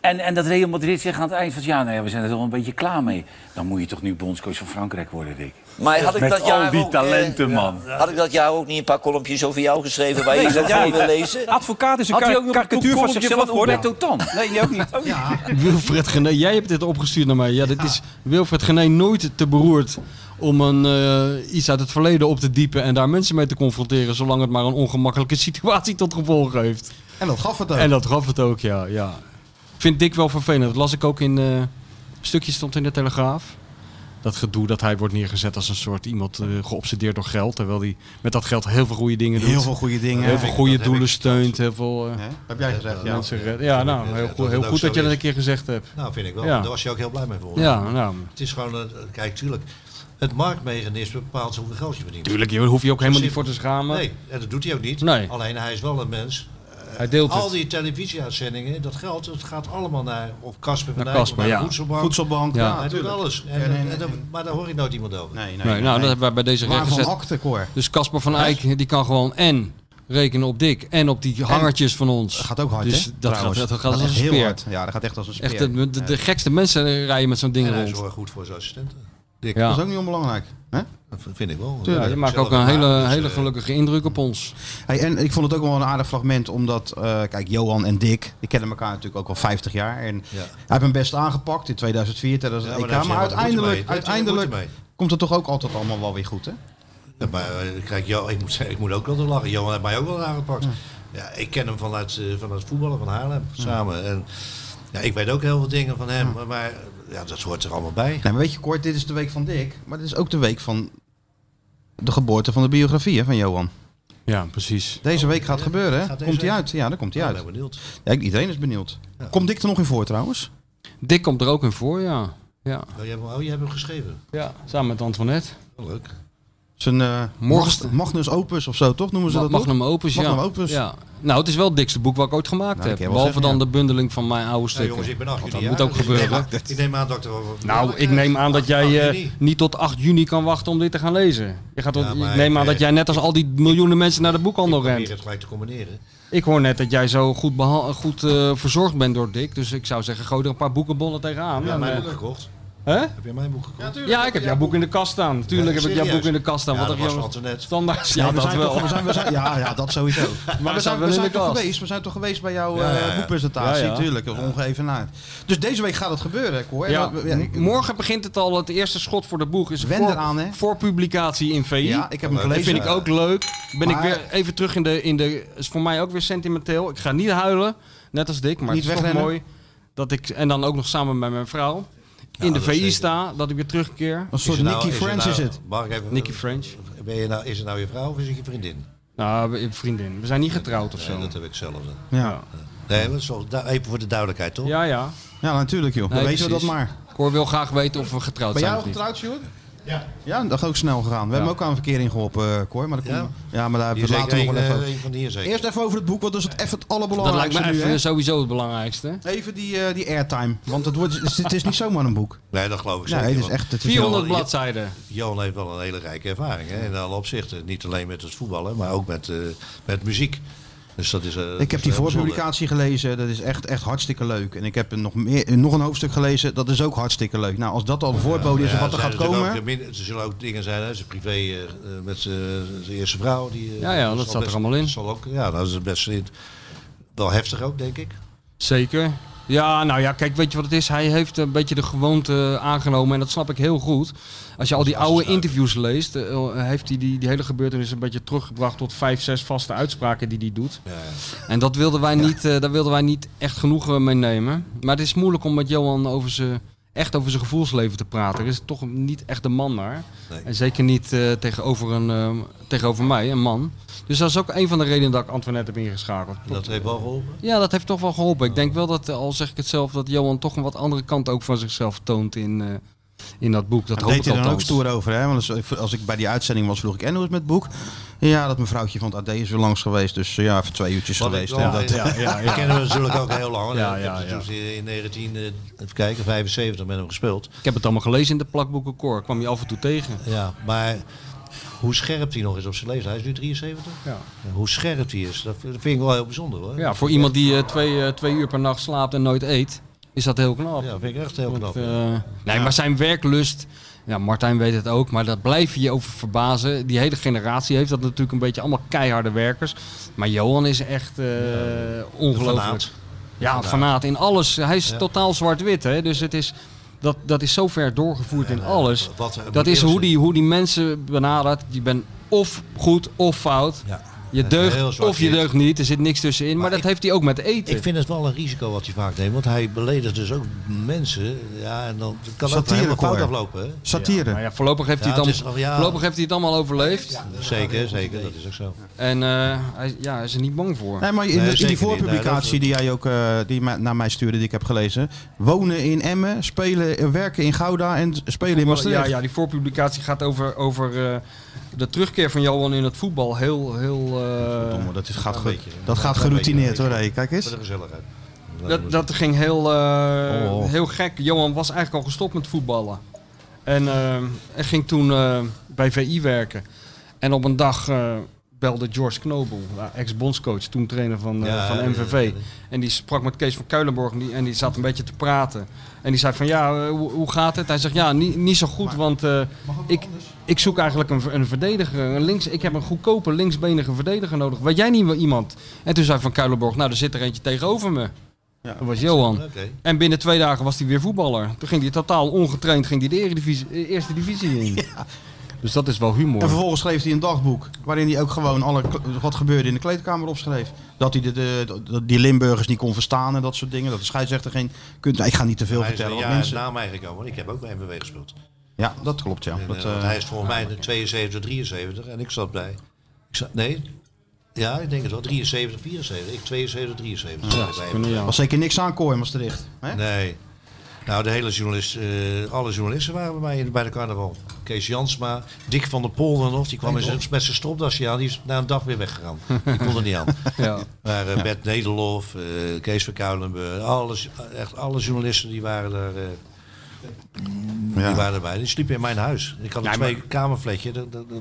Speaker 13: En, en dat Real Madrid zegt aan het eind van... ja, nee, we zijn er wel een beetje klaar mee. Dan moet je toch nu bondscoach van Frankrijk worden, Dick?
Speaker 12: Maar had ik
Speaker 13: Met
Speaker 12: dat jaar
Speaker 13: al die
Speaker 12: ook,
Speaker 13: talenten,
Speaker 12: eh,
Speaker 13: man.
Speaker 12: Had ik dat jaar ook niet een paar kolompjes over jou geschreven waar je
Speaker 11: Nee,
Speaker 12: zo
Speaker 11: dat jij
Speaker 12: voor wil
Speaker 11: niet.
Speaker 12: lezen?
Speaker 11: Advocaat is een
Speaker 13: Had hij
Speaker 11: kar-
Speaker 13: ook nog een
Speaker 11: karikatuur van
Speaker 13: kolomje
Speaker 11: zichzelf
Speaker 13: van
Speaker 11: geworden.
Speaker 13: Umberto Tan?
Speaker 11: Nee, jij ook niet. Ook niet.
Speaker 3: Wilfred Gené, jij hebt dit opgestuurd naar mij. Ja, dit is Wilfred Gené nooit te beroerd om een, eh, iets uit het verleden op te diepen en daar mensen mee te confronteren, zolang het maar een ongemakkelijke situatie tot gevolg heeft.
Speaker 2: En dat gaf het ook.
Speaker 3: En dat gaf het ook, ja. ja. Ik vind Dick wel vervelend. Dat las ik ook in eh stukjes stond in de Telegraaf. Dat gedoe dat hij wordt neergezet als een soort iemand eh, geobsedeerd door geld. Terwijl hij met dat geld heel veel goede dingen doet.
Speaker 2: Heel veel goede dingen.
Speaker 3: Heel veel goede
Speaker 4: dat heb
Speaker 3: doelen
Speaker 4: ik-
Speaker 3: steunt. Heel veel eh,
Speaker 2: Hè? Heb jij gezegd, ja.
Speaker 3: mensen redden. Ja, nou,
Speaker 4: dat-
Speaker 3: heel,
Speaker 4: dat
Speaker 3: goed-
Speaker 4: het
Speaker 3: heel
Speaker 4: ook
Speaker 3: goed
Speaker 4: zo
Speaker 3: dat je dat
Speaker 4: is.
Speaker 3: een keer gezegd hebt.
Speaker 4: Nou, vind ik wel.
Speaker 3: Ja.
Speaker 4: Daar was je ook heel blij mee voor.
Speaker 3: Ja, nou,
Speaker 4: Het is gewoon, een- eh, kijk, tuurlijk, het marktmechanisme bepaalt hoeveel geld je verdient.
Speaker 3: tuurlijk, daar hoef je ook helemaal niet voor te schamen.
Speaker 4: Nee, en dat doet hij ook niet.
Speaker 3: Nee.
Speaker 4: Alleen hij is wel een mens.
Speaker 3: Hij deelt
Speaker 4: Al
Speaker 3: het.
Speaker 4: die televisieuitzendingen, dat geld, dat gaat allemaal naar of Casper van
Speaker 3: Naar
Speaker 4: Dijk, of
Speaker 3: Casper,
Speaker 4: naar
Speaker 3: ja.
Speaker 4: de voedselbank.
Speaker 2: Voedselbank,
Speaker 3: Ja.
Speaker 2: ja,
Speaker 4: Hij doet
Speaker 2: natuurlijk.
Speaker 4: alles. En,
Speaker 2: Ja, nee, nee,
Speaker 4: en dan- maar daar hoor ik nooit iemand over.
Speaker 2: Nee, nee.
Speaker 3: Nee, nou, dat hebben wij bij deze
Speaker 2: Waar
Speaker 3: recht
Speaker 2: van
Speaker 3: gezet.
Speaker 2: akte, Cor.
Speaker 3: Dus Casper van Eyck, die kan gewoon en rekenen op Dick en op die hangertjes van ons.
Speaker 2: Dat gaat ook hard,
Speaker 3: dus
Speaker 2: hè?
Speaker 3: Dat gaat,
Speaker 2: trouwens.
Speaker 3: dat gaat als
Speaker 2: echt
Speaker 3: een
Speaker 2: heel
Speaker 3: speer.
Speaker 2: hard. Ja, dat gaat echt als een speer.
Speaker 3: Echt, de, de- de gekste mensen rijden met zo'n ding
Speaker 4: En hij
Speaker 3: rond.
Speaker 4: zorgt goed voor zijn assistenten. Dick,
Speaker 3: Ja.
Speaker 2: Dat is ook niet onbelangrijk. Hè?
Speaker 4: dat vind ik wel.
Speaker 3: Ja, je maakt ook een
Speaker 4: dus,
Speaker 3: hele, hele
Speaker 4: eh,
Speaker 3: gelukkige indruk op ons.
Speaker 2: Hey, en ik vond het ook wel een aardig fragment, omdat, eh, kijk, Johan en Dick, die kennen elkaar natuurlijk ook al 50 jaar. En
Speaker 4: Ja.
Speaker 2: hij heeft hem best aangepakt in 2004, tijdens het
Speaker 4: Ja, maar
Speaker 2: EK.
Speaker 4: daar
Speaker 2: Maar,
Speaker 4: heeft hij helemaal moeite mee.
Speaker 2: uiteindelijk,
Speaker 4: Daar heeft hij
Speaker 2: uiteindelijk
Speaker 4: moeite mee.
Speaker 2: komt het toch ook altijd allemaal wel weer goed, hè?
Speaker 4: Ja, maar eh, kijk, Jo- ik, moet, zeggen, ik moet ook wel lachen. Johan heeft mij ook wel aangepakt. Ja. ik ken hem vanuit, eh, vanuit voetballen van Haarlem samen. En, ja, ik weet ook heel veel dingen van hem, maar ja, dat hoort er allemaal bij.
Speaker 2: Nee, maar weet je, Kort, dit is de week van Dick, maar dit is ook de week van de geboorte van de biografie hè, van Johan.
Speaker 3: Ja, precies.
Speaker 2: Deze week gaat het gebeuren, hè?
Speaker 4: Gaat deze
Speaker 2: komt hij
Speaker 4: week?
Speaker 2: uit? Ja, daar komt hij
Speaker 4: Ja, ik
Speaker 2: uit.
Speaker 4: ben benieuwd.
Speaker 2: Ja, iedereen is benieuwd. Komt Dick er nog in voor, trouwens?
Speaker 3: Dick komt er ook in voor, ja. ja.
Speaker 4: Oh, je hebt, hem- oh, je hebt hem geschreven.
Speaker 3: Ja, samen met Antoinette.
Speaker 4: leuk.
Speaker 2: Zijn eh
Speaker 3: Morgenste-
Speaker 2: Mag- Magnus Opus of zo, toch noemen ze
Speaker 3: Ma-
Speaker 2: dat?
Speaker 3: Magnum
Speaker 2: toch?
Speaker 3: Opus, ja.
Speaker 2: Magnum Opus.
Speaker 3: ja. Nou, het is wel het dikste boek wat ik ooit gemaakt
Speaker 2: Nou, ik heb
Speaker 3: heb.
Speaker 2: wel
Speaker 3: Behalve
Speaker 2: zeggen,
Speaker 3: dan
Speaker 2: ja.
Speaker 3: de bundeling van mijn oude
Speaker 4: Nou,
Speaker 3: stukken.
Speaker 4: jongens, ik ben 18
Speaker 3: Want dat
Speaker 4: jaar.
Speaker 3: moet ook
Speaker 4: dus ik neem
Speaker 3: gebeuren.
Speaker 4: aan- Ik neem aan dat ik er wel-
Speaker 3: Nou, ik neem aan dat jij eh, niet tot 8 juni kan wachten om dit te gaan lezen. Je gaat, wel-
Speaker 4: Ja, maar
Speaker 3: ik neem
Speaker 4: ik,
Speaker 3: aan dat
Speaker 4: eh,
Speaker 3: jij net als al die miljoenen mensen naar de boekhandel
Speaker 4: probeer
Speaker 3: rent.
Speaker 4: het gelijk te combineren.
Speaker 3: Ik hoor net dat jij zo goed, beha- goed eh, verzorgd bent door Dick. Dus ik zou zeggen, gooi er een paar boekenbollen tegenaan.
Speaker 4: Heb jij
Speaker 3: En,
Speaker 4: mijn
Speaker 3: eh,
Speaker 4: boek gekocht?
Speaker 3: Hè?
Speaker 4: Heb jij mijn boek gekocht?
Speaker 3: Ja, ik heb jouw boek in de kast staan. Tuurlijk heb ik jouw
Speaker 4: serieus?
Speaker 3: boek in de kast staan.
Speaker 4: Ja,
Speaker 3: want
Speaker 4: dat
Speaker 3: er
Speaker 4: was
Speaker 3: jongen-
Speaker 4: van Antoinette.
Speaker 3: Standaard.
Speaker 2: Ja,
Speaker 3: Ja,
Speaker 2: we
Speaker 3: dat
Speaker 2: zijn
Speaker 3: wel.
Speaker 2: Toch, we zijn, we zijn, ja, ja, dat sowieso. Maar we
Speaker 3: staan
Speaker 2: zijn,
Speaker 3: wel
Speaker 2: we
Speaker 3: in
Speaker 2: zijn
Speaker 3: de
Speaker 2: toch
Speaker 3: kast.
Speaker 2: geweest, we zijn toch geweest bij jouw
Speaker 3: Ja,
Speaker 2: eh,
Speaker 3: ja, ja.
Speaker 2: boekpresentatie,
Speaker 3: Ja, ja.
Speaker 2: natuurlijk. Ongeëvenaard. Dus deze week gaat het gebeuren, ik hoor.
Speaker 3: Ja,
Speaker 2: Dat- ja, ik-
Speaker 3: morgen begint het al. Het eerste schot voor de boeg is
Speaker 2: Wend
Speaker 3: voor,
Speaker 2: eraan, hè?
Speaker 3: voor publicatie in VI.
Speaker 2: Ja, ik heb hem
Speaker 3: Dat
Speaker 2: gelezen.
Speaker 3: vind ik ook leuk. Ben
Speaker 2: Maar-
Speaker 3: ik weer even terug in de, in de... Is voor mij ook weer sentimenteel. Ik ga niet huilen, net als Dick. Maar
Speaker 2: Niet
Speaker 3: het is toch
Speaker 2: wegrennen.
Speaker 3: mooi dat ik... En dan ook nog samen met mijn vrouw. In de
Speaker 4: dat
Speaker 3: VI
Speaker 4: zeker.
Speaker 3: sta, dat ik weer terugkeer.
Speaker 2: Een soort
Speaker 4: het nou-
Speaker 2: Nicky
Speaker 4: is het
Speaker 2: French
Speaker 4: nou-
Speaker 2: is het.
Speaker 4: Mag ik even,
Speaker 3: Nicky French.
Speaker 4: Ben je nou, is het nou je vrouw of is het je vriendin?
Speaker 3: Nou, we- vriendin. We zijn niet getrouwd of zo.
Speaker 4: Nee, dat heb ik zelf. dan.
Speaker 2: Ja.
Speaker 4: Nee, maar zo, da- even voor de duidelijkheid, toch?
Speaker 3: Ja, ja.
Speaker 2: ja, natuurlijk joh.
Speaker 3: Nee,
Speaker 2: Dan weten we dat
Speaker 3: precies.
Speaker 2: maar.
Speaker 3: Ik hoor wil graag weten of we getrouwd
Speaker 2: Ben
Speaker 3: zijn
Speaker 2: jij al
Speaker 3: of niet.
Speaker 2: getrouwd, Sjoerd? Ja. Ja, dat is ook snel gegaan. We hebben ook aan een verkeering geholpen, eh, Cor. Maar, dat komt-
Speaker 4: Ja?
Speaker 2: ja, maar daar
Speaker 4: Hier
Speaker 2: hebben we
Speaker 4: zeker
Speaker 2: later nog wel
Speaker 4: een,
Speaker 2: even
Speaker 4: eh, een van die hier zeker.
Speaker 2: Eerst even over het boek, want dat is het, even het
Speaker 3: Dat
Speaker 2: allerbelangrijkste
Speaker 3: lijkt me even
Speaker 2: nu, hè?
Speaker 3: sowieso het belangrijkste.
Speaker 2: Even die, eh, die airtime, want het, wordt, het is niet zomaar een boek.
Speaker 4: Nee, dat geloof ik
Speaker 2: Nee,
Speaker 4: zeker.
Speaker 2: het is
Speaker 4: want
Speaker 2: echt- het is
Speaker 3: 400
Speaker 4: Johan-
Speaker 3: bladzijden.
Speaker 4: Johan heeft wel een hele rijke ervaring hè, in alle opzichten. Niet alleen met het voetballen, maar ook met, eh, met muziek. Dus dat is, eh, dat
Speaker 2: Ik
Speaker 4: is
Speaker 2: heb die
Speaker 4: heel bijzonder.
Speaker 2: voorpublicatie gelezen, dat is echt, echt hartstikke leuk. En ik heb er nog, meer, nog een hoofdstuk gelezen, dat is ook hartstikke leuk. Nou, als dat al de voorbode is
Speaker 4: Ja,
Speaker 2: van wat er
Speaker 4: zijn
Speaker 2: gaat
Speaker 4: natuurlijk
Speaker 2: komen...
Speaker 4: ook min- er zullen ook dingen zijn, hè, zijn privé eh, eh, met zijn eerste vrouw. Die, eh,
Speaker 3: Ja, ja, dat
Speaker 4: zal
Speaker 3: staat er
Speaker 4: best-
Speaker 3: allemaal in.
Speaker 4: Zal ook, ja, dat is best in- wel heftig ook, denk ik.
Speaker 3: Zeker. Ja, nou ja, kijk, weet je wat het is? Hij heeft een beetje de gewoonte aangenomen en dat snap ik heel goed. Als je al die oude interviews leest, eh, heeft hij die, die hele gebeurtenis een beetje teruggebracht tot vijf, zes vaste uitspraken die hij doet. En dat wilden wij niet, eh, daar wilden wij niet echt genoegen mee nemen. Maar het is moeilijk om met Johan over zijn, echt over zijn gevoelsleven te praten. Er is toch niet echt de man naar. En zeker niet eh, tegenover, een, eh, tegenover mij, een man. Dus dat is ook een van de redenen dat ik Antoinette heb ingeschakeld.
Speaker 4: Dat heeft wel geholpen.
Speaker 3: Ja, dat heeft toch wel geholpen. Ik denk wel dat, eh, al zeg ik het zelf, dat Johan toch een wat andere kant ook van zichzelf toont in, eh, in dat boek. Dat
Speaker 2: Daar
Speaker 3: hoop
Speaker 2: deed
Speaker 3: ik
Speaker 2: hij dan ook
Speaker 3: althans.
Speaker 2: stoer over, hè? Want als, als Dus ik bij die uitzending was, vroeg ik, en hoe is het met het boek? Ja, dat mevrouwtje van het AD is weer langs geweest, dus eh, ja, even twee uurtjes
Speaker 4: Wat
Speaker 2: geweest.
Speaker 4: ik wel-
Speaker 2: en dat, ja, ja,
Speaker 4: Die
Speaker 2: ja.
Speaker 4: kennen we natuurlijk ook heel lang.
Speaker 3: Ja,
Speaker 4: Ja,
Speaker 3: ja, ja.
Speaker 4: in 19, eh, even kijken, 75 met hem gespeeld.
Speaker 3: Ik heb het allemaal gelezen in de plakboekenkoor. Ik kwam je af en toe tegen.
Speaker 4: Ja, maar hoe scherp hij nog is op zijn leeftijd. Hij is nu 73.
Speaker 3: Ja.
Speaker 4: Hoe scherp hij is, dat vind ik wel heel bijzonder hoor.
Speaker 3: Ja, voor iemand die eh, twee, eh, twee uur per nacht slaapt en nooit eet, is dat heel knap.
Speaker 4: Ja, vind ik echt heel
Speaker 3: Want,
Speaker 4: knap.
Speaker 3: eh, nee, maar zijn werklust, ja, Martijn weet het ook, maar daar blijf je je over verbazen. Die hele generatie heeft dat natuurlijk een beetje allemaal keiharde werkers. Maar Johan is echt eh, ongelooflijk.
Speaker 4: fanaat.
Speaker 3: Ja, een
Speaker 4: Fanaat.
Speaker 3: fanaat in alles. Hij is
Speaker 4: Ja.
Speaker 3: totaal zwart-wit, hè. Dus het is... Dat, dat is zo ver doorgevoerd in alles.
Speaker 4: wat er moet
Speaker 3: dat is
Speaker 4: eerlijk
Speaker 3: hoe
Speaker 4: zijn.
Speaker 3: die, hoe die mensen benadert. Je bent of goed of fout.
Speaker 4: Ja.
Speaker 3: Je
Speaker 4: Ja, heel
Speaker 3: deugt of je
Speaker 4: zwart-wit.
Speaker 3: deugt niet. Er zit niks tussenin. Maar, dat heeft hij ook met eten.
Speaker 4: Ik vind het wel een risico wat hij vaak neemt, want hij beledigt dus ook mensen. Ja, en dan kan dat
Speaker 2: Satire,
Speaker 4: helemaal fout
Speaker 2: Cor.
Speaker 4: aflopen. Hè?
Speaker 2: Satire.
Speaker 3: Maar ja, voorlopig heeft,
Speaker 4: Ja,
Speaker 3: hij, het
Speaker 4: het
Speaker 3: allemaal-
Speaker 4: is nog- ja.
Speaker 3: voorlopig heeft hij het allemaal overleefd.
Speaker 4: Zeker, zeker, dat is ook zo.
Speaker 3: En eh, hij, ja, hij is er niet bang voor.
Speaker 2: Nee, maar in,
Speaker 4: Nee,
Speaker 2: in
Speaker 4: zeker
Speaker 2: die
Speaker 4: niet.
Speaker 2: voorpublicatie
Speaker 4: Nee,
Speaker 2: die jij ook eh, die mij- naar mij stuurde, die ik heb gelezen. Wonen in Emmen, spelen, eh, werken in Gouda en spelen in
Speaker 3: ja,
Speaker 2: Maastricht.
Speaker 3: ja, die voorpublicatie gaat over, over eh, de terugkeer van Johan in het voetbal. Heel, heel... eh,
Speaker 2: Verdomme, dat is, gaat,
Speaker 4: een
Speaker 2: ge-
Speaker 4: beetje.
Speaker 2: dat gaat
Speaker 4: Een
Speaker 2: geroutineerd
Speaker 4: beetje.
Speaker 2: hoor. hé. Kijk eens.
Speaker 4: Voor de gezelligheid.
Speaker 3: Dat, dat ging heel, eh,
Speaker 2: Oh.
Speaker 3: heel gek. Johan was eigenlijk al gestopt met voetballen. En eh, hij ging toen eh, bij VI werken. En op een dag eh, belde George Knobel, nou, ex-bondscoach, toen trainer van, eh,
Speaker 4: Ja, ja,
Speaker 3: van MVV. En die sprak met Kees van Kuilenborg en die, en die zat een beetje te praten. En die zei van, ja, eh, hoe, hoe gaat het? Hij zegt, ja, niet, niet zo goed, want eh, ik, ik zoek eigenlijk een, ver- een verdediger. Een links, ik heb een goedkope linksbenige verdediger nodig. Weet jij niet wel iemand? En toen zei Van Kuilenborg, nou, er zit er eentje tegenover me. Dat was Johan.
Speaker 4: Oké.
Speaker 3: En binnen twee dagen was hij weer voetballer. Toen ging hij totaal ongetraind ging hij de eredivisie, eh, eerste divisie in. Dus dat is wel humor.
Speaker 2: En vervolgens schreef hij een dagboek. Waarin hij ook gewoon alle, kle- wat gebeurde in de kleedkamer opschreef. Dat hij de, de, de- die Limburgers niet kon verstaan en dat soort dingen. Dat de scheidsrechter geen. Kunt, nou, ik ga niet te veel
Speaker 4: Hij is nou-
Speaker 2: vertellen.
Speaker 4: een
Speaker 2: want
Speaker 4: jaar
Speaker 2: mensen,
Speaker 4: na mij gekomen, want ik heb ook bij MBW gespeeld.
Speaker 2: ja, dat klopt ja.
Speaker 4: En,
Speaker 2: Dat,
Speaker 4: eh,
Speaker 2: eh,
Speaker 4: want hij is volgens mij in de 72, 73 en ik zat bij. Ik zat, nee, ja, ik denk het wel. 73, 74. Ik 72, 73. zat ik bij
Speaker 3: kunnen,
Speaker 4: MVV.
Speaker 3: ja.
Speaker 2: was zeker niks aan Kooi in Maastricht. Hè?
Speaker 4: Nee. Nou, de hele journalist, eh, alle journalisten waren bij mij in- bij de carnaval. Kees Jansma, Dick van der Polder nog, die kwam
Speaker 11: Nee,
Speaker 4: in zijn-
Speaker 11: toch?
Speaker 4: met zijn stropdasje aan. Die is na een dag weer weggegaan. Die kon er niet aan.
Speaker 11: Ja.
Speaker 4: Maar eh,
Speaker 11: Ja.
Speaker 4: Bert Nederlof, eh, Kees van Kuilenburg, alles, echt alle journalisten die waren daar... eh, mm,
Speaker 2: Ja.
Speaker 4: Die waren erbij. Die sliepen in mijn huis. Ik had een
Speaker 3: Nee, maar-
Speaker 4: twee kamerfletje. Dat, dat, dat,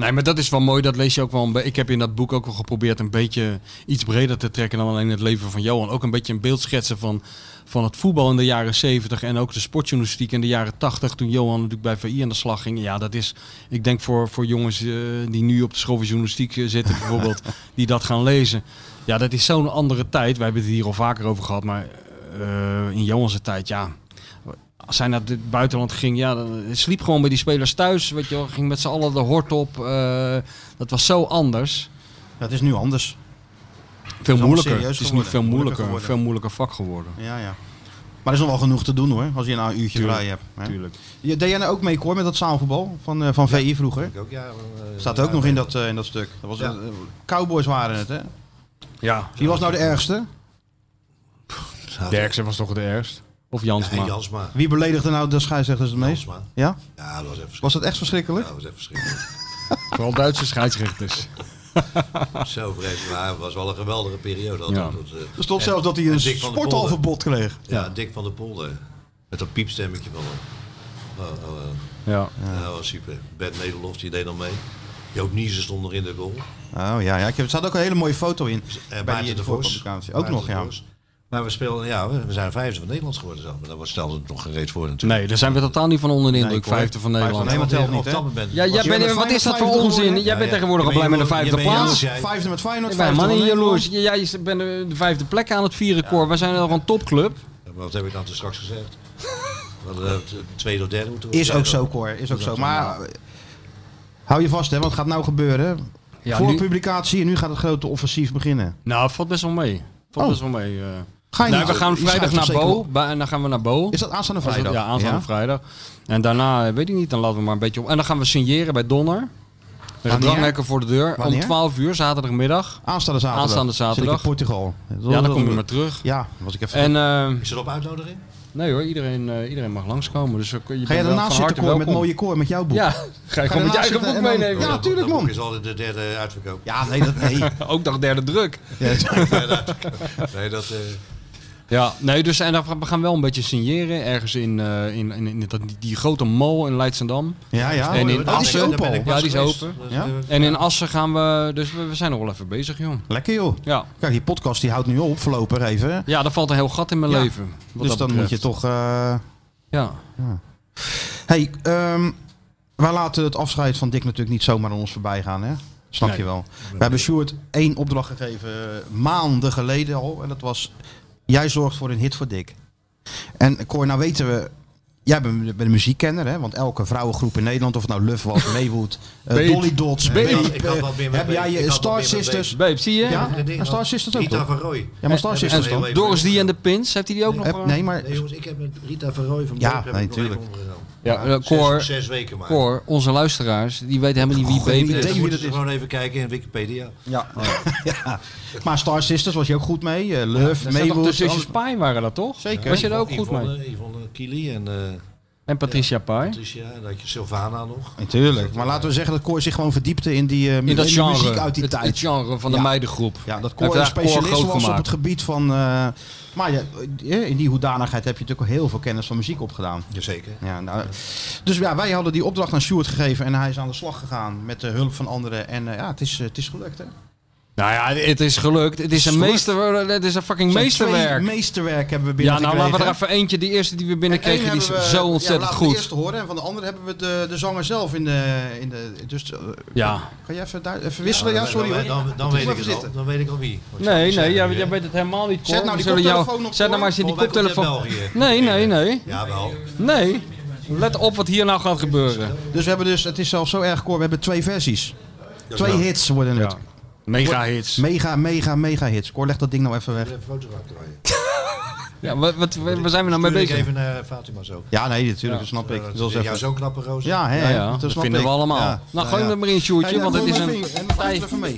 Speaker 3: Nee, maar dat is wel mooi. Dat lees je ook wel. een be- Ik heb in dat boek ook wel geprobeerd een beetje iets breder te trekken dan alleen het leven van Johan. Ook een beetje een beeld schetsen van, van het voetbal in de jaren 70 en ook de sportjournalistiek in de jaren 80. Toen Johan natuurlijk bij VI aan de slag ging. Ja, dat is, ik denk voor, voor jongens eh, die nu op de school van journalistiek eh, zitten bijvoorbeeld, die dat gaan lezen. Ja, dat is zo'n andere tijd. Wij hebben het hier al vaker over gehad, maar eh, in Johan's tijd, ja als hij naar het buitenland ging, ja, dan hij sliep gewoon bij die spelers thuis. Weet je, wel, ging met z'n allen de hort op. eh, dat was zo anders.
Speaker 2: Dat is nu anders.
Speaker 3: Veel
Speaker 2: allemaal
Speaker 3: moeilijker.
Speaker 2: serieus
Speaker 3: Het is nu
Speaker 2: geworden.
Speaker 3: veel
Speaker 2: Moeilijker
Speaker 3: moeilijker,
Speaker 2: geworden.
Speaker 3: veel moeilijker vak geworden.
Speaker 2: Ja, ja. Maar er is nog wel genoeg te doen hoor, als je nou een uurtje
Speaker 3: Tuurlijk,
Speaker 2: vrij hebt. hè.
Speaker 3: tuurlijk.
Speaker 2: Je, deed jij nou ook mee hoor met dat zaalvoetbal van, eh, van VI vroeger?
Speaker 4: Ik ook, ja, eh,
Speaker 2: Staat ook nog in dat, eh, in dat stuk. Dat was,
Speaker 4: Ja.
Speaker 2: eh, cowboys waren het hè?
Speaker 3: Ja.
Speaker 2: Wie was nou de ergste?
Speaker 3: Derksen was toch de ergst? Of Jansma?
Speaker 4: Nee, Jansma.
Speaker 2: Wie beledigde nou de scheidsrechters het meest?
Speaker 4: Jansma.
Speaker 2: Ja?
Speaker 4: Ja, dat was even
Speaker 2: Was dat echt verschrikkelijk?
Speaker 4: Ja, Nou, dat was even verschrikkelijk.
Speaker 3: Vooral Duitse scheidsrechters.
Speaker 4: Zo vreselijk. Maar het was wel een geweldige periode.
Speaker 2: Ja.
Speaker 4: altijd. Dat, eh,
Speaker 2: Er stond
Speaker 4: en-
Speaker 2: zelfs dat hij
Speaker 4: en
Speaker 2: een
Speaker 4: Dick van der
Speaker 2: sportalverbod
Speaker 4: Polder.
Speaker 2: kreeg.
Speaker 4: Ja,
Speaker 2: Ja.
Speaker 4: Dick van der Polder. Met dat piepstemmetje van hem. Oh, oh, oh.
Speaker 3: Ja.
Speaker 4: Ja, dat was super. Bert Nederlof, die deed dan mee. Joop Niezen stond nog in de goal.
Speaker 2: Oh ja, ja. Ik heb, er staat ook een hele mooie foto in.
Speaker 4: En
Speaker 2: bij die
Speaker 4: Maarten de Vos.
Speaker 2: voorkwalificatie. Ook
Speaker 4: Maarten
Speaker 2: nog,
Speaker 4: de
Speaker 2: ja.
Speaker 4: Vos. Maar we, speelden, ja, we we zijn vijfde van Nederland geworden. Zelf. Maar dat stelde het nog geen reet voor natuurlijk.
Speaker 3: Nee, daar zijn we totaal niet van onder de indruk.
Speaker 4: ik hoor.
Speaker 3: vijfde van
Speaker 4: Vijfde
Speaker 3: Nederland.
Speaker 4: van Nederland telt niet, hè?
Speaker 3: Ja, jij
Speaker 4: Was je
Speaker 3: bent-
Speaker 4: met
Speaker 3: wat is dat voor
Speaker 2: 55
Speaker 3: onzin?
Speaker 2: geworden?
Speaker 3: Jij
Speaker 4: Ja,
Speaker 3: bent
Speaker 4: ja.
Speaker 3: tegenwoordig al
Speaker 4: Je
Speaker 3: blij met
Speaker 4: bent
Speaker 3: de
Speaker 4: jaloers,
Speaker 3: vijfde
Speaker 4: jij bent
Speaker 3: plaats.
Speaker 4: jaloers, jij.
Speaker 2: Vijfde met Feyenoord,
Speaker 3: Ik ben
Speaker 2: vijfde
Speaker 3: helemaal niet
Speaker 2: van Nederland.
Speaker 3: jaloers. J- Jij bent eh, de vijfde plek aan het vieren koor. Wij zijn nog een topclub.
Speaker 4: Wat heb ik dan te straks gezegd? We hadden eh, t- tweede of derde moeten
Speaker 2: Is
Speaker 4: worden.
Speaker 2: ook zo, Cor. Is ook zo. Maar eh, hou je vast, hè, want het gaat nou gebeuren.
Speaker 3: Ja,
Speaker 2: Voor
Speaker 3: nu-
Speaker 2: publicatie en nu gaat het grote offensief beginnen.
Speaker 3: Nou, valt best wel mee. Valt
Speaker 2: Oh.
Speaker 3: best wel mee. eh.
Speaker 2: Ga je
Speaker 3: Nee,
Speaker 2: niet-
Speaker 3: we gaan
Speaker 2: je
Speaker 3: vrijdag
Speaker 2: schrijft
Speaker 3: naar
Speaker 2: toch
Speaker 3: Bo.
Speaker 2: zeker
Speaker 3: Ba- En dan gaan we naar Bo. Is
Speaker 2: dat aanstaande
Speaker 3: Ja,
Speaker 2: vrijdag?
Speaker 3: aanstaande
Speaker 2: Ja.
Speaker 3: vrijdag. En daarna, eh, weet ik niet, dan laten we maar een beetje op. En dan gaan we signeren bij Donner. Er is
Speaker 2: Wanneer?
Speaker 3: dranghekken voor de deur. Om
Speaker 2: Wanneer?
Speaker 3: 12 uur, zaterdagmiddag.
Speaker 2: Aanstaande zaterdag.
Speaker 3: Aanstaande
Speaker 2: Zit ik
Speaker 3: zaterdag.
Speaker 2: in Portugal.
Speaker 3: Ja, dan kom je maar terug.
Speaker 2: Ja, was ik even...
Speaker 3: En, eh,
Speaker 4: Is er op uitnodiging?
Speaker 3: nee hoor, iedereen, eh, iedereen mag langskomen. Dus, eh, je bent
Speaker 2: Ga jij
Speaker 3: wel van
Speaker 2: daarnaast zitten,
Speaker 3: harte
Speaker 2: Cor, met
Speaker 3: welkom.
Speaker 2: mooie Cor, met jouw boek?
Speaker 3: Ja, ga je
Speaker 2: Ga
Speaker 3: gewoon met je
Speaker 2: daarnaast
Speaker 3: eigen
Speaker 2: zitten
Speaker 3: boek
Speaker 2: en dan-
Speaker 3: meenemen.
Speaker 2: Ja, tuurlijk,
Speaker 4: Dat
Speaker 2: man.
Speaker 4: boek is al de derde uitverkoop.
Speaker 2: Ja, nee, dat... Nee.
Speaker 3: Ook nog derde druk.
Speaker 4: nee, dat... eh,
Speaker 3: Ja, nee, dus en dan- we gaan wel een beetje signeren. Ergens in, eh, in, in, in dat- die grote mall in Leidschendam.
Speaker 2: Ja, ja.
Speaker 3: En
Speaker 2: Oh,
Speaker 3: in
Speaker 2: die is
Speaker 3: Assen.
Speaker 2: open al.
Speaker 3: Ja, die is open.
Speaker 2: Ja?
Speaker 3: En in Assen gaan we... Dus we, we zijn nog wel even bezig, joh.
Speaker 2: Lekker, joh.
Speaker 3: Ja.
Speaker 2: Kijk, die podcast die houdt nu op, voorlopig even.
Speaker 3: Ja, daar valt een heel gat in mijn
Speaker 2: Ja.
Speaker 3: leven. wat
Speaker 2: dus
Speaker 3: dat
Speaker 2: dan moet
Speaker 3: betreft.
Speaker 2: je toch... eh,
Speaker 3: Ja.
Speaker 2: ja. hey, ehm, wij laten het afscheid van Dick natuurlijk niet zomaar aan ons voorbij gaan, hè? Snap
Speaker 3: Nee.
Speaker 2: je wel. We hebben Sjoerd één opdracht gegeven eh, maanden geleden al. En dat was, jij zorgt voor een hit voor Dick. En Cor, nou weten we, jij bent, bent een muziekkenner, hè? Want elke vrouwengroep in Nederland, of het nou Luf was, Maywood, eh,
Speaker 3: Babe.
Speaker 2: Dolly Dots,
Speaker 3: Babe.
Speaker 2: Babe,
Speaker 4: Ik had wat meer met
Speaker 2: Heb jij
Speaker 4: Babe. Ik
Speaker 2: je
Speaker 4: had wat
Speaker 2: Eh, Star
Speaker 4: meer met
Speaker 2: Sisters?
Speaker 4: Babe.
Speaker 3: Babe, zie je?
Speaker 2: Ja,
Speaker 4: dat ding
Speaker 2: en Star
Speaker 4: was-
Speaker 2: Sisters ook,
Speaker 4: Rita
Speaker 2: toch?
Speaker 4: van Rooij.
Speaker 2: Ja, maar Star
Speaker 4: En- en
Speaker 2: Sisters
Speaker 4: dat is
Speaker 2: dan?
Speaker 4: heel even-
Speaker 3: Doris die en de Pins, heeft hij die ook nog?
Speaker 2: Heb-
Speaker 3: eh?
Speaker 2: nee, maar
Speaker 4: Nee, jongens, ik heb met Rita van Rooij van
Speaker 2: Ja,
Speaker 4: Dorp heb
Speaker 2: nee,
Speaker 4: ik nog even
Speaker 2: tuurlijk.
Speaker 4: omgegaan.
Speaker 3: Ja, eh,
Speaker 4: zes-
Speaker 3: Cor,
Speaker 4: zes weken maar.
Speaker 3: Cor, onze luisteraars, die weten helemaal niet
Speaker 2: Goh, geen
Speaker 3: wie
Speaker 2: idee
Speaker 3: Baby
Speaker 4: Dan
Speaker 3: is.
Speaker 2: wie
Speaker 4: moeten
Speaker 2: dat
Speaker 4: ze gewoon even kijken in Wikipedia.
Speaker 2: Ja. ja. Maar Star Sisters was je ook goed mee. eh, Love,
Speaker 3: Dat zijn toch de
Speaker 2: Maywood.
Speaker 3: zusjes
Speaker 2: alles-
Speaker 3: Pai waren dat toch?
Speaker 2: Zeker.
Speaker 3: Was je daar ook goed mee?
Speaker 4: Yvonne, Yvonne Kili en eh,
Speaker 3: En Patricia Pai?
Speaker 4: Patricia. En dan had je Sylvana nog.
Speaker 2: Natuurlijk. Maar laten we zeggen dat Cor zich gewoon verdiepte in die, eh,
Speaker 3: In dat
Speaker 2: die
Speaker 3: genre.
Speaker 2: muziek uit die
Speaker 3: het,
Speaker 2: tijd.
Speaker 3: het genre van de
Speaker 2: Ja.
Speaker 3: meidengroep.
Speaker 2: Ja, dat
Speaker 3: Heeft
Speaker 2: Cor een
Speaker 3: daar Cor
Speaker 2: specialist
Speaker 3: groot
Speaker 2: was op
Speaker 3: gemaakt.
Speaker 2: het gebied van... eh, maar ja, eh, in die hoedanigheid heb je natuurlijk al heel veel kennis van muziek opgedaan.
Speaker 4: Jazeker.
Speaker 2: Ja, nou, dus ja, wij hadden die opdracht aan Stuart gegeven en hij is aan de slag gegaan met de hulp van anderen. En eh, ja, het is, eh, het is gelukt hè.
Speaker 3: Nou ja, het is gelukt. Het is een,
Speaker 2: gelukt.
Speaker 3: meester, het is een fucking
Speaker 2: Zo'n
Speaker 3: meesterwerk.
Speaker 2: twee meesterwerk hebben we
Speaker 3: Ja, nou
Speaker 2: binnengekregen.
Speaker 3: laten we er even eentje, die eerste die we
Speaker 2: Eén
Speaker 3: binnenkregen, die is
Speaker 2: hebben we-
Speaker 3: zo
Speaker 2: ja,
Speaker 3: ontzettend
Speaker 2: laten we de
Speaker 3: goed.
Speaker 2: eerste horen en van de andere hebben we de, de zanger zelf in de... In de dus, eh,
Speaker 3: Ja.
Speaker 2: Kan je even, daar, even wisselen? Ja,
Speaker 4: dan-
Speaker 2: sorry
Speaker 4: dan-
Speaker 2: hoor.
Speaker 4: Dan, dan,
Speaker 2: Doe
Speaker 4: weet
Speaker 2: maar even
Speaker 4: ik het al.
Speaker 2: zitten.
Speaker 4: Dan weet ik al wie. Want
Speaker 3: Nee,
Speaker 4: ze-
Speaker 3: nee,
Speaker 4: ze-
Speaker 3: jij, jij weet het helemaal niet. Cor.
Speaker 2: Zet nou
Speaker 3: We
Speaker 2: die
Speaker 3: zullen
Speaker 2: koptelefoon op,
Speaker 3: Zet nou maar eens die
Speaker 4: Volgens mij komt uit
Speaker 3: koptelefoon.
Speaker 4: België.
Speaker 3: Nee, nee, nee.
Speaker 4: Jawel.
Speaker 3: Nee. Let op wat hier nou gaat gebeuren.
Speaker 2: Dus we hebben dus, het is zelfs zo erg, Cor, we hebben twee versies. Twee
Speaker 3: wel-
Speaker 2: hits worden het.
Speaker 3: Ja. Mega hits.
Speaker 2: Mega, mega, mega hits. Cor, leg dat ding nou even weg.
Speaker 4: Even foto's maken draaien.
Speaker 3: Ja, wat, wat, waar zijn we nou mee
Speaker 4: Stuur ik
Speaker 3: bezig?
Speaker 4: even naar Fatima zo.
Speaker 2: Ja, nee, natuurlijk,
Speaker 3: Ja.
Speaker 2: dat snap ik. Dat
Speaker 4: Dat
Speaker 2: was
Speaker 4: is jou
Speaker 2: even...
Speaker 4: zo'n knappe roze.
Speaker 2: Ja, hè,
Speaker 3: Ja, ja,
Speaker 2: dat
Speaker 3: dat
Speaker 2: snap
Speaker 3: vinden
Speaker 2: ik.
Speaker 3: we allemaal.
Speaker 2: Ja.
Speaker 3: Nou, gooi hem
Speaker 2: ja.
Speaker 3: er maar in, Sjoerdje,
Speaker 2: Ja, ja,
Speaker 3: want het
Speaker 2: gooi
Speaker 3: is
Speaker 2: maar
Speaker 3: een-
Speaker 2: even in. En dan gooi je er even mee.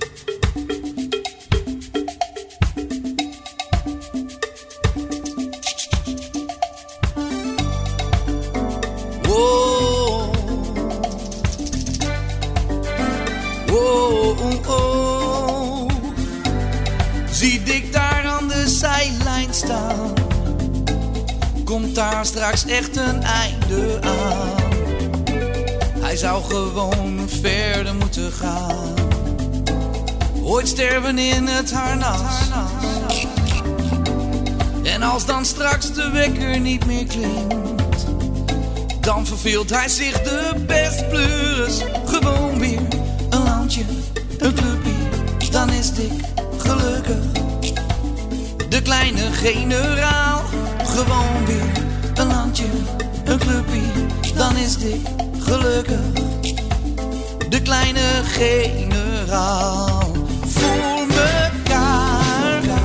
Speaker 14: oh, Zie Dick daar aan de zijlijn staan. Komt daar straks echt een einde aan? Hij zou gewoon verder moeten gaan. Ooit sterven in het harnas. En als dan straks de wekker niet meer klinkt, dan verveelt hij zich de best pleuris. Gewoon weer een landje, een clubje, dan is Dick gelukkig. De kleine generaal, gewoon weer een landje, een clubje, dan is Dick gelukkig. De kleine generaal, voor mekaar,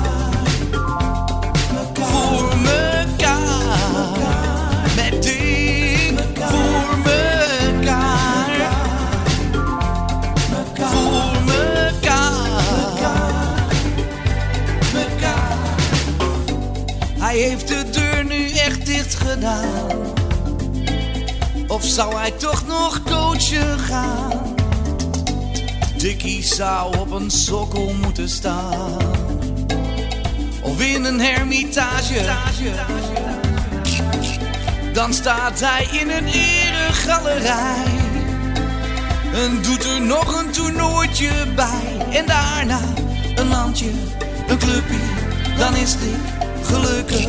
Speaker 14: voor mekaar, met Dick, voor mekaar, voor mekaar. Mekaar. Hij heeft de deur nu echt dicht gedaan. Of zou hij toch nog coachen gaan? Dickie zou op een sokkel moeten staan. Of in een hermitage. Dan staat hij in een eregalerij. En doet er nog een toernooitje bij. En daarna een landje, een clubje. Dan is Dick gelukkig.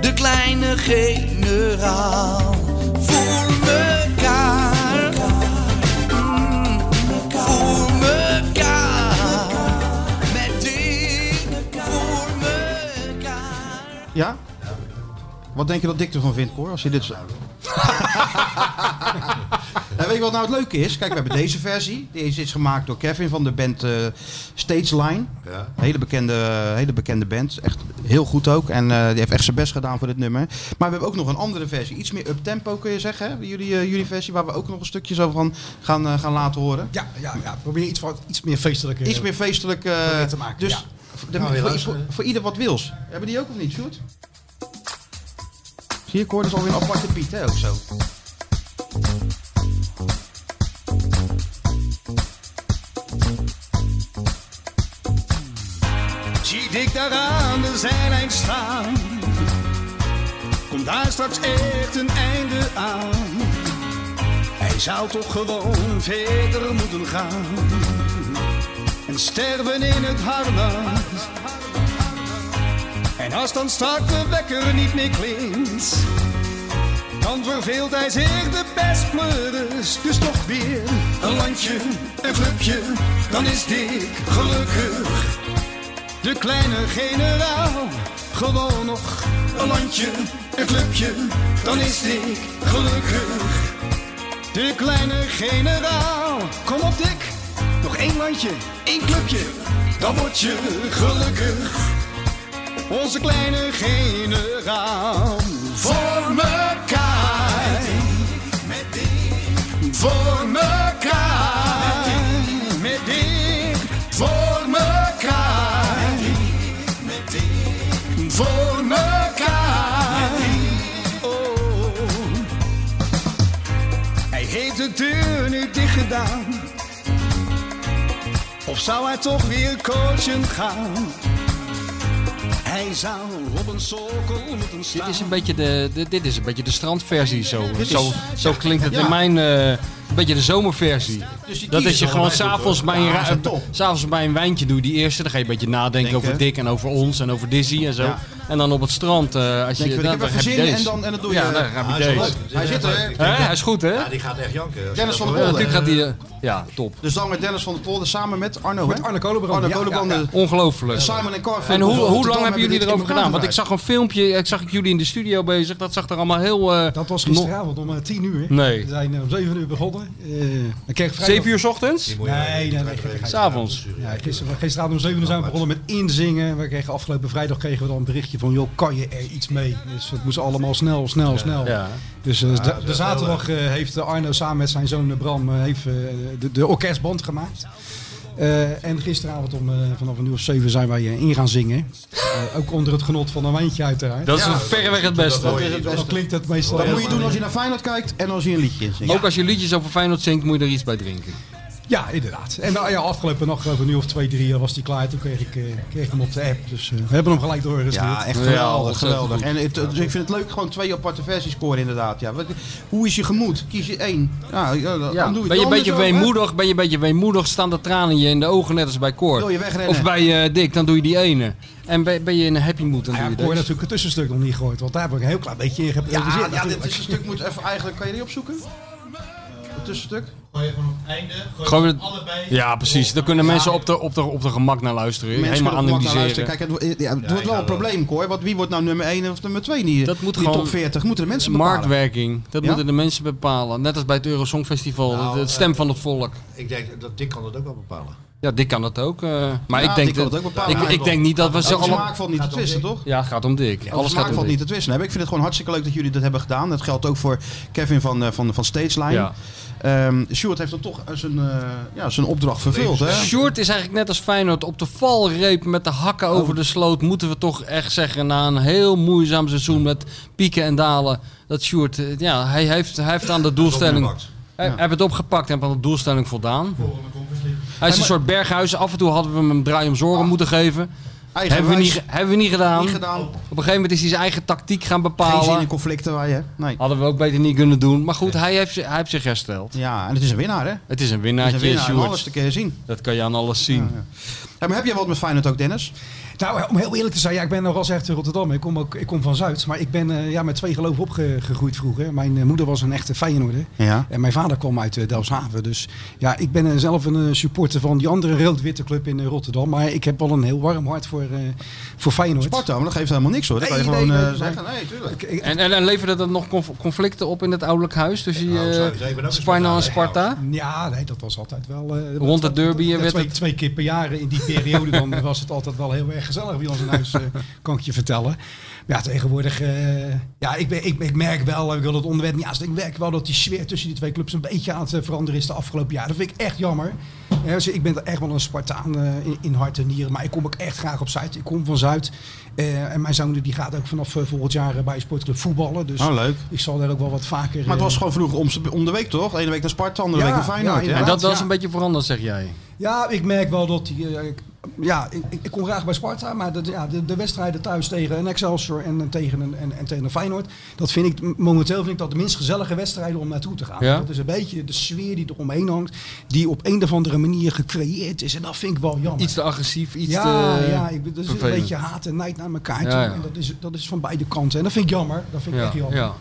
Speaker 14: De kleine generaal. Voor mekaar. Mm, Voor mekaar. Met Dick. Voor mekaar.
Speaker 2: Ja? Wat denk je dat Dick ervan vindt, Cor, als je dit zou Nou, weet je wat nou het leuke is? Kijk, we hebben deze versie. Deze is gemaakt door Kevin van de band eh, Stage Line.
Speaker 4: Ja.
Speaker 2: Hele bekende, hele bekende band. Echt heel goed ook. En eh, die heeft echt zijn best gedaan voor dit nummer. Maar we hebben ook nog een andere versie. Iets meer up-tempo kun je zeggen. hè? Jullie, eh, jullie versie waar we ook nog een stukje zo van gaan, eh, gaan laten horen. Ja, ja, ja. probeer iets, iets meer feestelijk... Iets meer feestelijk eh,
Speaker 5: te maken,
Speaker 2: Dus
Speaker 5: ja.
Speaker 2: de-
Speaker 5: Gaan we weer
Speaker 2: voor, voor,
Speaker 5: luisteren.
Speaker 2: voor ieder wat wils. Hebben die ook of niet, Sjoerd? Zie je, Cor, dat is alweer een aparte beat, hè, ook zo.
Speaker 5: eh, Zie ik daar aan de zijlijn staan. Komt daar straks echt een einde aan. Hij zou toch gewoon verder moeten gaan. En sterven in het harnas. En als dan straks de wekker niet meer klinkt. Dan verveelt hij zich de bestpleuris. Dus toch weer een landje, een clubje. Dan is Dick gelukkig. De kleine generaal, gewoon nog een landje, een clubje, dan is ik gelukkig. De kleine generaal, kom op Dick, nog één landje, één clubje, dan word je gelukkig. Onze kleine generaal, voor mekaar, voor mekaar, met Dick, voor mekaar, voor mekaar. Oh. Hij heeft de deur nu dicht gedaan. Of zou hij toch weer coachen gaan? Hij zou op een sokkel moeten staan.
Speaker 3: Dit is een beetje de, de- dit is een beetje de strandversie. Zo,
Speaker 5: Dit is-
Speaker 3: zo, zo klinkt het
Speaker 5: Ja.
Speaker 3: in mijn... eh, een beetje de zomerversie.
Speaker 5: Dus die
Speaker 3: dat
Speaker 5: kiezen
Speaker 3: is je
Speaker 5: ze
Speaker 3: gewoon
Speaker 5: allebei goed,
Speaker 3: s'avonds
Speaker 5: hoor.
Speaker 3: bij, een
Speaker 5: Ja,
Speaker 3: ra-
Speaker 5: dat zijn top.
Speaker 3: s'avonds bij een wijntje doe je die eerste. Dan ga je een beetje nadenken over Dick en over ons en over Dizzy en zo.
Speaker 2: Ja.
Speaker 3: En dan op het strand. eh als je,
Speaker 2: Denk je, ik
Speaker 3: dan,
Speaker 2: heb
Speaker 3: dan
Speaker 2: even
Speaker 3: heb je
Speaker 2: zin
Speaker 3: deze.
Speaker 2: en dan- en dan doe
Speaker 3: ja,
Speaker 2: je-
Speaker 3: dan heb je
Speaker 2: Ah, hij is wel
Speaker 3: deze.
Speaker 2: leuk. Hij zit er, hè?
Speaker 3: Hè? Hij is goed, hè?
Speaker 2: Ja, die gaat echt janken. Dennis
Speaker 3: dat
Speaker 2: van
Speaker 3: hoort.
Speaker 2: der Polder.
Speaker 3: Natuurlijk gaat die, eh, Ja, top.
Speaker 2: Dus dan met Dennis van der Polder samen met Arno. Met Arno Kolenbrand. eh,
Speaker 3: Ja, ja, ja. Ongelooflijk.
Speaker 2: Simon en Carver.
Speaker 3: En hoe,
Speaker 2: Rotterdam
Speaker 3: hoe lang hebben jullie
Speaker 2: dit
Speaker 3: erover
Speaker 2: in elkaar
Speaker 3: gedaan? Want ik
Speaker 2: gedraaid.
Speaker 3: zag een filmpje, ik zag ik jullie in de studio bezig. Dat zag er allemaal heel... dat was
Speaker 5: Gisteravond om eh, 10 uur.
Speaker 3: Nee.
Speaker 5: We zijn eh, om 7 uur begonnen. Eh ik kreeg vrijdag...
Speaker 3: 7 uur 's ochtends? Die
Speaker 5: Nee,
Speaker 3: moet je
Speaker 5: nee,
Speaker 3: weten.
Speaker 5: nee. gekkigheid.
Speaker 3: S'avonds?
Speaker 5: Ja, gister- gisteravond om 7 uur zijn we begonnen met inzingen. We kregen afgelopen vrijdag kregen we dan een berichtje van... joh, kan je er iets mee? Dus het moest allemaal snel, snel, snel.
Speaker 3: Ja.
Speaker 5: Dus eh,
Speaker 3: Ja,
Speaker 5: de-
Speaker 3: dat is
Speaker 5: de,
Speaker 3: echt
Speaker 5: zaterdag eh, heeft Arno samen met zijn zoon eh, Bram... eh, heeft, eh, de, de orkestband gemaakt. Eh, en gisteravond om eh, vanaf een uur of 7 zijn wij eh, in gaan zingen. Eh, ook onder het genot van een wijntje uiteraard.
Speaker 3: Dat is Ja, verreweg het beste.
Speaker 5: Dat, dat klinkt het meestal.
Speaker 2: Dat moet je doen als je naar Feyenoord kijkt en als je een liedje zingt.
Speaker 3: Ook als je liedjes over Feyenoord zingt, moet je er iets bij drinken.
Speaker 15: Ja, inderdaad. En nou, ja, afgelopen nacht, over een uur of twee, drie jaar was die klaar. Toen kreeg ik, eh, kreeg ik hem op de app. Dus eh, we hebben hem gelijk doorgestuurd.
Speaker 2: Ja, echt geweldig, geweldig. En het, dus ik vind het leuk, gewoon twee aparte versies scoren inderdaad. Ja. Wat, hoe is je gemoed? Kies je één. Ja, ja, dan
Speaker 3: Ja,
Speaker 2: doe
Speaker 3: ben je een beetje
Speaker 2: weemoedig?
Speaker 3: weemoedig, ben je een beetje weemoedig, staan de tranen je in de ogen net als bij Koor.
Speaker 2: Wil je wegrennen?
Speaker 3: Of bij eh, Dick, dan doe je die ene. En ben, ben je in een happy mood, dan
Speaker 15: Ja,
Speaker 3: doe je
Speaker 15: ik
Speaker 3: deze.
Speaker 15: hoor natuurlijk het tussenstuk nog niet gehoord, want daar heb ik een heel klein beetje in
Speaker 2: Ja,
Speaker 15: gepresenteerd.
Speaker 2: ja, dit
Speaker 15: natuurlijk.
Speaker 2: is een stuk moet even eigenlijk. Kan je die opzoeken? Het tussenstuk?
Speaker 7: Gooi je gewoon op het einde. Gooi
Speaker 3: Gewoon
Speaker 7: je
Speaker 3: het-
Speaker 7: allebei.
Speaker 3: ja, precies. Daar kunnen mensen op de, op, de, op de gemak naar luisteren.
Speaker 2: Mensen
Speaker 3: helemaal
Speaker 2: kunnen op gemak naar
Speaker 3: analyseren.
Speaker 2: luisteren. Kijk, het, wo- ja, het wordt wel een probleem, hoor. Want wie wordt nou nummer 1 of nummer 2 niet? Dat moet
Speaker 3: gewoon-
Speaker 2: top 40 moeten de mensen bepalen.
Speaker 3: Marktwerking, dat
Speaker 2: Ja?
Speaker 3: moeten de mensen bepalen. Net als bij het Eurosongfestival, Festival, de stem van het volk.
Speaker 4: Ik denk dat Dick kan dat ook wel bepalen.
Speaker 3: Ja, Dick kan dat ook. eh, maar
Speaker 2: Ja,
Speaker 3: ik denk,
Speaker 2: Dick kan
Speaker 3: dat,
Speaker 2: dat ook bepalen.
Speaker 3: ik,
Speaker 2: Ja,
Speaker 3: ik denk niet dat we
Speaker 2: Over
Speaker 3: ze
Speaker 2: smaak
Speaker 3: allemaal...
Speaker 2: valt niet te twisten, toch?
Speaker 3: Ja, het gaat om Dick.
Speaker 2: Alles
Speaker 3: Alles gaat om
Speaker 2: smaak valt
Speaker 3: Dick.
Speaker 2: niet te twisten hebben. Ik vind het gewoon hartstikke leuk dat jullie dat hebben gedaan. Dat geldt ook voor Kevin van, eh, van, van Stageline.
Speaker 3: Ja.
Speaker 2: Ehm, Stuart heeft dan toch eh, zijn, eh, ja, zijn opdracht vervuld. Hè?
Speaker 3: Sjoerd is eigenlijk net als Feyenoord op de valreep met de hakken
Speaker 2: Oh.
Speaker 3: over de sloot. Moeten we toch echt zeggen, na een heel moeizaam seizoen met pieken en dalen, dat Sjoerd, eh, ja, hij heeft, hij heeft aan de doelstelling...
Speaker 4: opgepakt.
Speaker 3: Hij hij heeft het opgepakt en heeft aan de doelstelling voldaan. Hij is een soort berghuis. Af en toe hadden we hem een draai om zorgen moeten geven.
Speaker 2: Eigenwijs.
Speaker 3: Hebben we, niet, ge- hebben we niet gedaan.
Speaker 2: Ah. Niet gedaan.
Speaker 3: Op een gegeven moment is hij zijn eigen tactiek gaan bepalen.
Speaker 2: Geen zin in conflicten waar je hebt. Nee.
Speaker 3: Hadden we ook beter niet kunnen doen. Maar goed, hij heeft, zi- hij heeft zich hersteld.
Speaker 2: Ja, en het is een winnaar, hè?
Speaker 3: Het is een
Speaker 2: Het is een
Speaker 3: winnaartje,
Speaker 2: winnaar, en
Speaker 3: Sjoerd.
Speaker 2: alles te kunnen zien.
Speaker 3: Dat kan je aan alles zien.
Speaker 2: Hé, maar heb jij wat met Feyenoord ook, Dennis?
Speaker 15: Nou, om heel eerlijk te zijn, ja, ik ben nog als echt in Rotterdam. Ik kom, ook, ik kom van Zuid, maar ik ben eh, ja, met twee geloven opgegroeid vroeger. Mijn eh, moeder was een echte Feyenoorder.
Speaker 2: Ja.
Speaker 15: En mijn vader kwam uit eh, Delfshaven. Dus ja, ik ben eh, zelf een eh, supporter van die andere rood-witte club in eh, Rotterdam. Maar ik heb wel een heel warm hart voor, eh, voor Feyenoord.
Speaker 2: Sparta, maar dat geeft helemaal niks hoor. Dat kan je gewoon eh, zeggen. Nee, tuurlijk.
Speaker 3: En, en, en leverde dat nog conf- conflicten op in het ouderlijk huis tussen
Speaker 2: Nou,
Speaker 15: zou
Speaker 3: eh,
Speaker 15: ik zeggen, ik ben ook een
Speaker 3: Sparta en
Speaker 15: Spartaan,
Speaker 3: Sparta?
Speaker 15: Ja, nee, dat was altijd wel... eh,
Speaker 3: Rond de derby,
Speaker 15: Ja,
Speaker 3: eh, werd
Speaker 15: twee,
Speaker 3: het-
Speaker 15: twee keer per jaar in die periode dan was het altijd wel heel erg gezellig bij ons in huis, eh, kan ik je vertellen. Maar ja, tegenwoordig... eh, ja, ik, ben, ik, ik merk wel, eh, ik wil het onderwerp niet aanstaan. Ik merk wel dat die sfeer tussen die twee clubs een beetje aan het eh, veranderen is de afgelopen jaren. Dat vind ik echt jammer. Eh, dus ik ben echt wel een Spartaan eh, in, in hart en nieren. Maar ik kom ook echt graag op Zuid. Ik kom van Zuid. eh, en mijn zoon die gaat ook vanaf eh, volgend jaar eh, bij een sportclub voetballen. Dus
Speaker 2: Oh, leuk.
Speaker 15: ik zal daar ook wel wat vaker...
Speaker 2: Maar het
Speaker 15: eh,
Speaker 2: was gewoon vroeger om, om de week toch? De ene week naar Sparta, andere
Speaker 15: Ja,
Speaker 2: week naar Feyenoord.
Speaker 15: ja,
Speaker 2: hè?
Speaker 3: En dat, dat is
Speaker 15: ja.
Speaker 3: een beetje veranderd, zeg jij.
Speaker 15: Ja, ik merk wel dat die. eh, ik- ja, ik, ik- ik kom graag bij Sparta, maar dat- ja, de, de wedstrijden thuis tegen een Excelsior en, en tegen, een, en, en tegen een Feyenoord, dat vind ik m- momenteel vind ik dat de minst gezellige wedstrijden om naartoe te gaan.
Speaker 3: Ja.
Speaker 15: Dat is een beetje de sfeer die er omheen hangt, die op een of andere manier gecreëerd is. En dat vind ik wel jammer.
Speaker 3: Iets te agressief, iets
Speaker 15: ja,
Speaker 3: te eh,
Speaker 15: ja, ik, dus een
Speaker 3: vervelend.
Speaker 15: beetje haat en nijd naar elkaar
Speaker 3: Ja,
Speaker 15: toe.
Speaker 3: ja.
Speaker 15: En dat is, dat is van beide kanten. En dat vind ik jammer. Dat vind ik
Speaker 3: Ja,
Speaker 15: echt jammer.
Speaker 3: ja.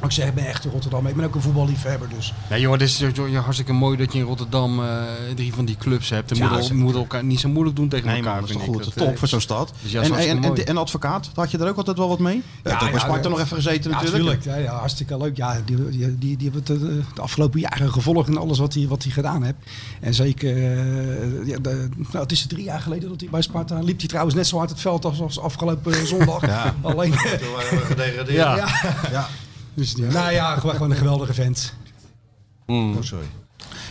Speaker 15: Maar Ik zeg, ik ben echt in Rotterdam. Ik ben ook een voetballiefhebber, dus.
Speaker 3: Nee joh, het is eh, joh, hartstikke mooi dat je in Rotterdam eh, drie van die clubs hebt. En
Speaker 15: Ja,
Speaker 3: moet,
Speaker 15: ze-
Speaker 3: el- moet elkaar niet zo moeilijk doen tegen
Speaker 2: Nee,
Speaker 3: elkaar.
Speaker 2: maar dat is toch
Speaker 3: vind ik.
Speaker 2: goed.
Speaker 3: Dat,
Speaker 2: Top
Speaker 3: eh,
Speaker 2: voor zo'n stad.
Speaker 3: is juist
Speaker 2: en, en,
Speaker 3: hartstikke
Speaker 2: en,
Speaker 3: mooi.
Speaker 2: en advocaat, had je er ook altijd wel wat mee? Ja, ja, bij Sparta nog even gezeten
Speaker 15: ja,
Speaker 2: natuurlijk.
Speaker 15: tuurlijk. Ja, ja, hartstikke leuk. Ja, die, die, die, die hebben het eh, de afgelopen jaren gevolgd en alles wat hij wat hij gedaan heeft. En zeker, eh, ja, de- nou, het is drie jaar geleden dat hij bij Sparta liep. Hij trouwens net zo hard het veld als, als afgelopen eh, zondag.
Speaker 4: Ja.
Speaker 15: Alleen,
Speaker 4: Toen waren we gedegradeerd.
Speaker 15: ja.
Speaker 4: Ja.
Speaker 15: Ja. Dus, ja. Nou ja, gewoon gewoon een geweldige vent.
Speaker 3: Mm.
Speaker 4: Oh, sorry.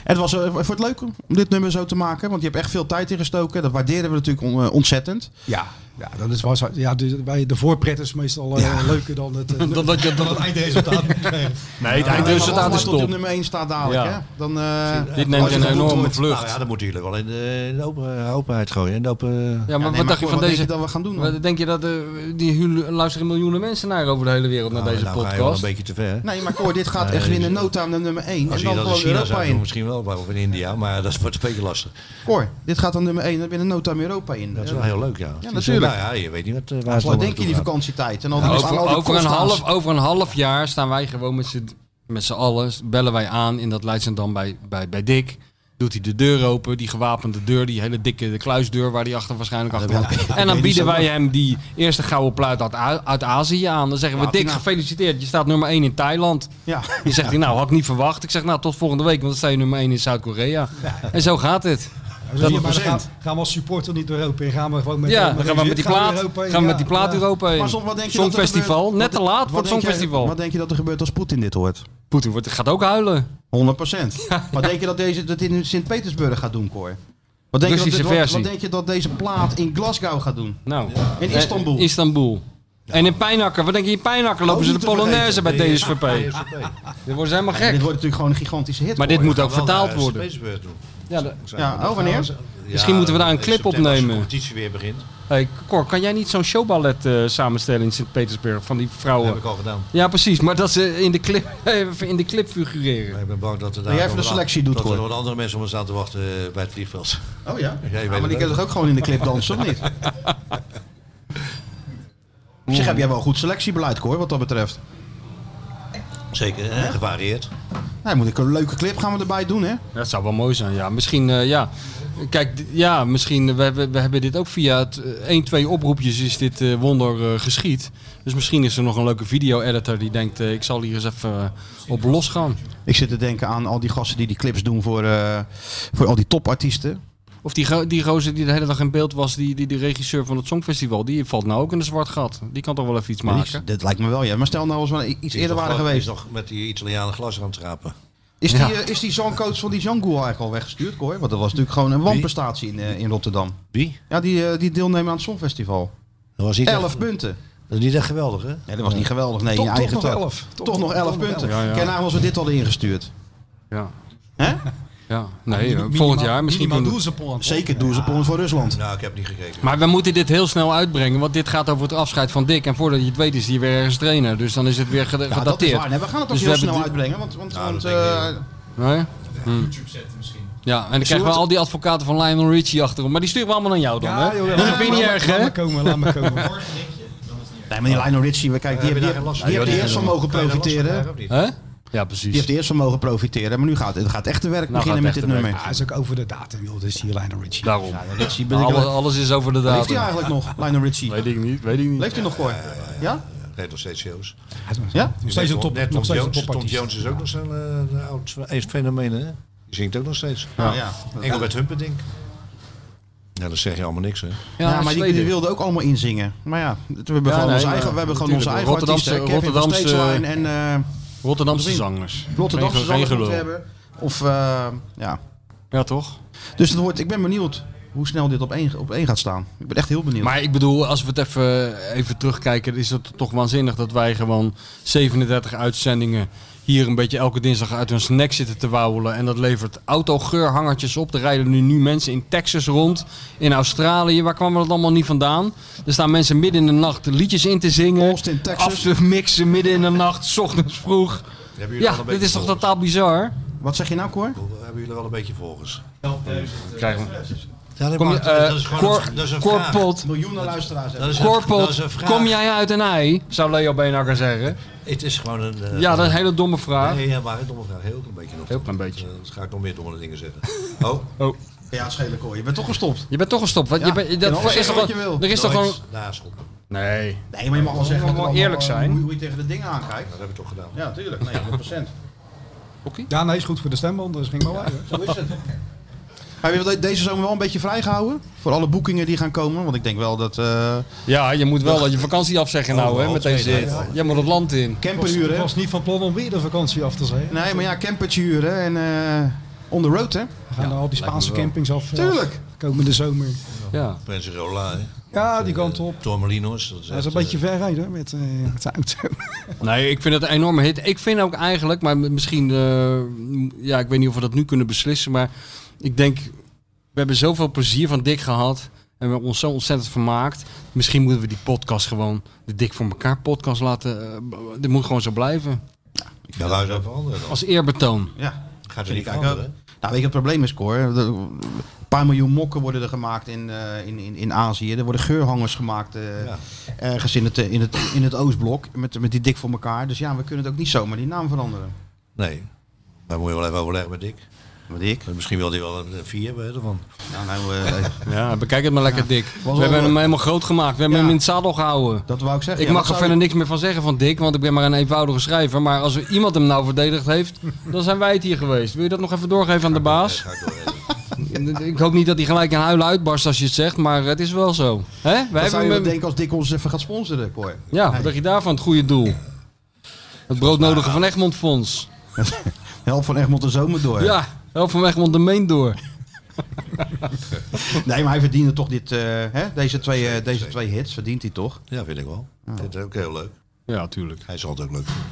Speaker 2: En het was eh, voor het leuk om dit nummer zo te maken, want je hebt echt veel tijd in gestoken. Dat waarderen we natuurlijk on- eh, ontzettend.
Speaker 15: Ja, ja, dat is was, ja, de, bij de voorpret is meestal eh, leuker dan het, eh,
Speaker 3: Dan dat je-
Speaker 15: dan het eindresultaat.
Speaker 3: Nee, het eindresultaat is
Speaker 2: Als je op
Speaker 3: top.
Speaker 2: nummer 1 staat dadelijk,
Speaker 3: Ja.
Speaker 2: hè? Dan, eh,
Speaker 3: Dit neemt
Speaker 2: als je
Speaker 3: een
Speaker 2: dat
Speaker 3: enorme
Speaker 2: doet,
Speaker 3: vlucht.
Speaker 4: Nou ja, dat moeten jullie wel in de, in de open, eh, openheid gooien. In de open...
Speaker 3: Ja, maar
Speaker 2: nee,
Speaker 3: wat
Speaker 2: maar
Speaker 3: dacht je
Speaker 2: goed,
Speaker 3: van
Speaker 2: wat
Speaker 3: deze?
Speaker 2: denk je dat we gaan doen dan?
Speaker 3: Wat denk je dat eh, die hu- luisteren miljoenen mensen naar over de hele wereld naar
Speaker 4: Nou,
Speaker 3: deze
Speaker 4: nou ga je wel
Speaker 3: podcast?
Speaker 4: een beetje te ver. hè?
Speaker 2: Nee, maar Cor, dit gaat
Speaker 4: Nee,
Speaker 2: echt in de
Speaker 4: dus-
Speaker 2: nota naar nummer 1.
Speaker 4: Als
Speaker 2: En dan
Speaker 4: je dat in
Speaker 2: gewoon
Speaker 4: China
Speaker 2: Europa
Speaker 4: zou doen,
Speaker 2: in.
Speaker 4: misschien wel, of in India, maar dat wordt een beetje lastig.
Speaker 2: Cor, dit gaat dan nummer 1 en binnen nota Europa in.
Speaker 4: Dat is wel heel leuk, ja.
Speaker 2: Ja,
Speaker 4: Dus,
Speaker 2: natuurlijk.
Speaker 4: Nou ja, je weet niet wat, eh, waar het
Speaker 2: Wat
Speaker 4: allemaal
Speaker 2: denk je die
Speaker 4: naartoe gaat.
Speaker 2: vakantietijd? En al die
Speaker 3: Nou,
Speaker 2: aan al
Speaker 3: over,
Speaker 2: die
Speaker 3: over, een
Speaker 2: kosten aan-
Speaker 3: half, over een half jaar staan wij gewoon met z'n, met z'n allen, bellen wij aan in dat Leidschendam bij, bij, bij Dick. Doet hij de deur open, die gewapende deur, die hele dikke kluisdeur waar hij achter waarschijnlijk achter
Speaker 2: dat
Speaker 3: hangt.
Speaker 2: ben-
Speaker 3: En
Speaker 2: dat
Speaker 3: dan
Speaker 2: ben je
Speaker 3: bieden
Speaker 2: niet
Speaker 3: wij
Speaker 2: zo
Speaker 3: hem die eerste gouden pluit uit, A- uit Azië aan. Dan zeggen we,
Speaker 2: Ja,
Speaker 3: Dick,
Speaker 2: nou.
Speaker 3: gefeliciteerd, je staat nummer 1 in Thailand.
Speaker 2: Ja.
Speaker 3: Dan zegt hij, nou had ik niet verwacht. Ik zeg, nou tot volgende week, want dan sta je nummer 1 in Zuid-Korea. En zo gaat het.
Speaker 15: Ja, maar dan gaan, gaan we als supporter niet door Europa in. Gaan we gewoon met
Speaker 3: Ja,
Speaker 15: eh,
Speaker 3: dan gaan we met die
Speaker 15: gaan
Speaker 3: plaat,
Speaker 15: Europa in,
Speaker 3: gaan we met
Speaker 15: ja.
Speaker 3: die plaat
Speaker 15: Ja.
Speaker 3: Europa heen.
Speaker 2: Maar soms, wat denk je dat er
Speaker 3: Songfestival,
Speaker 2: gebeurt?
Speaker 3: net te
Speaker 2: Wat-
Speaker 3: laat
Speaker 2: wat
Speaker 3: voor het
Speaker 2: denk jij-
Speaker 3: Songfestival.
Speaker 2: Wat denk je dat er gebeurt als Poetin dit hoort?
Speaker 3: Poetin wordt, gaat ook huilen.
Speaker 2: 100 procent. Wat denk je dat deze dat in Sint-Petersburg gaat doen, Cor? Wat denk, je dat,
Speaker 3: Russische
Speaker 2: dit- wat,
Speaker 3: versie.
Speaker 2: wat denk je dat deze plaat in Glasgow gaat doen?
Speaker 3: Nou,
Speaker 2: In
Speaker 3: eh,
Speaker 2: Istanbul.
Speaker 3: Istanbul. En in Pijnakker, wat denk je in Pijnakker? Lopen
Speaker 2: Ook
Speaker 3: ze de
Speaker 2: Oh, niet te
Speaker 3: Polonaise bij
Speaker 2: vergeten.
Speaker 3: DSVP? Dit worden ze helemaal
Speaker 2: Dit
Speaker 3: gek.
Speaker 2: wordt natuurlijk gewoon een gigantische hit.
Speaker 3: Maar dit
Speaker 2: Cor.
Speaker 3: moet ook
Speaker 4: Wel naar,
Speaker 3: vertaald
Speaker 4: eh,
Speaker 3: worden.
Speaker 4: Spacebird doen.
Speaker 3: Ja, de-
Speaker 4: zijn we
Speaker 3: Ja,
Speaker 4: dat
Speaker 3: oh, wanneer?
Speaker 4: gaan-
Speaker 3: Misschien moeten we daar een
Speaker 4: in
Speaker 3: clip
Speaker 4: september als
Speaker 3: opnemen.
Speaker 4: de competitie weer begint.
Speaker 3: Hey, Cor, kan jij niet zo'n showballet eh, samenstellen in Sint-Petersburg van die vrouwen?
Speaker 4: Dat heb ik al gedaan.
Speaker 3: Ja, precies. Maar dat ze in de clip, even in de clip figureren.
Speaker 4: Ik ben bang dat er
Speaker 3: Jij
Speaker 4: daar
Speaker 3: even de
Speaker 4: nog
Speaker 3: selectie
Speaker 4: wat-
Speaker 3: doet,
Speaker 4: Dat er
Speaker 3: hoor.
Speaker 4: nog andere mensen om ons aan te wachten eh, bij het vliegveld.
Speaker 2: Oh ja?
Speaker 4: Jij
Speaker 2: Ja,
Speaker 4: weet
Speaker 2: maar
Speaker 4: het
Speaker 2: die
Speaker 4: wel.
Speaker 2: kan toch ook gewoon in de clip dansen, of niet? Op zich heb jij wel een goed selectiebeleid, hoor, wat dat betreft.
Speaker 4: Zeker, eh, gevarieerd.
Speaker 2: Nou, moet ik een leuke clip gaan we erbij doen, hè?
Speaker 3: Dat zou wel mooi zijn, ja. Misschien, eh, ja. Kijk, d- ja, misschien, eh, we hebben, we hebben dit ook via het, eh, 1, 2 oproepjes is dit eh, wonder eh, geschied. Dus misschien is er nog een leuke video-editor die denkt, eh, ik zal hier eens even eh, op los gaan.
Speaker 2: Ik zit te denken aan al die gasten die die clips doen voor, eh, voor al die topartiesten.
Speaker 3: Of die, go- die gozer die de hele dag in beeld was, die, die de regisseur van het Songfestival, die valt nou ook in een zwart gat. Die kan toch wel even iets
Speaker 2: Maar
Speaker 3: maken?
Speaker 2: die- Dat lijkt me wel, ja. Maar stel nou als we i- iets
Speaker 4: Die is
Speaker 2: eerder
Speaker 4: nog
Speaker 2: waren
Speaker 4: gla-
Speaker 2: geweest.
Speaker 4: die Is nog met die Italianen glas aan het trapen.
Speaker 2: Is die,
Speaker 4: Ja.
Speaker 2: eh, is die zangcoach van die Django eigenlijk al weggestuurd, hoor? Want dat was natuurlijk gewoon een wanprestatie in, eh, in Rotterdam.
Speaker 4: Wie?
Speaker 2: Ja, die, eh, die deelnemen aan het Songfestival.
Speaker 4: Dat was niet
Speaker 2: elf
Speaker 4: echt-
Speaker 2: punten.
Speaker 4: Dat is niet echt geweldig, hè?
Speaker 2: Nee, dat was niet geweldig. Nee,
Speaker 4: Toch-
Speaker 2: in je
Speaker 4: toch
Speaker 2: eigen
Speaker 4: nog
Speaker 2: tak.
Speaker 4: elf.
Speaker 2: Toch,
Speaker 4: Toch
Speaker 2: nog
Speaker 4: nog
Speaker 2: 11
Speaker 4: elf.
Speaker 2: punten.
Speaker 3: Ja, ja.
Speaker 2: Kijk, nou was we dit hadden ingestuurd.
Speaker 3: Ja.
Speaker 2: Hè?
Speaker 3: Ja,
Speaker 2: Ah,
Speaker 4: Nou,
Speaker 3: nee, eh, volgend jaar misschien. doen we-
Speaker 2: Zeker doelzeppel voor Rusland.
Speaker 4: Nou, ik heb niet gekeken.
Speaker 3: Maar we moeten dit heel snel uitbrengen, want dit gaat over het afscheid van Dick. En voordat je het weet is hij weer ergens trainer. Dus dan is het weer ged-
Speaker 2: Ja, dat
Speaker 3: gedateerd.
Speaker 2: is waar. Nee, we gaan het ook
Speaker 3: Dus
Speaker 2: heel
Speaker 3: hebben
Speaker 2: snel
Speaker 3: de-
Speaker 2: uitbrengen. Want, want, want eh,
Speaker 3: Nee? Hm.
Speaker 7: YouTube zetten misschien.
Speaker 3: Ja, en dan
Speaker 2: Zullen
Speaker 3: krijgen
Speaker 2: we
Speaker 3: we
Speaker 2: het-
Speaker 3: al die advocaten van Lionel Richie achterom. Maar die sturen we allemaal aan jou dan, hè?
Speaker 15: joh,
Speaker 3: dat
Speaker 15: laat
Speaker 3: vind je
Speaker 15: maar-
Speaker 3: niet
Speaker 15: laat
Speaker 3: erg,
Speaker 15: maar-
Speaker 3: hè?
Speaker 15: laat maar komen, laat maar komen.
Speaker 2: Nee, maar die Lionel Richie, we kijken, die,
Speaker 3: Ja,
Speaker 2: die,
Speaker 3: we
Speaker 2: die,
Speaker 3: hebben daar geen last van.
Speaker 2: heeft
Speaker 3: Ja,
Speaker 2: er
Speaker 3: die
Speaker 2: eerst van
Speaker 3: hebben
Speaker 2: mogen
Speaker 3: we.
Speaker 2: profiteren.
Speaker 3: Hè? Ja, precies.
Speaker 2: Die heeft er eerst van mogen profiteren. Maar nu gaat het, gaat echt te werk
Speaker 3: Nou
Speaker 2: beginnen
Speaker 3: gaat
Speaker 2: met dit
Speaker 3: het echt te
Speaker 2: nummer. Ah,
Speaker 15: Ja, Ah, is ook over de datum, joh. Dus hier Lionel Richie.
Speaker 3: Daarom.
Speaker 2: Richie ben ik
Speaker 3: Alles,
Speaker 2: wel-
Speaker 3: alles is over de datum.
Speaker 2: Leeft hij eigenlijk nog, Lionel Richie? Weet
Speaker 3: ik niet, weet ik niet.
Speaker 2: Leeft hij nog, hoor? Ja?
Speaker 4: Nee, nog steeds shows.
Speaker 2: Ja?
Speaker 4: Net
Speaker 15: steeds een
Speaker 4: Tom-
Speaker 15: top-
Speaker 4: net
Speaker 15: nog
Speaker 4: Tom
Speaker 15: steeds een
Speaker 4: Jones. Tom
Speaker 15: topartiest.
Speaker 4: Jones is ook nog zo'n eh, een oud een fenomeen, hè? Die zingt ook nog steeds.
Speaker 2: Ja. Ja.
Speaker 4: Engelbert Humperdinck. Ja, dat zeg je allemaal niks, hè?
Speaker 2: Ja, maar die, die wilden ook allemaal inzingen. Maar ja, we hebben
Speaker 3: Ja,
Speaker 2: gewoon
Speaker 3: nee,
Speaker 2: onze
Speaker 3: maar-
Speaker 2: eigen, we hebben gewoon onze
Speaker 3: natuurlijk.
Speaker 2: eigen
Speaker 3: Rotterdamse-
Speaker 2: artiesten. Kevin
Speaker 3: Rotterdamse-
Speaker 2: van Steenswijn en eh,
Speaker 3: Rotterdamse
Speaker 2: Wat is het?
Speaker 3: zangers.
Speaker 2: Rotterdamse
Speaker 3: Geen-
Speaker 2: zangers
Speaker 3: geen
Speaker 2: moeten we
Speaker 3: gelul.
Speaker 2: hebben. Of eh, ja.
Speaker 3: Ja, toch?
Speaker 2: Dus het wordt, ik ben benieuwd hoe snel dit op één, op één gaat staan. Ik ben echt heel benieuwd.
Speaker 3: Maar ik bedoel, als we het even, even terugkijken, is het toch waanzinnig dat wij gewoon 37 uitzendingen hier een beetje elke dinsdag uit ons nek zitten te wauwelen. En dat levert autogeurhangertjes op. Er rijden nu, nu mensen in Texas rond, in Australië. Waar kwamen dat allemaal niet vandaan? Er staan mensen midden in de nacht liedjes in te zingen. Af te mixen midden in de nacht, 's ochtends vroeg.
Speaker 4: Hebben jullie
Speaker 3: Ja,
Speaker 4: al een
Speaker 3: dit
Speaker 4: beetje
Speaker 3: is toch
Speaker 4: volgers?
Speaker 3: totaal bizar?
Speaker 2: Wat zeg je nou, Cor?
Speaker 4: Hebben jullie wel een beetje volgers?
Speaker 3: Krijgen we.
Speaker 4: Ja, dat,
Speaker 3: Kom je,
Speaker 4: mag- dat-
Speaker 3: eh,
Speaker 4: dat is gewoon
Speaker 3: Cor-
Speaker 4: een, dat is een
Speaker 3: Cor
Speaker 4: vraag.
Speaker 3: Pot.
Speaker 2: Miljoenen luisteraars.
Speaker 4: Dat is een- dat is
Speaker 3: Korpot,
Speaker 4: een vraag.
Speaker 3: kom jij uit een ei? Zou Leo Beenhakker zeggen.
Speaker 4: Het is gewoon een... eh,
Speaker 3: Ja, dat is een hele domme vraag.
Speaker 4: Nee, ja, maar een domme vraag. Heel klein beetje nog.
Speaker 3: Heel klein beetje.
Speaker 4: Dat eh, dus ga ik nog meer domme dingen zeggen. Oh.
Speaker 3: Oh.
Speaker 2: Ja, het schelen, Cor. Je bent toch gestopt?
Speaker 3: Je bent toch gestopt. Want je
Speaker 2: Ja,
Speaker 3: bent-
Speaker 2: je
Speaker 3: dat
Speaker 2: kan alles
Speaker 3: is
Speaker 2: zeggen
Speaker 3: toch wel-
Speaker 2: wat je wil.
Speaker 3: er is toch gewoon...
Speaker 4: Nooit Nou, naschoppen.
Speaker 3: Nee.
Speaker 2: Nee, maar je mag wel zeggen dat
Speaker 3: Moet
Speaker 2: er
Speaker 3: wel
Speaker 2: allemaal,
Speaker 3: eerlijk
Speaker 2: eh,
Speaker 3: zijn.
Speaker 2: Hoe, hoe je tegen de dingen aankijkt.
Speaker 4: Dat hebben we toch gedaan.
Speaker 2: Ja, tuurlijk. Nee, 100%.
Speaker 15: Ja, nee, is goed voor de stemband, dus ging maar waar.
Speaker 2: Zo is het. Maar we hebben deze zomer wel een beetje vrijgehouden. Voor alle boekingen die gaan komen. Want ik denk wel dat... eh
Speaker 3: Ja, je moet wel dat je vakantie afzeggen
Speaker 4: Oh,
Speaker 3: nou, hè, met deze...
Speaker 2: Overal.
Speaker 3: Jij moet het land in.
Speaker 15: Ik was,
Speaker 2: camperhuren.
Speaker 15: was niet van plan om weer de vakantie af te zijn.
Speaker 2: Nee, maar ja, campertje huren en eh on the road, hè?
Speaker 15: We gaan al die Spaanse
Speaker 4: me wel.
Speaker 15: campings af.
Speaker 2: Tuurlijk.
Speaker 15: af Komende zomer.
Speaker 3: Ja.
Speaker 4: Pensarola, hè? eh,
Speaker 15: Ja, die kant op.
Speaker 4: Tormelinos. Dat is,
Speaker 15: Dat is een
Speaker 4: echt,
Speaker 15: beetje ver rijden met, eh, met de auto.
Speaker 3: Nee, ik vind het een enorme hit. Ik vind ook eigenlijk, maar misschien... eh, ja, ik weet niet of we dat nu kunnen beslissen, maar... Ik denk, we hebben zoveel plezier van Dick gehad. En we hebben ons zo ontzettend vermaakt. Misschien moeten we die podcast gewoon... De Dick voor elkaar podcast laten... eh, b- dit moet gewoon zo blijven.
Speaker 4: eh, Ja, daar is ook veranderen.
Speaker 3: Als eerbetoon.
Speaker 2: Ja.
Speaker 4: Gaat er
Speaker 2: Vind
Speaker 4: niet
Speaker 2: ik ook.
Speaker 4: veranderen.
Speaker 2: Nou, weet je, het probleem is, Cor. Er- Een paar miljoen mokken worden er gemaakt in, eh, in, in, in Azië. Er worden geurhangers gemaakt eh,
Speaker 4: Ja.
Speaker 2: ergens in het, eh, in het, in het Oostblok. Met, met die dik voor elkaar. Dus ja, we kunnen het ook niet zomaar die naam veranderen.
Speaker 4: Nee. Daar moet je wel even overleggen met Dick. Eh,
Speaker 2: Met Dick?
Speaker 4: Misschien wil hij wel een vier hebben ervan.
Speaker 2: Nou, nou, eh,
Speaker 3: Ja, bekijk het maar lekker dik. We
Speaker 2: wel
Speaker 3: hebben
Speaker 2: wel-
Speaker 3: hem helemaal groot gemaakt. We hebben
Speaker 2: Ja.
Speaker 3: hem in het zadel gehouden.
Speaker 2: dat wou ik zeggen.
Speaker 3: ik
Speaker 2: Ja,
Speaker 3: mag
Speaker 2: dat
Speaker 3: er
Speaker 2: zou-
Speaker 3: verder niks meer van zeggen van Dick, want ik ben maar een eenvoudige schrijver. Maar als er iemand hem nou verdedigd heeft, dan zijn wij het hier geweest. Wil je dat nog even doorgeven aan de baas? Ik hoop niet dat hij gelijk een huilen uitbarst als je het zegt, maar het is wel zo. Hè? Wij
Speaker 2: Dat zou je
Speaker 3: hem-
Speaker 2: wel denken als Dick ons even gaat sponsoren, Cor.
Speaker 3: Ja, wat dacht je daarvan? Het goede doel. Het broodnodige van Egmond Fonds.
Speaker 2: Help van Egmond de zomer door.
Speaker 3: Ja, help van Egmond de Meen door.
Speaker 2: Nee, maar hij verdiende toch dit, eh, hè? Deze, twee, eh, deze twee hits. Verdient hij toch?
Speaker 4: Ja, vind ik wel. Dit is ook heel leuk.
Speaker 3: Ja, tuurlijk.
Speaker 4: Hij zal het ook leuk vinden.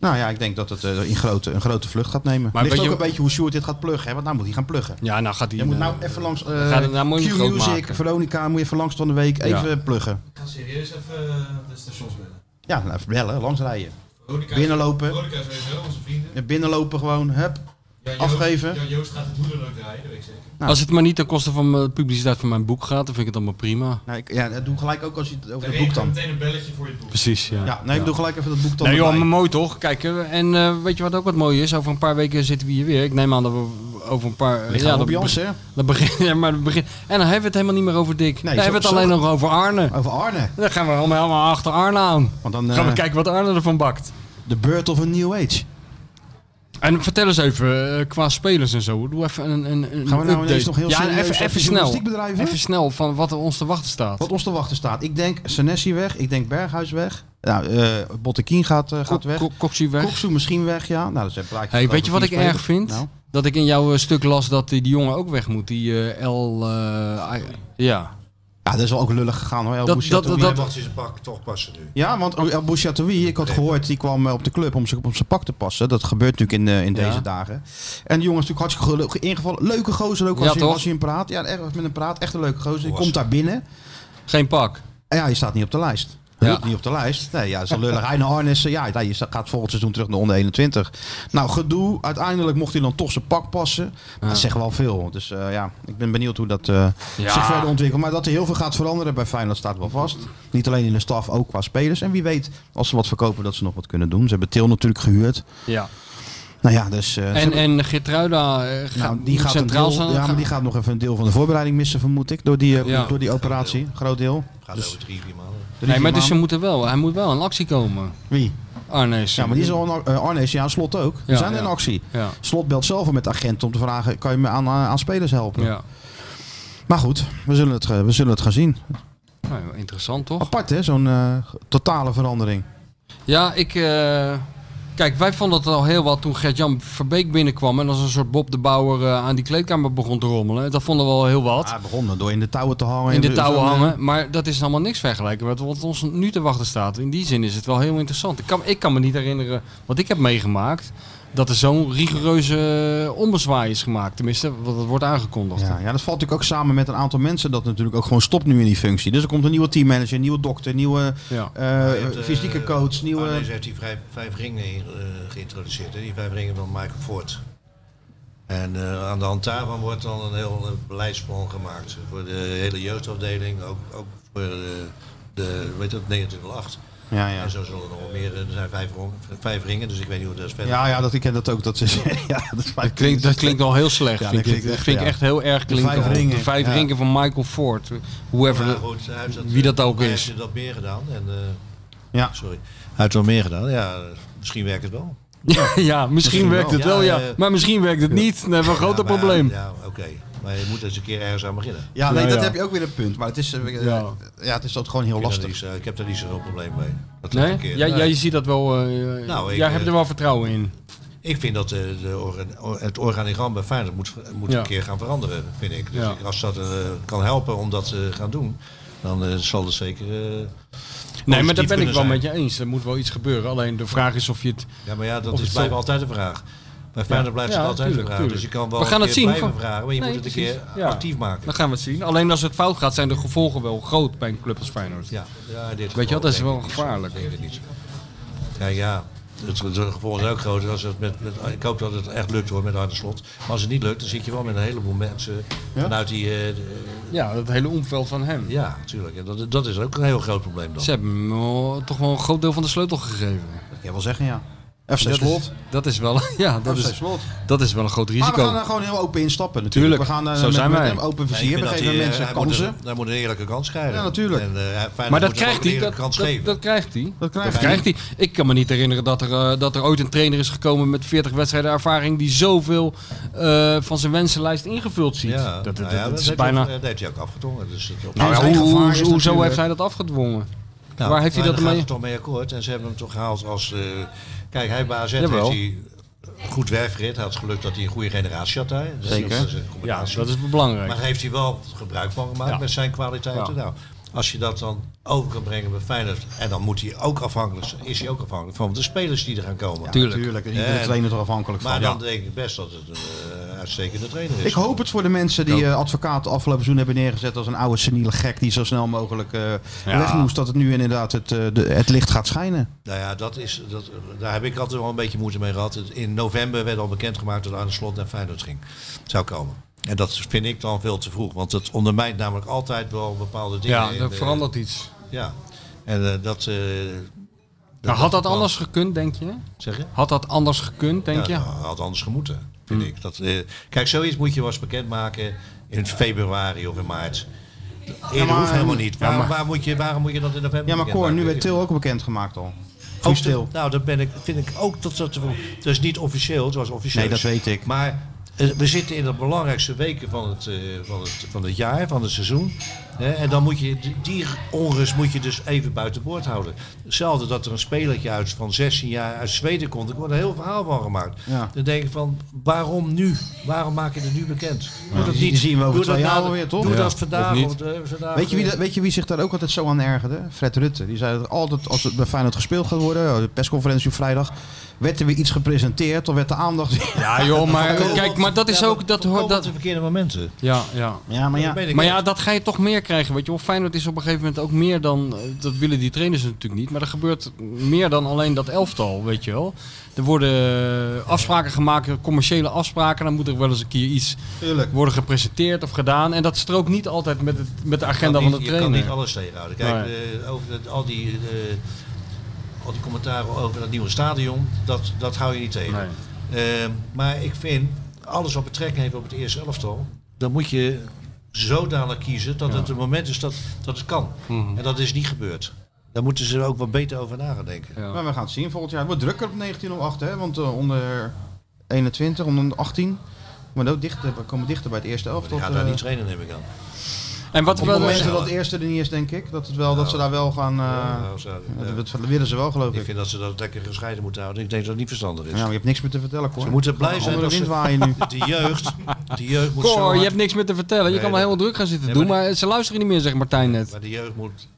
Speaker 2: Nou ja, ik denk dat het eh, in grote, een grote vlucht gaat nemen.
Speaker 3: Maar
Speaker 2: Maar ligt
Speaker 3: weet
Speaker 2: ook
Speaker 3: je-
Speaker 2: een beetje hoe Sjoerd dit gaat pluggen, hè? want nou moet hij gaan pluggen.
Speaker 3: Ja, nou gaat hij...
Speaker 2: Je moet
Speaker 3: eh,
Speaker 2: nou even langs eh,
Speaker 3: gaat het nou mooi
Speaker 2: Q
Speaker 3: groot
Speaker 2: Music,
Speaker 3: maken.
Speaker 2: Veronica, moet je even langs van de week even eh, pluggen.
Speaker 7: Ik ga serieus even eh, de stations bellen.
Speaker 2: Ja, nou, even bellen, langsrijden.
Speaker 7: Veronica-
Speaker 2: Binnenlopen.
Speaker 7: Veronica sowieso, onze vrienden.
Speaker 2: Ja, Binnenlopen gewoon, hup.
Speaker 7: Ja, Joost-
Speaker 2: Afgeven.
Speaker 7: Ja, Joost gaat het hoerenleuk draaien, dat weet ik zeker.
Speaker 2: Nou.
Speaker 3: Als het maar niet ten koste van de publiciteit van mijn boek gaat, dan vind ik het allemaal prima.
Speaker 2: Nou, ik, ja, dat doe gelijk ook als je het over
Speaker 7: Dan
Speaker 2: het boek
Speaker 7: regel
Speaker 2: dan.
Speaker 7: ik meteen een belletje voor je boek.
Speaker 3: Precies, ja.
Speaker 2: Ja, nee, ik
Speaker 3: Ja.
Speaker 2: doe gelijk even dat boek dan.
Speaker 3: Nee joh,
Speaker 2: erbij.
Speaker 3: maar mooi toch? Kijk, eh, en eh, weet je wat ook wat mooi is? Over een paar weken zitten we hier weer. Ik neem aan dat we over een paar...
Speaker 2: Lichaam op
Speaker 3: dat
Speaker 2: Jans,
Speaker 3: be-
Speaker 2: hè?
Speaker 3: Dat begin, ja, maar dat begin, en dan hebben we het helemaal niet meer over Dick. dan
Speaker 2: zo-
Speaker 3: hebben we het
Speaker 2: zo-
Speaker 3: alleen nog over Arne.
Speaker 2: Over Arne.
Speaker 3: Dan gaan we allemaal helemaal achter Arne aan.
Speaker 2: Want dan,
Speaker 3: gaan we
Speaker 2: eh,
Speaker 3: kijken wat Arne ervan bakt.
Speaker 2: The Birth of a New Age.
Speaker 3: En vertel eens even, eh, qua spelers en zo, doe even een, een, een
Speaker 2: Gaan we nou
Speaker 3: update.
Speaker 2: ineens nog heel
Speaker 3: ja,
Speaker 2: serieus
Speaker 3: even,
Speaker 2: over
Speaker 3: even snel.
Speaker 2: journalistiek bedrijven?
Speaker 3: Even snel van wat er ons te wachten staat.
Speaker 2: Wat ons te wachten staat. Ik denk Senesi weg. Ik denk Berghuis weg. Nou, eh Bottekin gaat, eh, gaat weg.
Speaker 3: Koksu weg.
Speaker 2: Koksu misschien weg, ja. Nou, dat zijn plaatjes.
Speaker 3: Hey,
Speaker 2: van
Speaker 3: weet je wat
Speaker 2: over
Speaker 3: ik
Speaker 2: vier
Speaker 3: erg
Speaker 2: spelers.
Speaker 3: vind?
Speaker 2: Nou.
Speaker 3: Dat ik in jouw eh, stuk las dat die, die jongen ook weg moet. Die eh L. eh, I- ja.
Speaker 2: Ja, dat is wel ook lullig gegaan hoor. El
Speaker 3: Dat-
Speaker 2: Bouchatoui.
Speaker 3: dat-
Speaker 4: Dat mag in zijn pak toch passen nu.
Speaker 2: Ja, want El Bouchatoui, ik had gehoord, die kwam eh, op de club om ze- om zijn pak te passen. Dat gebeurt natuurlijk in, eh, in
Speaker 3: Ja.
Speaker 2: deze dagen. En die jongen is natuurlijk hartstikke gelukkig ingevallen. Leuke gozer ook
Speaker 3: Ja,
Speaker 2: als, je,
Speaker 3: toch?
Speaker 2: als je hem praat. Ja, echt, als je met hem praat. Echt een leuke gozer. Die
Speaker 4: Was-
Speaker 2: komt daar binnen.
Speaker 3: Geen pak.
Speaker 2: En Ja, je staat niet op de lijst.
Speaker 3: Ja.
Speaker 2: Hulp niet op de lijst. Nee, ja, dat is wel lullig. Heine Arnissen, ja, ja, je sta- gaat volgend seizoen terug naar onder 21. Nou, gedoe. Uiteindelijk mocht hij dan toch zijn pak passen. Maar Dat zegt wel veel. Dus eh, ja, ik ben benieuwd hoe dat eh,
Speaker 3: Ja.
Speaker 2: zich verder ontwikkelt. Maar dat er heel veel gaat veranderen bij Feyenoord staat wel vast. Niet alleen in de staf, ook qua spelers. En wie weet, als ze wat verkopen, dat ze nog wat kunnen doen. Ze hebben Til natuurlijk gehuurd.
Speaker 3: ja.
Speaker 2: Nou ja, dus... eh, ze
Speaker 3: En,
Speaker 2: hebben-
Speaker 3: en Gertruida eh, gaat,
Speaker 2: nou, die
Speaker 3: moet
Speaker 2: gaat, een
Speaker 3: centraal
Speaker 2: deel,
Speaker 3: staan.
Speaker 2: ja, maar die gaat nog even een deel van de voorbereiding missen, vermoed ik. Door die, eh,
Speaker 3: Ja.
Speaker 2: door die operatie. Groot deel.
Speaker 4: Gaat over drie, vier maanden.
Speaker 2: Drie,
Speaker 3: Dus- nee, maar
Speaker 2: vier
Speaker 3: dus ze
Speaker 2: maanden.
Speaker 3: moeten wel. Hij moet wel in actie komen. Ah,
Speaker 2: Wie?
Speaker 3: Arnees.
Speaker 2: Ja, maar die is al een, eh, Arnees, ja, Slot ook. Die
Speaker 3: Ja,
Speaker 2: zijn
Speaker 3: ja.
Speaker 2: in actie.
Speaker 3: Ja.
Speaker 2: Slot belt zelf al met de agent om te vragen, kan je me aan, eh, aan aan spelers helpen?
Speaker 3: Ja.
Speaker 2: Maar goed, we zullen, het, eh, we zullen het gaan zien.
Speaker 3: Nou, interessant toch?
Speaker 2: Apart hè, zo'n eh, totale verandering.
Speaker 3: Ja, ik. eh, kijk, wij vonden het al heel wat toen Gert-Jan Verbeek binnenkwam. En als een soort Bob de Bouwer eh, aan die kleedkamer begon te rommelen. Dat vonden we al heel wat.
Speaker 2: Hij begon dan door in de touwen te hangen.
Speaker 3: in de touwen
Speaker 2: zo'n, eh,
Speaker 3: hangen. Maar dat is allemaal niks vergelijken met wat ons nu te wachten staat. In die zin is het wel heel interessant. Ik kan, ik kan me niet herinneren wat ik heb meegemaakt. Dat er zo'n rigoureuze eh, ombezwaai is gemaakt. Tenminste, wat het wordt aangekondigd.
Speaker 2: Ja, ja, dat valt natuurlijk ook samen met een aantal mensen dat natuurlijk ook gewoon stopt nu in die functie. Dus er komt een nieuwe teammanager, een nieuwe dokter, een nieuwe
Speaker 3: Ja.
Speaker 2: eh,
Speaker 4: Je hebt, eh,
Speaker 2: fysieke coach, nieuwe...
Speaker 4: Arnees heeft die vijf, vijf ringen eh, geïntroduceerd. Hè? Die vijf ringen van Michael Ford. En eh, aan de hand daarvan wordt dan een heel eh, beleidsplan gemaakt. Voor de hele jeugdafdeling. Ook, ook voor eh, de, weet dat, 1908.
Speaker 2: Ja, ja.
Speaker 4: En zo zullen er nog wel meer. eh, Er zijn vijf, ron- vijf ringen, dus ik weet niet hoe dat is verder.
Speaker 2: Ja, ja, dat, ik ken dat ook. Dat, is, ja, dat, is
Speaker 3: Dat klinkt, dat klinkt al heel slecht.
Speaker 2: Ja,
Speaker 3: vind
Speaker 2: dat
Speaker 3: ik.
Speaker 2: klinkt
Speaker 3: Dat
Speaker 2: echt,
Speaker 3: vind ik
Speaker 2: ja.
Speaker 3: echt heel erg
Speaker 2: De
Speaker 3: klinken.
Speaker 2: vijf ringen,
Speaker 3: De vijf
Speaker 2: ja.
Speaker 3: ringen van Michael Ford. Whoever,
Speaker 4: Maar
Speaker 3: de-
Speaker 4: goed, hij heeft
Speaker 3: wie dat ook
Speaker 4: hij
Speaker 3: is.
Speaker 4: heeft dat meer gedaan. En, eh,
Speaker 2: Ja.
Speaker 4: Sorry. Hij heeft wel meer gedaan. Ja, misschien werkt het wel.
Speaker 3: Ja, misschien, werkt het wel, ja.
Speaker 4: eh,
Speaker 3: maar misschien werkt het niet. Dan hebben we een groter
Speaker 4: Ja, maar-
Speaker 3: probleem.
Speaker 4: Ja, oké. Maar je moet eens een keer ergens aan beginnen.
Speaker 2: Ja, nee,
Speaker 3: Ja,
Speaker 2: dat
Speaker 3: ja.
Speaker 2: heb je ook weer een punt. Maar het is, eh, eh,
Speaker 3: Ja.
Speaker 2: ja. het is ook gewoon heel
Speaker 4: Ik, vind dat
Speaker 2: lastig.
Speaker 4: niet zo- ik heb daar niet zo'n probleem mee. Dat lukt
Speaker 3: nee?
Speaker 4: een keer.
Speaker 3: Jij,
Speaker 4: Nee.
Speaker 3: jij ziet dat wel. eh,
Speaker 4: Nou, ik,
Speaker 3: jij
Speaker 4: eh,
Speaker 3: hebt er wel vertrouwen in.
Speaker 4: Ik vind dat eh, de orga- or- het organigram bij Feyenoord moet, moet
Speaker 3: Ja.
Speaker 4: een keer gaan veranderen, vind ik. Dus
Speaker 3: Ja.
Speaker 4: ik- als dat eh, kan helpen om dat te gaan doen, dan eh, zal het zeker... eh,
Speaker 3: Nee, maar
Speaker 4: positief
Speaker 3: daar ben ik
Speaker 4: kunnen
Speaker 3: wel
Speaker 4: zijn.
Speaker 3: met je eens. Er moet wel iets gebeuren. Alleen de vraag is of je het.
Speaker 4: Ja, maar ja, dat
Speaker 3: Of
Speaker 4: is,
Speaker 3: het
Speaker 4: blijft
Speaker 3: zo-
Speaker 4: altijd een vraag. Bij Feyenoord blijft
Speaker 3: ja,
Speaker 4: het altijd
Speaker 3: tuurlijk,
Speaker 4: een vraag. Dus je
Speaker 3: tuurlijk.
Speaker 4: kan wel
Speaker 3: We gaan
Speaker 4: een
Speaker 3: het
Speaker 4: keer
Speaker 3: zien
Speaker 4: blijven
Speaker 3: van-
Speaker 4: vragen, maar je
Speaker 3: Nee,
Speaker 4: moet het een
Speaker 3: precies.
Speaker 4: keer
Speaker 3: Ja.
Speaker 4: actief maken.
Speaker 3: Dan gaan we het zien. Alleen als het fout gaat, zijn de gevolgen wel groot bij een club als Feyenoord.
Speaker 4: Ja, ja, in
Speaker 3: Weet
Speaker 4: dit
Speaker 3: je
Speaker 4: geval
Speaker 3: wat, dat is
Speaker 4: denk
Speaker 3: wel
Speaker 4: ik niet zo.
Speaker 3: gevaarlijk.
Speaker 4: Ik denk het niet zo. Kijk, ja, het, het gevolg is ook groot. Als het met, met, ik hoop dat het echt lukt hoor met Arne Slot. Maar als het niet lukt, dan zit je wel met een heleboel mensen vanuit die... eh, de-
Speaker 3: Ja, dat hele omveld van hem.
Speaker 4: ja, natuurlijk. En dat, dat is ook een heel groot probleem dan.
Speaker 3: Ze hebben hem wel- toch wel een groot deel van de sleutel gegeven.
Speaker 2: Ik kan wel zeggen, ja. FC
Speaker 3: dat
Speaker 2: Slot.
Speaker 3: Is, dat is wel. Ja, dat
Speaker 2: FC
Speaker 3: is,
Speaker 2: Slot.
Speaker 3: dat is wel een groot
Speaker 2: Maar we
Speaker 3: risico.
Speaker 2: gaan er gewoon heel open instappen natuurlijk.
Speaker 3: Tuurlijk,
Speaker 2: We gaan eh,
Speaker 3: zo
Speaker 2: met,
Speaker 3: zijn
Speaker 2: met
Speaker 3: wij.
Speaker 2: een open
Speaker 4: Nee, ik
Speaker 2: vizier.
Speaker 4: vind
Speaker 2: we
Speaker 4: dat
Speaker 2: geven
Speaker 4: hij, eh,
Speaker 2: mensen
Speaker 4: hij moet
Speaker 2: kansen.
Speaker 4: een- Hij moet een eerlijke kans krijgen.
Speaker 2: Ja, natuurlijk.
Speaker 4: En, eh, Feyenoord
Speaker 3: Maar dat
Speaker 4: moet hem
Speaker 3: krijgt
Speaker 4: ook een
Speaker 3: hij.
Speaker 4: eerlijke
Speaker 3: Dat,
Speaker 4: kans
Speaker 3: dat,
Speaker 4: geven.
Speaker 3: dat krijgt hij.
Speaker 2: Dat
Speaker 3: Dat
Speaker 2: krijgt hij.
Speaker 3: krijgt hij. Ik kan me niet herinneren dat er, eh, dat er ooit een trainer is gekomen met 40 wedstrijden ervaring die zoveel eh, van zijn wensenlijst ingevuld ziet.
Speaker 4: Ja,
Speaker 3: dat, dat,
Speaker 4: nou
Speaker 3: dat,
Speaker 4: ja, dat
Speaker 3: is
Speaker 4: heeft
Speaker 3: bijna.
Speaker 4: hij ook- dat heeft hij ook afgedwongen. Dus het-
Speaker 3: Nou ja,
Speaker 2: Zijn
Speaker 3: hoe,
Speaker 2: gevaar
Speaker 3: hoe-
Speaker 2: is
Speaker 3: hoezo
Speaker 4: eh,
Speaker 2: natuurlijk-
Speaker 3: heeft hij dat afgedwongen?
Speaker 4: Nou,
Speaker 3: Waar heeft hij
Speaker 4: maar
Speaker 3: dat
Speaker 4: daar
Speaker 3: mee?
Speaker 4: gaat het toch mee akkoord. En ze hebben hem toch gehaald als... eh, kijk, hij bij AZ heeft
Speaker 3: Jawel.
Speaker 4: hij goed werfrit. Hij had het geluk dat hij een goede generatie had daar. Dus Dat is-
Speaker 2: Zeker.
Speaker 4: Dat is een
Speaker 3: Ja,
Speaker 4: combinatie.
Speaker 3: dat is belangrijk.
Speaker 4: maar heeft hij wel gebruik van gemaakt
Speaker 3: Ja.
Speaker 4: met zijn kwaliteiten?
Speaker 3: Ja.
Speaker 4: Nou, Als je dat dan over kan brengen bij Feyenoord. En dan moet hij ook afhankelijk, zijn- is hij ook afhankelijk van de spelers die er gaan komen.
Speaker 2: Ja, Tuurlijk. tuurlijk. En iedere trainer er afhankelijk
Speaker 4: maar
Speaker 2: van,
Speaker 4: Maar
Speaker 2: ja.
Speaker 4: dan denk ik best dat het een eh, uitstekende trainer is.
Speaker 2: Ik hoop het voor de mensen die eh, advocaten afgelopen seizoen hebben neergezet als een oude seniele gek die zo snel mogelijk eh,
Speaker 4: Ja.
Speaker 2: weg moest. Dat het nu inderdaad het, eh, de- het licht gaat schijnen.
Speaker 4: Nou ja, dat is, dat, daar heb ik altijd wel een beetje moeite mee gehad. In november werd al bekendgemaakt dat Arne Slot naar Feyenoord ging. Zou komen. En dat vind ik dan veel te vroeg. Want dat ondermijnt namelijk altijd wel bepaalde dingen.
Speaker 3: Ja,
Speaker 4: in
Speaker 3: er
Speaker 4: de-
Speaker 3: verandert iets.
Speaker 4: Ja. En eh, dat... eh,
Speaker 3: Maar Nou, had dat
Speaker 4: wel-
Speaker 3: anders gekund, denk je?
Speaker 4: Zeg je?
Speaker 3: Had dat anders gekund, denk
Speaker 4: ja,
Speaker 3: je? Hm.
Speaker 4: nou, had anders gemoeten, vind ik. Dat, eh, kijk, zoiets moet je wel eens bekendmaken in februari of in maart. Eerder
Speaker 2: maar-
Speaker 4: hoeft helemaal niet.
Speaker 2: Ja,
Speaker 4: Waarom,
Speaker 2: maar-
Speaker 4: waar moet je, waarom moet je dat in november
Speaker 2: Ja, maar Cor, nu werd
Speaker 4: bekendmaken?
Speaker 2: Til ook bekendgemaakt al.
Speaker 4: Ook
Speaker 2: Voor stil.
Speaker 4: de- nou, dat ben ik, vind ik ook dat dat. Het is niet officieel, het was officieel.
Speaker 2: Nee, dat weet ik.
Speaker 4: Maar eh, we zitten in de belangrijkste weken van het, eh, van het, van het jaar, van het seizoen. Hè, en dan moet je die- die onrust moet je dus even buiten boord houden. Hetzelfde dat er een spelertje uit van 16 jaar uit Zweden komt. Er wordt een heel verhaal van gemaakt.
Speaker 2: Ja.
Speaker 4: Dan denk ik van, waarom nu? Waarom maak je het nu bekend? Doe dat
Speaker 2: Nou, Die
Speaker 4: niet.
Speaker 2: zien we over
Speaker 4: Doe
Speaker 2: twee
Speaker 4: dat
Speaker 2: jaar
Speaker 4: na de-
Speaker 2: alweer, toch?
Speaker 4: Doe
Speaker 2: Ja,
Speaker 4: dat
Speaker 2: of
Speaker 4: vandaag.
Speaker 2: niet?
Speaker 4: Of de- vandaag
Speaker 2: Weet je, wie
Speaker 4: weer.
Speaker 2: dat, weet je wie zich daar ook altijd zo aan ergerde? Fred Rutte. Die zei dat altijd als het bij Feyenoord gespeeld gaat worden, oh, de persconferentie op vrijdag, werd er weer iets gepresenteerd of werd de aandacht...
Speaker 3: Ja, joh, maar kijk, maar dat is
Speaker 4: Ja,
Speaker 3: ook. Dat hoort dat.
Speaker 4: de verkeerde momenten.
Speaker 3: Ja, ja.
Speaker 2: Ja, maar ja.
Speaker 3: Maar ja, dat ga je toch meer krijgen. Weet je wel, Feyenoord is op een gegeven moment ook meer dan. eh, Dat willen die trainers natuurlijk niet. Maar er gebeurt meer dan alleen dat elftal, weet je wel. Er worden eh, afspraken gemaakt, commerciële afspraken. Dan moet er wel eens een keer iets worden gepresenteerd of gedaan. En dat strookt niet altijd met, het, met de agenda
Speaker 4: kan niet-
Speaker 3: van de
Speaker 4: je
Speaker 3: trainer.
Speaker 4: kan niet alles tegenhouden. Kijk, eh, over het- al, die, eh, al die commentaren over dat nieuwe stadion, dat, dat hou je niet tegen. Eh, maar ik vind, alles wat betrekking heeft op het eerste elftal, dan moet je zodanig kiezen dat
Speaker 3: Ja.
Speaker 4: het een moment is dat, dat het kan.
Speaker 3: Mhm.
Speaker 4: En dat is niet gebeurd. Daar moeten ze ook wat beter over nadenken.
Speaker 2: Maar we gaan het zien volgend jaar. Het wordt drukker op 1908, hè? Want eh, onder 21, onder 18, maar ook dichter, we komen dichter bij het eerste elftal. eh,
Speaker 4: Die gaan daar niet trainen, neem ik aan.
Speaker 3: En wat
Speaker 2: op
Speaker 3: wel- dus-
Speaker 2: het moment dat het eerste er niet is, denk ik, dat, het wel, dat ze daar wel gaan... eh,
Speaker 4: Ja, nou, ze-
Speaker 2: dat- dat willen ze wel, geloof ik.
Speaker 4: Ik vind dat ze dat lekker gescheiden moeten houden. Ik denk dat het niet verstandig is.
Speaker 2: Ja, maar je hebt niks meer te vertellen, Cor.
Speaker 4: Ze moeten blij
Speaker 2: Andere
Speaker 4: zijn dat
Speaker 2: wind
Speaker 4: ze-
Speaker 2: waaien nu.
Speaker 4: De jeugd, de jeugd moet zo
Speaker 3: Cor, je
Speaker 4: hard-
Speaker 3: hebt niks meer te vertellen. Je
Speaker 4: Nee,
Speaker 3: kan wel
Speaker 4: dat-
Speaker 3: helemaal druk gaan zitten
Speaker 4: Nee,
Speaker 3: doen.
Speaker 4: maar
Speaker 3: Maar ze luisteren niet meer, zegt Martijn net.
Speaker 4: Maar de jeugd moet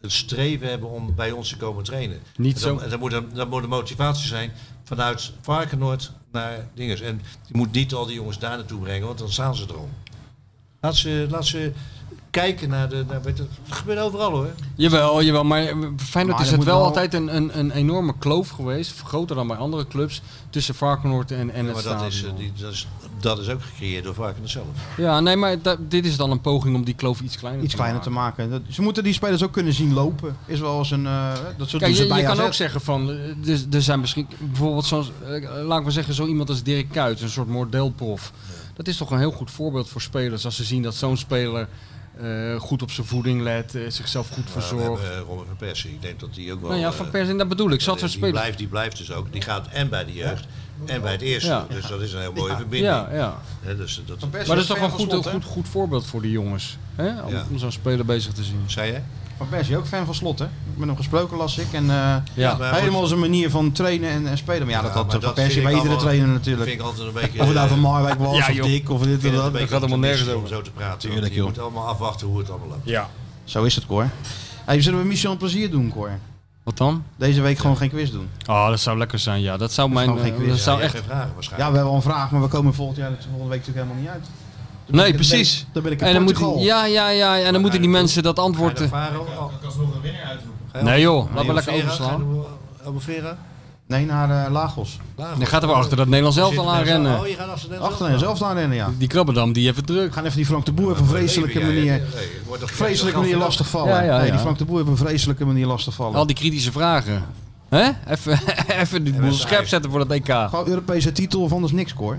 Speaker 4: het streven hebben om bij ons te komen trainen.
Speaker 3: Niet
Speaker 4: En dan,
Speaker 3: zo.
Speaker 4: en Dan moet, er, dan moet er motivatie zijn vanuit Varkenoord naar dinges. En je moet niet al die jongens daar naartoe brengen, want dan staan ze erom. Laat ze, laat ze kijken naar de... Naar, weet je, het gebeurt overal hoor.
Speaker 3: Jawel, jawel, maar eh, Feyenoord
Speaker 4: Maar
Speaker 3: is
Speaker 4: er
Speaker 3: het
Speaker 4: moet
Speaker 3: wel
Speaker 4: wel-
Speaker 3: altijd een, een, een enorme kloof geweest, groter dan bij andere clubs, tussen Varkenoord en, en
Speaker 4: Ja,
Speaker 3: het
Speaker 4: maar dat is, eh,
Speaker 3: stadion.
Speaker 4: die, dat, is, dat is ook gecreëerd door Varkenoord zelf.
Speaker 3: Ja, nee, maar da- dit is dan een poging om die kloof iets kleiner
Speaker 2: Iets
Speaker 3: te
Speaker 2: kleiner te
Speaker 3: maken.
Speaker 2: maken. Dat- ze moeten die spelers ook kunnen zien lopen. Is wel eens een... eh dat soort
Speaker 3: Kijk,
Speaker 4: dus
Speaker 2: doen ze
Speaker 3: je,
Speaker 2: bij
Speaker 3: je kan
Speaker 2: AZ.
Speaker 3: ook zeggen van, eh, er, er zijn misschien bijvoorbeeld zo'n, eh, laat ik maar zeggen, zo iemand als Dirk Kuyt, een soort modelprof. Dat is toch een heel goed voorbeeld voor spelers als ze zien dat zo'n speler eh, goed op zijn voeding let, eh, zichzelf goed
Speaker 4: Maar we
Speaker 3: verzorgt.
Speaker 4: hebben, eh, Robin van Persie. Ik denk dat die ook wel...
Speaker 3: Nou ja,
Speaker 4: eh,
Speaker 3: Van Persie, dat bedoel ik. Zat
Speaker 4: die,
Speaker 3: er spelen.
Speaker 4: blijft, die blijft dus ook. Die gaat en bij de jeugd en bij het eerste.
Speaker 3: Ja.
Speaker 4: Dus dat is een heel mooie
Speaker 3: Ja.
Speaker 4: verbinding.
Speaker 3: Ja, ja.
Speaker 4: Hè, dus dat,
Speaker 3: Maar dat is toch een goed, een goed, goed voorbeeld voor die jongens, hè? Om,
Speaker 4: Ja.
Speaker 3: om zo'n speler bezig te zien.
Speaker 4: Zei jij?
Speaker 2: Van Persie ook fan van Slot, hè? Met hem gesproken las ik. En eh,
Speaker 3: Ja.
Speaker 2: helemaal zijn manier van trainen en, en spelen. Maar ja, dat
Speaker 4: Ja,
Speaker 3: eh,
Speaker 2: had eh, Van
Speaker 4: maar dat
Speaker 2: Persie
Speaker 4: vind
Speaker 2: bij
Speaker 4: ik
Speaker 2: iedere
Speaker 4: allemaal-
Speaker 2: trainer natuurlijk.
Speaker 4: vind ik altijd een beetje,
Speaker 2: of het nou
Speaker 4: eh,
Speaker 2: van Marwijk was,
Speaker 4: Ja,
Speaker 2: of
Speaker 4: joh.
Speaker 2: Dik, of dit
Speaker 4: vind
Speaker 2: en
Speaker 4: het
Speaker 2: dat.
Speaker 4: een beetje optimistisch om zo te praten.
Speaker 2: Tuurlijk,
Speaker 4: want je
Speaker 2: joh.
Speaker 4: moet allemaal afwachten hoe het allemaal loopt.
Speaker 3: Ja.
Speaker 2: Zo is het, Cor. Hey, zullen we Michel een plezier doen, Cor?
Speaker 3: Wat dan?
Speaker 2: Deze week gewoon geen quiz doen.
Speaker 3: Oh, dat zou lekker zijn, ja. Dat zou
Speaker 2: Dat is
Speaker 3: mijn...
Speaker 2: gewoon geen
Speaker 3: eh,
Speaker 2: quiz. Ja,
Speaker 3: dat zou
Speaker 2: je
Speaker 3: echt...
Speaker 2: hebt
Speaker 4: geen vragen
Speaker 2: Ja, we hebben al een vraag, maar we komen volgend jaar, volgende week natuurlijk helemaal niet uit. Dan ben
Speaker 3: Nee,
Speaker 2: ik- dan ben ik-
Speaker 3: precies.
Speaker 2: Dan ben ik in
Speaker 3: en dan
Speaker 2: Portugal.
Speaker 3: moeten, ja, ja, ja. En dan moeten die mensen dat antwoord... eh,
Speaker 4: oh.
Speaker 7: Ik kan nog een winnaar uitroepen.
Speaker 3: Nee joh, laten we
Speaker 2: Albufeira,
Speaker 3: lekker overslaan.
Speaker 4: eh, Albufeira?
Speaker 2: Nee, naar eh, Lagos.
Speaker 3: Dan gaat er wel achter dat Nederland zelf al aanrennen.
Speaker 4: je gaat achter
Speaker 2: Achter hen zelf aanrennen, ja.
Speaker 3: Die Krabbendam, die heeft het druk.
Speaker 2: Gaan even die Frank de Boer op een vreselijke
Speaker 3: leven, ja,
Speaker 2: manier...
Speaker 3: ja, nee, het wordt toch-
Speaker 2: Vreselijke
Speaker 3: het
Speaker 2: manier
Speaker 3: geld
Speaker 2: lastig vallen.
Speaker 3: Ja, ja,
Speaker 2: Nee, die
Speaker 3: ja.
Speaker 2: Frank de Boer op een vreselijke manier lastig vallen.
Speaker 3: Al die kritische vragen. Hè? Even, even die boel scherp zetten voor dat EK.
Speaker 2: Gewoon Europese titel of anders niks, hoor.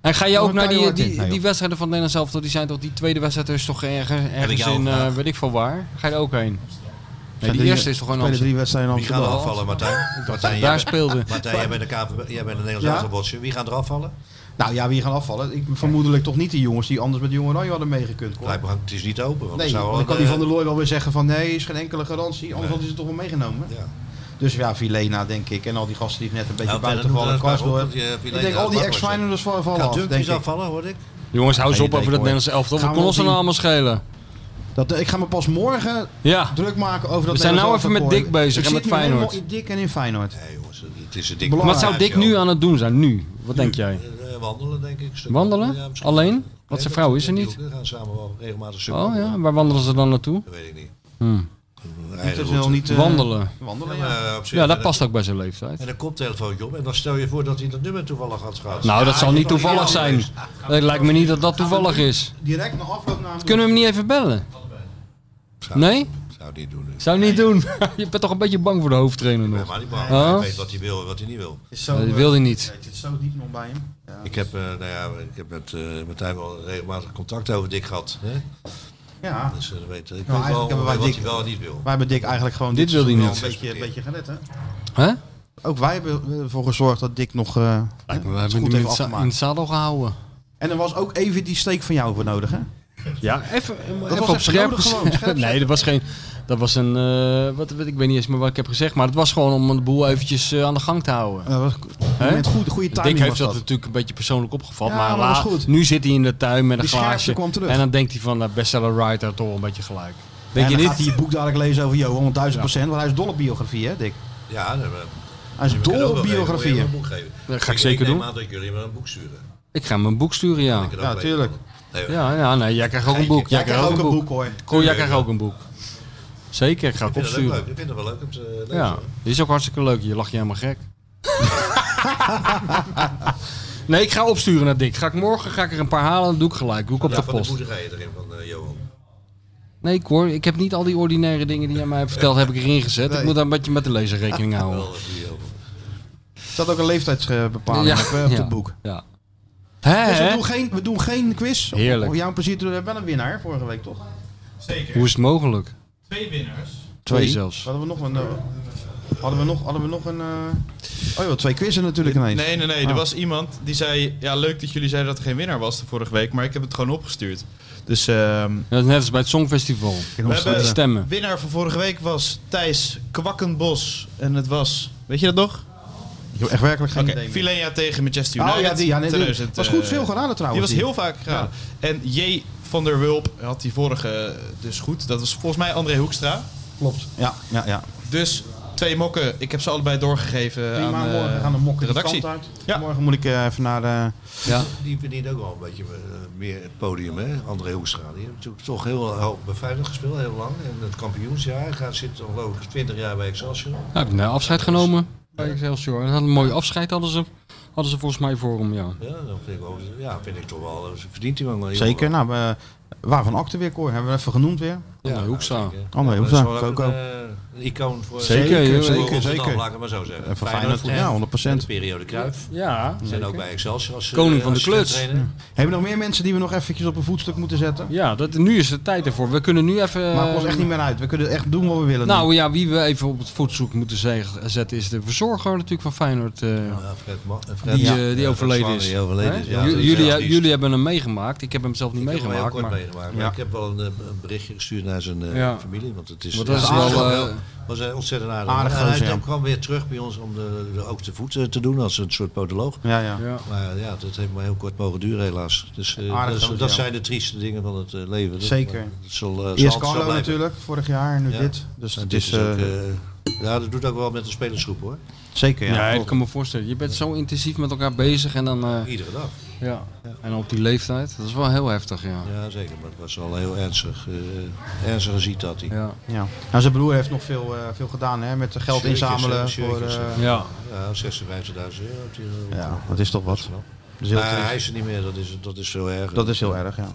Speaker 3: En ga je ook
Speaker 2: Gewoon
Speaker 3: naar die,
Speaker 2: keihard
Speaker 3: die,
Speaker 2: in. Nee,
Speaker 3: die
Speaker 2: joh.
Speaker 3: wedstrijden van Nederland zelf? Die zijn toch die tweede wedstrijd is toch ergens,
Speaker 4: ik
Speaker 3: ergens
Speaker 4: jou
Speaker 3: in,
Speaker 4: een
Speaker 3: eh,
Speaker 4: vraag?
Speaker 3: weet ik veel waar? Ga je er ook heen? Nee,
Speaker 2: Zijn
Speaker 3: die
Speaker 2: drie-
Speaker 3: eerste is toch
Speaker 2: spelen
Speaker 3: gewoon anders.
Speaker 2: drie wedstrijden in
Speaker 4: Wie gaan er
Speaker 2: Amsterdam.
Speaker 4: afvallen, Martijn? Martijn,
Speaker 3: Daar
Speaker 4: jij bent-
Speaker 3: speelde.
Speaker 4: Martijn, jij bent de, KVB jij bent de Nederlands
Speaker 2: Ja?
Speaker 4: afvalbotser. Wie gaat er afvallen?
Speaker 2: Nou ja, wie gaan afvallen? Ik, vermoedelijk toch niet die jongens die anders met de jongen Oranje hadden meegekund. hoor.
Speaker 4: Lijkt me, het is niet open. Want
Speaker 2: Nee,
Speaker 4: zou
Speaker 2: want
Speaker 4: wel
Speaker 2: dan kan
Speaker 4: een,
Speaker 7: eh,
Speaker 2: die van der Looy wel weer zeggen van nee, is geen enkele garantie. Anders hadden ze het toch wel meegenomen. Dus ja, Vilena denk ik. En al die gasten die net een beetje
Speaker 4: Nou,
Speaker 2: buiten
Speaker 4: verder
Speaker 2: vallen.
Speaker 4: moet er eens maar
Speaker 2: Karsdorp.
Speaker 4: op dat, eh,
Speaker 2: Ik
Speaker 4: Vilena
Speaker 2: denk al die
Speaker 4: makkelijk
Speaker 2: ex-Feyenoorders vallen
Speaker 4: Gaat
Speaker 2: af.
Speaker 4: Dumfries
Speaker 2: denk ik.
Speaker 4: afvallen, hoor ik?
Speaker 3: Jongens, hou eens
Speaker 2: Geen
Speaker 3: op over
Speaker 2: idee,
Speaker 3: dat
Speaker 2: hoor.
Speaker 3: Nederlands elftal.
Speaker 2: Gaan we
Speaker 3: Wat kon
Speaker 2: wel
Speaker 3: ons er nou
Speaker 2: zien.
Speaker 3: allemaal schelen?
Speaker 2: Dat, eh, ik ga me pas morgen
Speaker 3: Ja.
Speaker 2: druk maken over dat
Speaker 3: We zijn
Speaker 2: Nederlands
Speaker 3: nou even met
Speaker 2: elftal.
Speaker 3: Dick bezig
Speaker 2: Ik
Speaker 3: en
Speaker 2: zit
Speaker 3: met
Speaker 2: nu helemaal
Speaker 3: Feyenoord.
Speaker 2: in Dick en in Feyenoord.
Speaker 4: Het is een dik.
Speaker 3: Wat zou Dick nu aan het doen zijn? Nu? Wat denk jij?
Speaker 4: Eh, wandelen, denk ik.
Speaker 3: Wandelen? Alleen? Want zijn vrouw is er niet.
Speaker 4: We gaan samen wel regelmatig suppen.
Speaker 3: Oh ja, waar wandelen ze dan naartoe?
Speaker 4: Dat weet ik niet.
Speaker 3: Hmm.
Speaker 4: Eigen route.
Speaker 3: eh, wandelen.
Speaker 4: Ja, maar eh, op zich-
Speaker 3: Ja, dat
Speaker 4: en dan-
Speaker 3: past ook bij zijn leeftijd.
Speaker 4: En een koptelefoontje op. En dan stel je voor dat hij dat nummer toevallig had gehad.
Speaker 3: Nou, dat
Speaker 4: Ja,
Speaker 3: zal
Speaker 4: die
Speaker 3: niet
Speaker 4: kan
Speaker 3: toevallig
Speaker 4: niet
Speaker 3: zijn.
Speaker 4: anders.
Speaker 3: Het lijkt me niet dat dat toevallig is.
Speaker 2: Direct na afloop naar hem
Speaker 3: Kunnen we hem niet even bellen? Nee?
Speaker 4: Zou niet doen. dus.
Speaker 3: Zou niet doen. Je bent toch een beetje bang voor de hoofdtrainer nog?
Speaker 4: Maar die man,
Speaker 3: Huh?
Speaker 4: hij weet wat hij wil en wat hij niet wil.
Speaker 3: zo, Dat eh, wil hij niet.
Speaker 2: Het zit zo diep nog bij hem.
Speaker 4: Ik heb, eh, nou ja, ik heb met, eh met hem wel regelmatig contact over Dick gehad. Hè?
Speaker 2: Ja.
Speaker 4: Dus eh, weet, ik
Speaker 2: Nou,
Speaker 4: weet wel
Speaker 2: eigenlijk hebben wij
Speaker 4: wat
Speaker 2: Dick-
Speaker 4: hij wel en niet wil.
Speaker 2: Wij hebben Dick eigenlijk gewoon
Speaker 3: Dit wil hij
Speaker 2: seizoen
Speaker 3: niet.
Speaker 2: wel Een beetje, een beetje gered, hè?
Speaker 3: Hè?
Speaker 2: Ook wij hebben ervoor gezorgd dat Dick nog eh,
Speaker 3: Lijkt me,
Speaker 2: het
Speaker 3: we hebben
Speaker 2: goed
Speaker 3: hem in
Speaker 2: heeft
Speaker 3: het, za- in
Speaker 2: afgemaakt.
Speaker 3: het zadel gehouden.
Speaker 2: En er was ook even die steek van jou voor nodig, hè?
Speaker 3: Ja, even,
Speaker 2: was
Speaker 3: even op
Speaker 2: echt
Speaker 3: scherp.
Speaker 2: nodig gewoon, scherp
Speaker 3: nee, dat was geen. Dat was een. eh, wat, wat, ik weet niet eens meer wat ik heb gezegd, maar het was gewoon om de boel eventjes eh, aan de gang te houden.
Speaker 2: Dat was moment goed- goede timing
Speaker 3: Dick heeft
Speaker 2: was
Speaker 3: dat
Speaker 2: dat.
Speaker 3: natuurlijk een beetje persoonlijk opgevat,
Speaker 2: Ja,
Speaker 3: maar,
Speaker 2: maar dat
Speaker 3: la-
Speaker 2: was goed.
Speaker 3: nu zit hij in de tuin met een
Speaker 2: Die scherpte
Speaker 3: glaasje
Speaker 2: kwam terug.
Speaker 3: en dan denkt hij van, nou, bestseller writer toch wel een beetje gelijk. Denk
Speaker 2: en dan
Speaker 3: je niet?
Speaker 2: gaat hij het boek dadelijk lezen over Johan, want 1000 want hij is dol op biografie, hè, Dick?
Speaker 4: Ja, dat hebben
Speaker 2: Hij is dol op biografieën.
Speaker 3: Dat ga ik zeker
Speaker 4: neem
Speaker 3: doen.
Speaker 4: aan dat jullie hem een boek sturen.
Speaker 3: Ik ga hem een boek sturen, ja.
Speaker 4: er ook Ja, bij tuurlijk. komen. Nee, hoor.
Speaker 3: ja, ja, nee, jij krijgt ook een boek.
Speaker 2: Jij krijgt ook een boek, hoor.
Speaker 3: Cool, jij krijgt ook een boek. Zeker, ik ga
Speaker 4: Ik
Speaker 3: het
Speaker 4: vind het ook
Speaker 3: opsturen.
Speaker 4: leuk. Ik vind het wel leuk om te lezen.
Speaker 3: Ja, die is ook hartstikke leuk. Je lacht je helemaal gek. nee, ik ga opsturen naar Dick. Ga ik morgen ga ik er een paar halen en doe ik gelijk. Doe ik op
Speaker 4: Ja,
Speaker 3: de
Speaker 4: van de
Speaker 3: post.
Speaker 4: boerderijen erin van eh, Johan.
Speaker 3: Nee, ik hoor, ik heb niet al die ordinaire dingen die jij mij hebt verteld, heb ik erin gezet.
Speaker 2: Nee.
Speaker 3: Ik moet daar een beetje met de lezer rekening houden.
Speaker 2: Er staat ook een leeftijdsbepaling
Speaker 3: Ja,
Speaker 2: Eh, op, hè, op
Speaker 3: ja,
Speaker 2: het boek.
Speaker 3: Ja. Hè,
Speaker 2: Dus we,
Speaker 3: hè?
Speaker 2: doen geen, we doen geen quiz. Om-
Speaker 3: Heerlijk.
Speaker 2: Om jouw plezier te doen. We hebben wel een winnaar vorige week, toch? Zeker.
Speaker 3: Hoe is het mogelijk?
Speaker 7: Twee winnaars.
Speaker 3: Twee zelfs.
Speaker 2: Hadden we nog een... eh, hadden we nog, hadden we nog een... eh, Oh joh, twee quizzen natuurlijk ineens.
Speaker 7: Nee, nee, nee.
Speaker 2: Ah.
Speaker 7: Er was iemand die zei... Ja, leuk dat jullie zeiden dat er geen winnaar was de vorige week, maar ik heb het gewoon opgestuurd. Dus ehm
Speaker 3: Dat is net als bij het Songfestival.
Speaker 7: we hebben
Speaker 3: stemmen.
Speaker 7: winnaar van vorige week was Thijs Kwakkenbos. En het was... Weet je dat nog?
Speaker 2: Ik heb echt werkelijk geen
Speaker 7: Oké,
Speaker 2: idee meer.
Speaker 7: Vilena tegen Manchester
Speaker 2: Oh,
Speaker 7: United.
Speaker 2: ja, die, ja, nee, die-
Speaker 7: 2000,
Speaker 2: was goed
Speaker 7: eh,
Speaker 2: veel geraden trouwens,
Speaker 7: Die was
Speaker 2: die.
Speaker 7: heel vaak geraden. En J. van der Wulp had die vorige dus goed. Dat was volgens mij André Hoekstra.
Speaker 2: Klopt. Ja, ja, ja.
Speaker 7: Dus twee mokken. Ik heb ze allebei doorgegeven
Speaker 2: Prima,
Speaker 7: aan eh,
Speaker 2: morgen gaan de mokken de
Speaker 7: redactie.
Speaker 2: kant uit. Morgen moet ik eh, even naar de...
Speaker 3: Ja.
Speaker 4: Die verdient ook wel een beetje eh, meer het podium, hè? André Hoekstra. Die heeft natuurlijk toch heel hoog bij Feyenoord gespeeld, heel lang. En het kampioensjaar gaat zitten geloof ik 20 jaar bij Excelsior.
Speaker 3: Nou, ik heb een afscheid genomen bij Excelsior. En had een mooi afscheid hadden ze, hadden ze volgens mij voor hem, ja.
Speaker 4: Ja, dat vind ik, wel, ja, vind ik toch wel. eh, Verdient hij wel een jongen.
Speaker 2: Zeker. Nou, we, waarvan acte weer, Cor? Hebben we even genoemd weer?
Speaker 3: Ja, Hoekstra.
Speaker 2: André
Speaker 4: Ja,
Speaker 2: Hoekstra,
Speaker 4: dat is wel ook
Speaker 2: Coco.
Speaker 4: een, eh, een icoon voor
Speaker 2: Oh, Zeker,
Speaker 4: voor
Speaker 2: joh,
Speaker 4: Rotterdam,
Speaker 2: zeker, zeker.
Speaker 4: Laat ik het maar zo zeggen.
Speaker 2: En voor Feyenoord, ja, 100%.
Speaker 4: en de periode Cruijff.
Speaker 3: Ja,
Speaker 4: Zijn
Speaker 3: zeker.
Speaker 4: ook bij Excelsior als eh,
Speaker 3: Koning van de
Speaker 4: assistent
Speaker 3: kluts.
Speaker 4: trainer.
Speaker 2: Hebben we nog meer mensen die we nog eventjes op een voetstuk moeten zetten?
Speaker 3: Ja, dat, nu is de tijd ervoor. We kunnen nu even... eh,
Speaker 2: Maakt ons echt niet meer uit. We kunnen echt doen wat we willen.
Speaker 3: Nou ja, wie we even op het voetzoek moeten ze- zetten is de verzorger natuurlijk van Feyenoord. eh,
Speaker 4: Ja, Fred Ma- eh, Fred-
Speaker 3: die,
Speaker 4: ja,
Speaker 3: eh, die
Speaker 4: ja,
Speaker 3: overleden
Speaker 4: Fred
Speaker 3: is.
Speaker 4: Zwanen, die overleden
Speaker 3: Hè?
Speaker 4: is, ja,
Speaker 3: Ju-
Speaker 4: dat is
Speaker 3: jullie, eh,
Speaker 4: heel triest.
Speaker 3: jullie hebben hem meegemaakt. Ik heb hem zelf niet
Speaker 4: Ik heb hem heel
Speaker 3: meegemaakt.
Speaker 4: kort
Speaker 3: maar-
Speaker 4: meegemaakt. Maar
Speaker 3: Ja.
Speaker 4: ik heb wel een, eh, een berichtje gestuurd naar zijn eh,
Speaker 3: Ja.
Speaker 4: familie. Want het is,
Speaker 3: Want dat
Speaker 4: ja,
Speaker 3: is
Speaker 4: hij
Speaker 3: wel,
Speaker 4: ook
Speaker 3: eh,
Speaker 4: was een ontzettend aardig.
Speaker 2: aardig
Speaker 4: man. En
Speaker 2: gozer,
Speaker 4: hij
Speaker 2: ja.
Speaker 4: kwam weer terug bij ons om de, de- ook de voeten te doen als een soort podoloog.
Speaker 2: Ja, ja.
Speaker 3: Ja.
Speaker 4: Maar eh, ja, dat heeft maar heel kort mogen duren helaas. Dus eh,
Speaker 2: Aardig
Speaker 4: dat, is-
Speaker 2: gozer,
Speaker 4: dat
Speaker 2: ja.
Speaker 4: zijn de trieste dingen van het eh, leven. Dat-
Speaker 2: Zeker.
Speaker 4: maar Dat zal, eh, zal altijd
Speaker 2: Eerst
Speaker 4: zo
Speaker 2: Carlo
Speaker 4: blijven.
Speaker 2: natuurlijk, vorig jaar, nu
Speaker 4: Ja.
Speaker 2: dit. Dus
Speaker 4: En
Speaker 2: het
Speaker 4: dit
Speaker 2: is...
Speaker 4: is ook,
Speaker 2: eh,
Speaker 4: eh, ja, dat doet ook wel met de spelersgroep hoor.
Speaker 2: zeker, ja.
Speaker 3: Ja, ik
Speaker 2: klopt.
Speaker 3: kan me voorstellen. Je bent zo intensief met elkaar bezig en dan... eh,
Speaker 4: Iedere dag.
Speaker 3: ja. En op die leeftijd. Dat is wel heel heftig, ja.
Speaker 4: Ja, zeker. Maar het was wel heel ernstig. eh ernstig ziet dat hij.
Speaker 3: Ja.
Speaker 2: ja. Nou, zijn broer heeft nog veel, eh, veel gedaan hè, met geld
Speaker 4: Shirtjes,
Speaker 2: inzamelen.
Speaker 4: eh, shirtjes,
Speaker 2: voor, eh,
Speaker 4: eh,
Speaker 3: Ja.
Speaker 4: ja 56.000 euro. heeft hij, eh,
Speaker 2: ja, dat is toch wat. Dat is heel
Speaker 4: Maar
Speaker 2: triest.
Speaker 4: hij is er niet meer, dat is, dat is veel erger.
Speaker 2: Dat is heel erg, ja.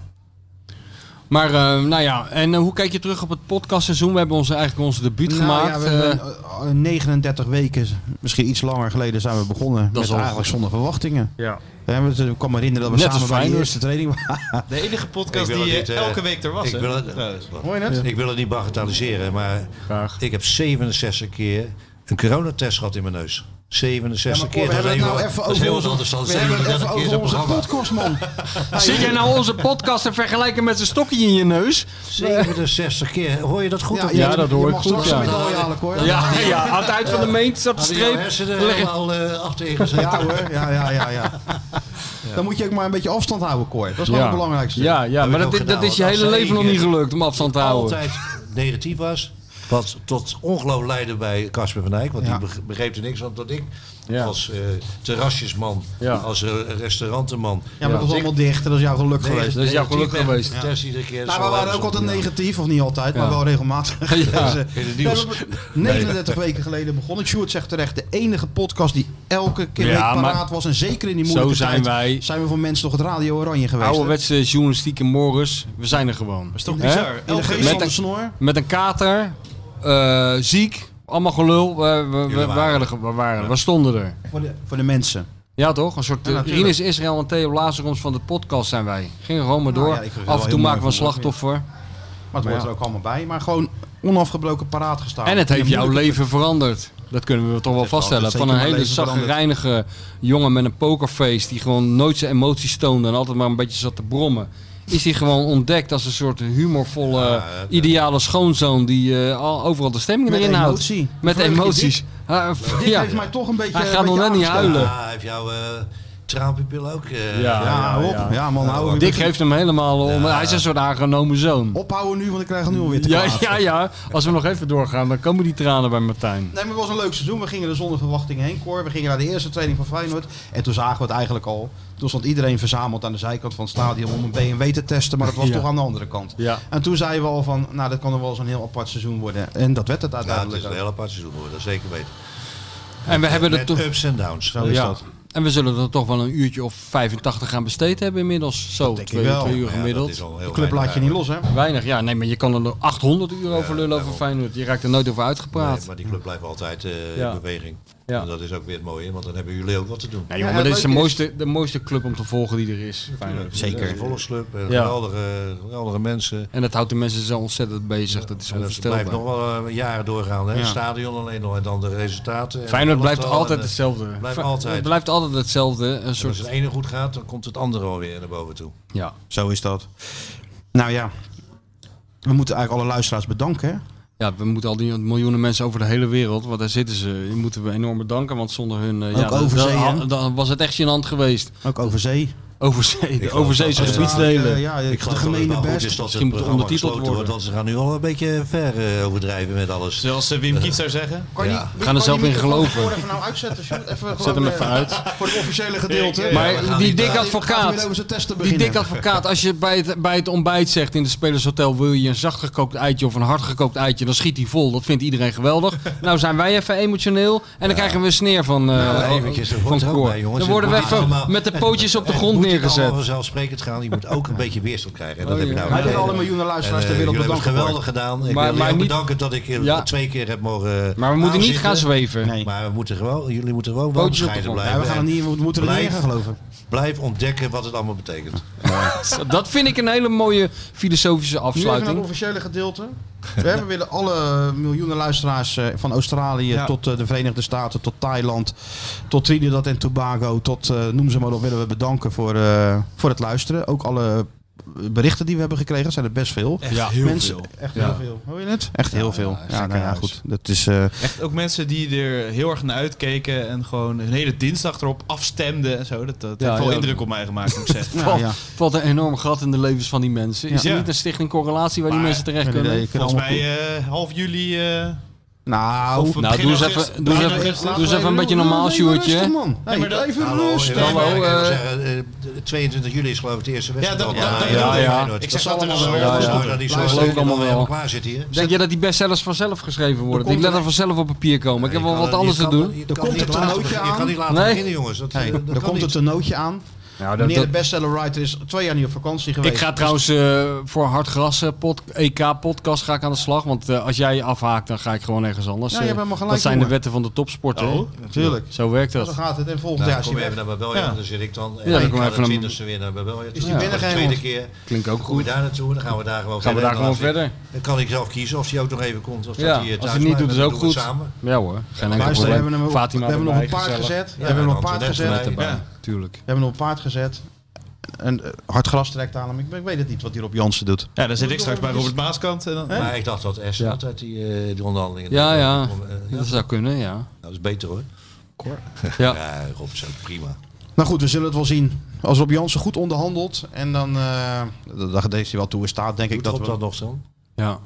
Speaker 3: Maar eh, nou ja, en eh, hoe kijk je terug op het podcastseizoen? We hebben onze, eigenlijk onze debuut
Speaker 2: Nou
Speaker 3: gemaakt.
Speaker 2: ja, we
Speaker 3: eh,
Speaker 2: hebben, eh, 39 weken, misschien iets langer geleden, zijn we begonnen.
Speaker 3: is
Speaker 2: met
Speaker 3: al
Speaker 2: eigenlijk
Speaker 3: goed.
Speaker 2: zonder verwachtingen.
Speaker 3: Ja.
Speaker 2: Hè, want, eh, ik kan me herinneren dat we
Speaker 3: Net als
Speaker 2: samen bij de
Speaker 3: Feyenoord.
Speaker 2: eerste training waren.
Speaker 7: De enige podcast
Speaker 4: Ik wil
Speaker 7: die
Speaker 4: het niet,
Speaker 7: eh,
Speaker 4: eh,
Speaker 7: elke week er was.
Speaker 4: Ik
Speaker 7: hè?
Speaker 4: wil, het,
Speaker 7: Trouwens.
Speaker 4: wat-
Speaker 2: Hoor je het?
Speaker 4: ik wil het niet bagatelliseren, maar ik heb 67 keer een coronatest gehad in mijn neus. 67
Speaker 2: maar Cor,
Speaker 4: keer.
Speaker 2: we hebben
Speaker 4: is
Speaker 2: het
Speaker 4: heel-
Speaker 2: nou even
Speaker 4: dat is heel
Speaker 2: over
Speaker 4: wat
Speaker 2: onze-
Speaker 4: anders dan
Speaker 2: we hebben het
Speaker 4: 37
Speaker 2: even
Speaker 4: keer
Speaker 2: over
Speaker 4: zo'n
Speaker 2: onze
Speaker 4: programma.
Speaker 2: podcast, man.
Speaker 3: Zit jij nou onze podcast te vergelijken met een stokje in je neus?
Speaker 4: 67 keer. Hoor je dat goed?
Speaker 2: Ja,
Speaker 4: of
Speaker 2: ja,
Speaker 4: niet?
Speaker 3: dat hoor
Speaker 2: Je
Speaker 3: ik
Speaker 2: mag
Speaker 3: goed,
Speaker 2: straks
Speaker 3: ja.
Speaker 2: een medaille halen, hoor.
Speaker 3: Ja, ja, aan het eind van de meent staat de
Speaker 4: Hadden jouw
Speaker 3: streep.
Speaker 4: hersenen
Speaker 3: Leg-
Speaker 4: helemaal eh, achterin gezet?
Speaker 2: Ja hoor, ja, ja, ja. ja. Dan moet je ook maar een beetje afstand houden, Cor. Dat is wel
Speaker 3: Ja.
Speaker 2: het belangrijkste.
Speaker 3: Ja, ja maar dat, dat is je hele leven nog niet gelukt om afstand te houden.
Speaker 4: altijd negatief was. Wat tot ongeloof leidde bij Casper van Dijk. Want
Speaker 3: Ja.
Speaker 4: die beg- begreep er niks van tot ik.
Speaker 3: Ja.
Speaker 4: Als eh, terrasjesman, als eh, restaurantenman.
Speaker 2: Ja, maar dat was allemaal dicht en dat is jouw geluk
Speaker 4: Nee,
Speaker 2: geweest.
Speaker 4: dat is jouw geluk
Speaker 2: Negatief,
Speaker 4: geweest.
Speaker 2: ja.
Speaker 4: Het test iedere keer
Speaker 2: Nou, we
Speaker 4: zo
Speaker 2: waren
Speaker 4: laat
Speaker 2: ook
Speaker 4: zo.
Speaker 2: altijd
Speaker 4: Ja.
Speaker 2: negatief, of niet altijd, maar
Speaker 4: Ja.
Speaker 2: wel regelmatig.
Speaker 4: Ja,
Speaker 2: Dus, eh,
Speaker 4: in het
Speaker 2: we
Speaker 4: nieuws.
Speaker 2: hebben 39 weken geleden begonnen. Sjoerd zegt terecht, de enige podcast die elke keer
Speaker 3: Ja,
Speaker 2: week paraat
Speaker 3: maar
Speaker 2: was. En zeker in die
Speaker 3: zo
Speaker 2: moeilijke
Speaker 3: zijn
Speaker 2: tijd
Speaker 3: wij.
Speaker 2: zijn we voor mensen toch het Radio Oranje geweest. hè?
Speaker 3: Ouderwetse journalistieke morris, we zijn er gewoon. Dat is
Speaker 2: toch bizar? Elke week
Speaker 3: met,
Speaker 2: zonder
Speaker 3: een,
Speaker 2: snor.
Speaker 3: met een kater, eh, ziek, allemaal gelul. We, we- we,
Speaker 2: waren
Speaker 3: waren er, ge- we, waren, er. we stonden er.
Speaker 2: Voor de, voor de mensen.
Speaker 3: Ja toch? Een soort
Speaker 2: Ja,
Speaker 3: eh,
Speaker 2: natuurlijk.
Speaker 3: Rinus Israël en Theo Lazarons van de podcast zijn wij. Gingen gewoon maar
Speaker 2: Nou
Speaker 3: door.
Speaker 2: ja, ik vind het wel
Speaker 3: Af en toe
Speaker 2: heel
Speaker 3: maken we een
Speaker 2: mooi voor-
Speaker 3: slachtoffer.
Speaker 2: Maar het
Speaker 3: Maar
Speaker 2: hoort
Speaker 3: ja.
Speaker 2: er ook allemaal bij. Maar gewoon onafgebroken paraat gestaan.
Speaker 3: En het
Speaker 2: In
Speaker 3: heeft
Speaker 2: een
Speaker 3: jouw
Speaker 2: moeilijke-
Speaker 3: leven veranderd. Dat kunnen we toch wel vaststellen.
Speaker 2: zeker
Speaker 3: Van een
Speaker 2: mijn
Speaker 3: hele
Speaker 2: leven veranderd.
Speaker 3: zagrijnige jongen met een pokerface... die gewoon nooit zijn emoties toonde en altijd maar een beetje zat te brommen... is hij gewoon ontdekt als een soort humorvolle, eh, ideale schoonzoon... die eh, al- overal de stemming
Speaker 2: Met
Speaker 3: erin houdt.
Speaker 2: emotie.
Speaker 3: Met
Speaker 2: Vreugde
Speaker 3: emoties.
Speaker 2: dit.
Speaker 3: Ah,
Speaker 2: Dit
Speaker 3: ja.
Speaker 2: heeft mij toch een beetje...
Speaker 3: Hij
Speaker 2: een
Speaker 3: gaat nog
Speaker 2: beetje
Speaker 3: net niet
Speaker 2: aangestoken.
Speaker 3: huilen.
Speaker 4: Ah, heeft jouw eh traanpupil ook... eh,
Speaker 3: Ja,
Speaker 2: hou op. Ja, man, hou op.
Speaker 3: Dick geeft hem helemaal om. Hij is een soort aangenomen zoon.
Speaker 2: Ophouden nu, want ik krijg een nieuw weer te
Speaker 3: Ja,
Speaker 2: kwaad.
Speaker 3: ja, ja. Als we nog even doorgaan, dan komen die tranen bij Martijn.
Speaker 2: Nee, maar het was een leuk seizoen. We gingen er zonder verwachtingen heen, Cor. We gingen naar de eerste training van Feyenoord. En toen zagen we het eigenlijk al. Toen stond iedereen verzameld aan de zijkant van het stadion om een BMW te testen. Maar dat was
Speaker 3: Ja.
Speaker 2: toch aan de andere kant.
Speaker 3: Ja.
Speaker 2: En toen zeiden we al van, nou, dat kan nog wel eens een heel apart seizoen worden. En dat werd het
Speaker 4: Ja, het
Speaker 2: uiteindelijk.
Speaker 4: is een heel apart seizoen geworden, dat zeker weten.
Speaker 3: En we hebben er
Speaker 4: Met
Speaker 3: toch-
Speaker 4: ups en downs.
Speaker 3: Ja. En we zullen er toch wel een uurtje of 85 gaan besteed hebben inmiddels. Zo,
Speaker 4: denk
Speaker 3: twee,
Speaker 4: ik wel.
Speaker 3: twee uur
Speaker 4: Maar ja,
Speaker 3: gemiddeld.
Speaker 4: dat is al heel
Speaker 2: De club laat je niet los, hè?
Speaker 3: Weinig, ja. Nee, maar je kan er nog 800 uur over lullen over Feyenoord. Je raakt er nooit over uitgepraat.
Speaker 4: Nee, maar die club blijft altijd eh,
Speaker 3: Ja.
Speaker 4: in beweging.
Speaker 3: Ja.
Speaker 4: En dat is ook weer het mooie, want dan hebben jullie ook wat te doen.
Speaker 3: Nee, joh, maar dit is de mooiste, de mooiste club om te volgen die er is. Feyenoord.
Speaker 4: Zeker. Het is een volksclub, eh,
Speaker 3: Ja.
Speaker 4: geweldige, geweldige mensen.
Speaker 3: En dat houdt de mensen zo ontzettend bezig. Dat is
Speaker 4: En dat blijft nog
Speaker 3: onvoorstelbaar.
Speaker 4: wel eh, jaren doorgaan. Hè?
Speaker 3: Ja.
Speaker 4: Het stadion alleen nog en dan de resultaten. En
Speaker 3: Feyenoord
Speaker 4: het
Speaker 3: blijft
Speaker 4: elftal
Speaker 3: altijd
Speaker 4: en, eh,
Speaker 3: hetzelfde.
Speaker 4: Blijft
Speaker 3: Fe-
Speaker 4: altijd.
Speaker 3: Het blijft altijd hetzelfde. Een
Speaker 4: En als het
Speaker 3: soort...
Speaker 4: ene goed gaat, dan komt het andere alweer naar boven toe.
Speaker 3: Ja.
Speaker 2: Zo is dat. Nou ja, we moeten eigenlijk alle luisteraars bedanken. hè?
Speaker 3: Ja, we moeten al die miljoenen mensen over de hele wereld, want daar zitten ze, die moeten we enorm bedanken. Want zonder hun. eh,
Speaker 2: Ook
Speaker 3: ja, dat-
Speaker 2: over zee,
Speaker 3: dan,
Speaker 2: hè?
Speaker 3: dan was het echt gênant geweest.
Speaker 2: Ook over zee.
Speaker 3: Over zee, de
Speaker 4: geloof
Speaker 3: overzeese
Speaker 4: dat-
Speaker 3: gebiedsdelen.
Speaker 2: eh, ja,
Speaker 4: Ik
Speaker 2: de
Speaker 4: geloof dat het
Speaker 2: gemene
Speaker 4: wel goed
Speaker 2: best.
Speaker 4: is dat het
Speaker 3: Misschien moet het
Speaker 4: programma
Speaker 3: ondertiteld
Speaker 4: gesloten wordt,
Speaker 3: worden.
Speaker 4: want ze gaan nu al een beetje ver eh, overdrijven met alles.
Speaker 7: Zoals eh, Wim Kieft zou zeggen.
Speaker 2: Kan je
Speaker 4: Ja.
Speaker 2: niet-
Speaker 3: We gaan er
Speaker 2: kan
Speaker 3: zelf
Speaker 2: je
Speaker 3: in
Speaker 2: microfoon
Speaker 3: geloven.
Speaker 2: voor Even nou uitzetten, Sjoerd? even
Speaker 3: Zet
Speaker 2: gewoon,
Speaker 3: hem
Speaker 2: eh,
Speaker 3: even uit.
Speaker 2: Voor het officiële gedeelte.
Speaker 3: Maar die dik
Speaker 2: Gaat weer
Speaker 3: advocaat,
Speaker 2: over zijn testen
Speaker 3: die
Speaker 2: beginnen.
Speaker 3: dik advocaat, als je bij het, bij het ontbijt zegt in het spelershotel wil je een zacht gekookt eitje of een hard gekookt eitje, dan schiet hij vol. Dat vindt iedereen geweldig. Nou zijn wij even emotioneel en dan krijgen we een sneer van, eh
Speaker 4: Nou,
Speaker 2: oh,
Speaker 4: eventjes, er
Speaker 3: van
Speaker 4: hoort er ook
Speaker 3: Cor.
Speaker 4: bij, jongens.
Speaker 3: Dan
Speaker 4: Het
Speaker 3: worden we
Speaker 4: moet niet
Speaker 3: even
Speaker 4: allemaal-
Speaker 3: met de pootjes op de grond
Speaker 4: Het moet niet allemaal
Speaker 3: neergezet.
Speaker 4: vanzelfsprekend gaan. Je moet ook een beetje weerstand krijgen. En dat
Speaker 3: Oh,
Speaker 4: heb je
Speaker 3: ja.
Speaker 4: nou
Speaker 3: Hij
Speaker 4: gedaan.
Speaker 3: wil alle
Speaker 2: miljoenen luisteraars
Speaker 4: En,
Speaker 2: ter
Speaker 4: eh,
Speaker 2: wereld
Speaker 4: jullie hebben het
Speaker 2: bedanken,
Speaker 4: geweldig gedaan. Ik
Speaker 3: Maar-
Speaker 4: wil jullie
Speaker 3: maar
Speaker 4: ook
Speaker 3: niet-
Speaker 4: bedanken dat ik eh,
Speaker 3: Ja.
Speaker 4: twee keer heb mogen
Speaker 3: Maar we
Speaker 16: Nou,
Speaker 3: moeten niet gaan zweven.
Speaker 2: Nee.
Speaker 4: Maar we moeten gewoon, jullie moeten gewoon wel
Speaker 3: Pootjes op de
Speaker 4: bescheiden
Speaker 3: grond.
Speaker 4: blijven.
Speaker 2: Ja, we gaan er niet- we moeten er niet in
Speaker 4: Blijf-
Speaker 2: gaan geloven.
Speaker 4: Blijf ontdekken wat het allemaal betekent.
Speaker 3: Dat vind ik een hele mooie filosofische
Speaker 2: Nu even naar het
Speaker 3: afsluiting.
Speaker 2: officiële gedeelte. We hebben weer alle miljoenen luisteraars eh, van Australië
Speaker 3: Ja.
Speaker 2: tot eh, de Verenigde Staten, tot Thailand, tot Trinidad en Tobago, tot eh, noem ze maar op, willen we bedanken voor, eh, voor het luisteren. Ook alle berichten die we hebben gekregen, dat zijn er best veel.
Speaker 7: Echt Ja. heel
Speaker 2: Mensen,
Speaker 7: veel.
Speaker 2: Echt
Speaker 7: Ja.
Speaker 2: heel veel. Hoor je het? Echt heel veel. Ja, nou ja,
Speaker 7: gekkenhuis.
Speaker 2: goed. Dat is, eh,
Speaker 7: Echt ook mensen die er heel erg naar uitkeken en gewoon hun hele dinsdag erop afstemden en zo. Dat, dat
Speaker 3: Ja,
Speaker 7: heeft wel
Speaker 3: ja.
Speaker 7: indruk op mij gemaakt, moet ik zeggen.
Speaker 3: Valt, valt een enorm gat in de levens van die mensen. Is
Speaker 7: Ja.
Speaker 3: er niet een stichting correlatie waar die
Speaker 7: Maar-
Speaker 3: mensen terecht
Speaker 2: Nee, nee,
Speaker 3: kunnen?
Speaker 2: nee, je kunt
Speaker 7: Volgens
Speaker 2: allemaal-
Speaker 7: mij eh, half juli... eh,
Speaker 2: nou,
Speaker 7: Of we
Speaker 3: Nou, doe eens
Speaker 7: beginnen
Speaker 3: even,
Speaker 7: augustus.
Speaker 3: doe eens
Speaker 7: Begin
Speaker 3: even,
Speaker 7: augustus.
Speaker 3: doe eens even een beetje normaal,
Speaker 2: Rustig,
Speaker 3: Sjoerdje.
Speaker 2: man. Hey,
Speaker 7: maar dat-
Speaker 2: even
Speaker 4: Hallo,
Speaker 2: rustig.
Speaker 4: eh,
Speaker 3: Hallo,
Speaker 4: ik wil
Speaker 3: eh,
Speaker 4: zeggen, eh, de 22 juli is geloof ik de eerste wedstrijd.
Speaker 7: dat-
Speaker 4: al.
Speaker 7: dat- dat- dat-
Speaker 3: ja.
Speaker 4: Feyenoord.
Speaker 7: Ik
Speaker 4: Dat
Speaker 7: zeg
Speaker 4: is
Speaker 7: dat er
Speaker 4: allemaal
Speaker 7: wel.
Speaker 4: wel.
Speaker 3: Ja, ja.
Speaker 4: Sorry dat die zo
Speaker 3: Geloof ik
Speaker 4: helemaal
Speaker 3: allemaal wel.
Speaker 4: klaar Dus zit hier.
Speaker 3: Denk je dat die bestsellers vanzelf geschreven worden?
Speaker 2: komt
Speaker 3: Die letter
Speaker 2: een-
Speaker 3: vanzelf op papier komen. Ik heb wel
Speaker 4: Je
Speaker 3: wat
Speaker 4: kan-
Speaker 3: anders
Speaker 4: je
Speaker 3: te
Speaker 4: kan-
Speaker 3: doen.
Speaker 4: je
Speaker 2: Er
Speaker 4: kan
Speaker 2: komt
Speaker 4: niet
Speaker 2: een
Speaker 4: laten
Speaker 2: toernooi
Speaker 4: beginnen. Je
Speaker 2: aan.
Speaker 4: kan niet laten
Speaker 3: Nee.
Speaker 4: beginnen, jongens. Dat,
Speaker 2: Hey,
Speaker 4: eh, dat
Speaker 2: er
Speaker 4: kan
Speaker 2: komt
Speaker 4: niet.
Speaker 2: een toernootje aan.
Speaker 3: Nou, dat-
Speaker 2: Meneer de
Speaker 3: dat-
Speaker 2: bestseller writer is twee jaar niet op vakantie geweest.
Speaker 3: Ik ga
Speaker 2: Dus-
Speaker 3: trouwens eh, voor Hard Grassen pod, EK-podcast ga ik aan de slag. Want eh, als jij afhaakt, dan ga ik gewoon ergens anders.
Speaker 2: Ja, je
Speaker 3: Eh,
Speaker 2: hebt helemaal gelijk,
Speaker 3: dat zijn
Speaker 2: jongen.
Speaker 3: de wetten van de topsport. hè?
Speaker 2: Oh, natuurlijk.
Speaker 3: Zo werkt
Speaker 2: Zo
Speaker 3: dat.
Speaker 2: gaat het. En volgend
Speaker 4: Nou,
Speaker 2: jaar
Speaker 4: dan
Speaker 2: is hij
Speaker 4: kom je
Speaker 2: weg.
Speaker 4: even naar Babelja, dan zit ik dan.
Speaker 3: dan
Speaker 4: Ja, dan
Speaker 3: kom
Speaker 4: kom
Speaker 3: je even
Speaker 4: even
Speaker 3: naar-
Speaker 4: 20 weer naar Babelja.
Speaker 2: Is die
Speaker 4: Ja.
Speaker 2: binnen
Speaker 4: De
Speaker 2: gegaan,
Speaker 4: tweede
Speaker 2: jongens?
Speaker 4: keer.
Speaker 3: Klinkt ook
Speaker 4: Kom je
Speaker 3: goed.
Speaker 4: daar naartoe, dan gaan we daar gewoon
Speaker 3: Gaan we daar
Speaker 4: verder.
Speaker 3: gewoon verder.
Speaker 4: Dan kan ik zelf kiezen of hij ook nog even komt. Of
Speaker 3: Ja,
Speaker 4: dat hij eh,
Speaker 3: als
Speaker 4: thuis
Speaker 3: je het niet
Speaker 4: blijft,
Speaker 3: doet, is
Speaker 4: dan
Speaker 3: ook
Speaker 4: doen we
Speaker 3: goed.
Speaker 4: het samen.
Speaker 3: Ja hoor, geen enkel
Speaker 2: Luister, we hebben hem
Speaker 3: probleem.
Speaker 2: ook- we
Speaker 3: Fatima
Speaker 2: hebben nog een
Speaker 3: erbij,
Speaker 2: paard
Speaker 3: gezellig.
Speaker 2: gezet. We
Speaker 4: Ja,
Speaker 2: hebben nog een
Speaker 4: en
Speaker 2: paard
Speaker 4: Antoinette
Speaker 2: gezet.
Speaker 3: Met
Speaker 2: We
Speaker 3: erbij,
Speaker 7: Ja.
Speaker 3: tuurlijk.
Speaker 2: hebben nog een paard gezet. En eh, hard gras trekt aan hem. Ik, ben- ik weet het niet wat hier op Jansen doet.
Speaker 7: Ja, dan zit ik straks bij Robert Maaskant. En dan,
Speaker 4: Maar ik dacht dat Essen
Speaker 3: Ja.
Speaker 4: altijd die, eh, die onderhandelingen.
Speaker 3: Ja,
Speaker 4: deed.
Speaker 3: ja,
Speaker 4: Om, eh, ja,
Speaker 3: dat zou kunnen, ja.
Speaker 4: Dat is beter hoor.
Speaker 3: Ja.
Speaker 4: Ja, Rob is ook prima.
Speaker 2: Nou goed, we zullen het wel zien. Als Rob Jansen goed onderhandelt en dan, eh dat deze wel toe in staat, denk ik dat we...
Speaker 4: dat nog zo?
Speaker 3: Ja.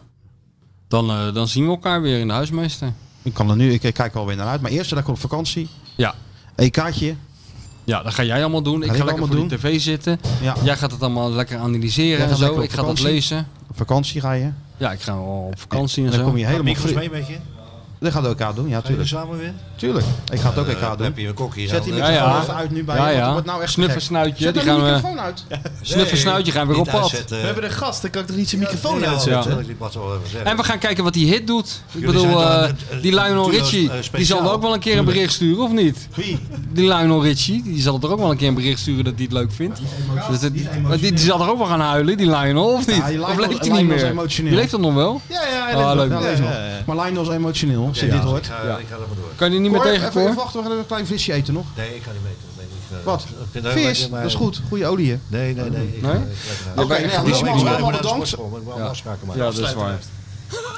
Speaker 3: Dan, eh, dan zien we elkaar weer in de huismeester.
Speaker 2: Ik kan er nu, ik, ik kijk er alweer naar uit. Maar eerst, dat ik op vakantie. E
Speaker 3: Ja.
Speaker 2: EK'tje.
Speaker 3: Ja, dat ga jij allemaal doen.
Speaker 2: Ga
Speaker 3: Ik ga
Speaker 2: ik
Speaker 3: lekker voor
Speaker 2: allemaal
Speaker 3: die tv zitten. Jij gaat het allemaal lekker analyseren
Speaker 2: Jij
Speaker 3: en
Speaker 2: gaat
Speaker 3: zo.
Speaker 2: lekker op
Speaker 3: Ik ga dat
Speaker 2: vakantie.
Speaker 3: lezen.
Speaker 2: Op vakantie ga je.
Speaker 3: Ja, ik ga wel op vakantie en
Speaker 2: dan
Speaker 3: zo.
Speaker 2: kom je helemaal
Speaker 4: Mikkels
Speaker 2: fris.
Speaker 4: mee met je?
Speaker 2: Dat gaat ook elkaar doen, ja,
Speaker 4: Ga je
Speaker 2: tuurlijk.
Speaker 4: samen weer?
Speaker 2: Tuurlijk. Ik ga het ook
Speaker 4: Eh,
Speaker 2: elkaar doen.
Speaker 4: heb je een kokkie
Speaker 2: Zet die
Speaker 4: aan,
Speaker 2: microfoon
Speaker 4: eh? Ja, ja.
Speaker 2: even uit nu bij
Speaker 4: Ja,
Speaker 2: je, want
Speaker 4: ja.
Speaker 2: het wordt nou echt
Speaker 4: Snuffer
Speaker 2: gek.
Speaker 3: snuitje,
Speaker 2: Zet
Speaker 3: die
Speaker 2: nou die
Speaker 3: gaan we-
Speaker 2: microfoon uit.
Speaker 3: Snuffersnuitje gaan we weer op
Speaker 4: Niet
Speaker 3: pad.
Speaker 4: uitzetten.
Speaker 7: We hebben een gast, dan kan ik er niet zijn microfoon
Speaker 4: ja,
Speaker 7: uitzetten.
Speaker 4: natuurlijk, ik mag het wel even zeggen.
Speaker 3: En we gaan kijken wat die hit doet. Ik
Speaker 4: Jullie
Speaker 3: bedoel,
Speaker 4: zijn
Speaker 3: eh,
Speaker 4: dan, eh, eh,
Speaker 3: die Lionel
Speaker 4: natuurlijk,
Speaker 3: Richie,
Speaker 4: eh,
Speaker 3: die zal
Speaker 4: speciaal.
Speaker 3: ook wel een keer een
Speaker 4: Tuurlijk.
Speaker 3: bericht sturen, of niet?
Speaker 4: Wie?
Speaker 3: Die Lionel Richie, die zal er ook wel een keer een bericht sturen dat hij het leuk vindt. Dus het- maar die, die zal er ook wel gaan huilen, die Lionel, of niet?
Speaker 2: Ja, die
Speaker 3: of
Speaker 2: Lionel-
Speaker 3: leeft hij niet
Speaker 2: Lionel is
Speaker 3: meer?
Speaker 2: emotioneel.
Speaker 3: Die leeft dan nog wel?
Speaker 2: Ja, ja, hij leeft
Speaker 3: Oh,
Speaker 2: nog.
Speaker 3: leuk.
Speaker 2: Ja, hij leeft
Speaker 3: Ja,
Speaker 2: nog.
Speaker 3: ja, ja.
Speaker 2: Maar Lionel is emotioneel, als je dit hoort.
Speaker 4: Ik ga,
Speaker 3: Ja.
Speaker 4: ik ga er maar door.
Speaker 3: Kan je er niet meer
Speaker 2: Cor,
Speaker 3: tegen,
Speaker 2: even, even
Speaker 3: Cor?
Speaker 2: wachten, we gaan even een klein visje eten nog.
Speaker 4: Nee, ik ga niet mee. dat weet ik, eh,
Speaker 2: Wat?
Speaker 4: ik vind het heel
Speaker 2: Vis,
Speaker 4: lekker, maar-
Speaker 2: dat is goed. Goede olie, hè?
Speaker 4: Nee, nee, nee. ik
Speaker 2: Nee?
Speaker 4: ga- ik ga eruit.
Speaker 2: Oké, nou,
Speaker 4: Ik ga
Speaker 2: die
Speaker 4: wel-
Speaker 2: smaak
Speaker 4: ik
Speaker 2: allemaal
Speaker 4: ben naar de
Speaker 2: bedankt.
Speaker 4: sportschool, maar ik wil
Speaker 2: Ja.
Speaker 4: afspraken maken.
Speaker 3: Ja, dat is waar.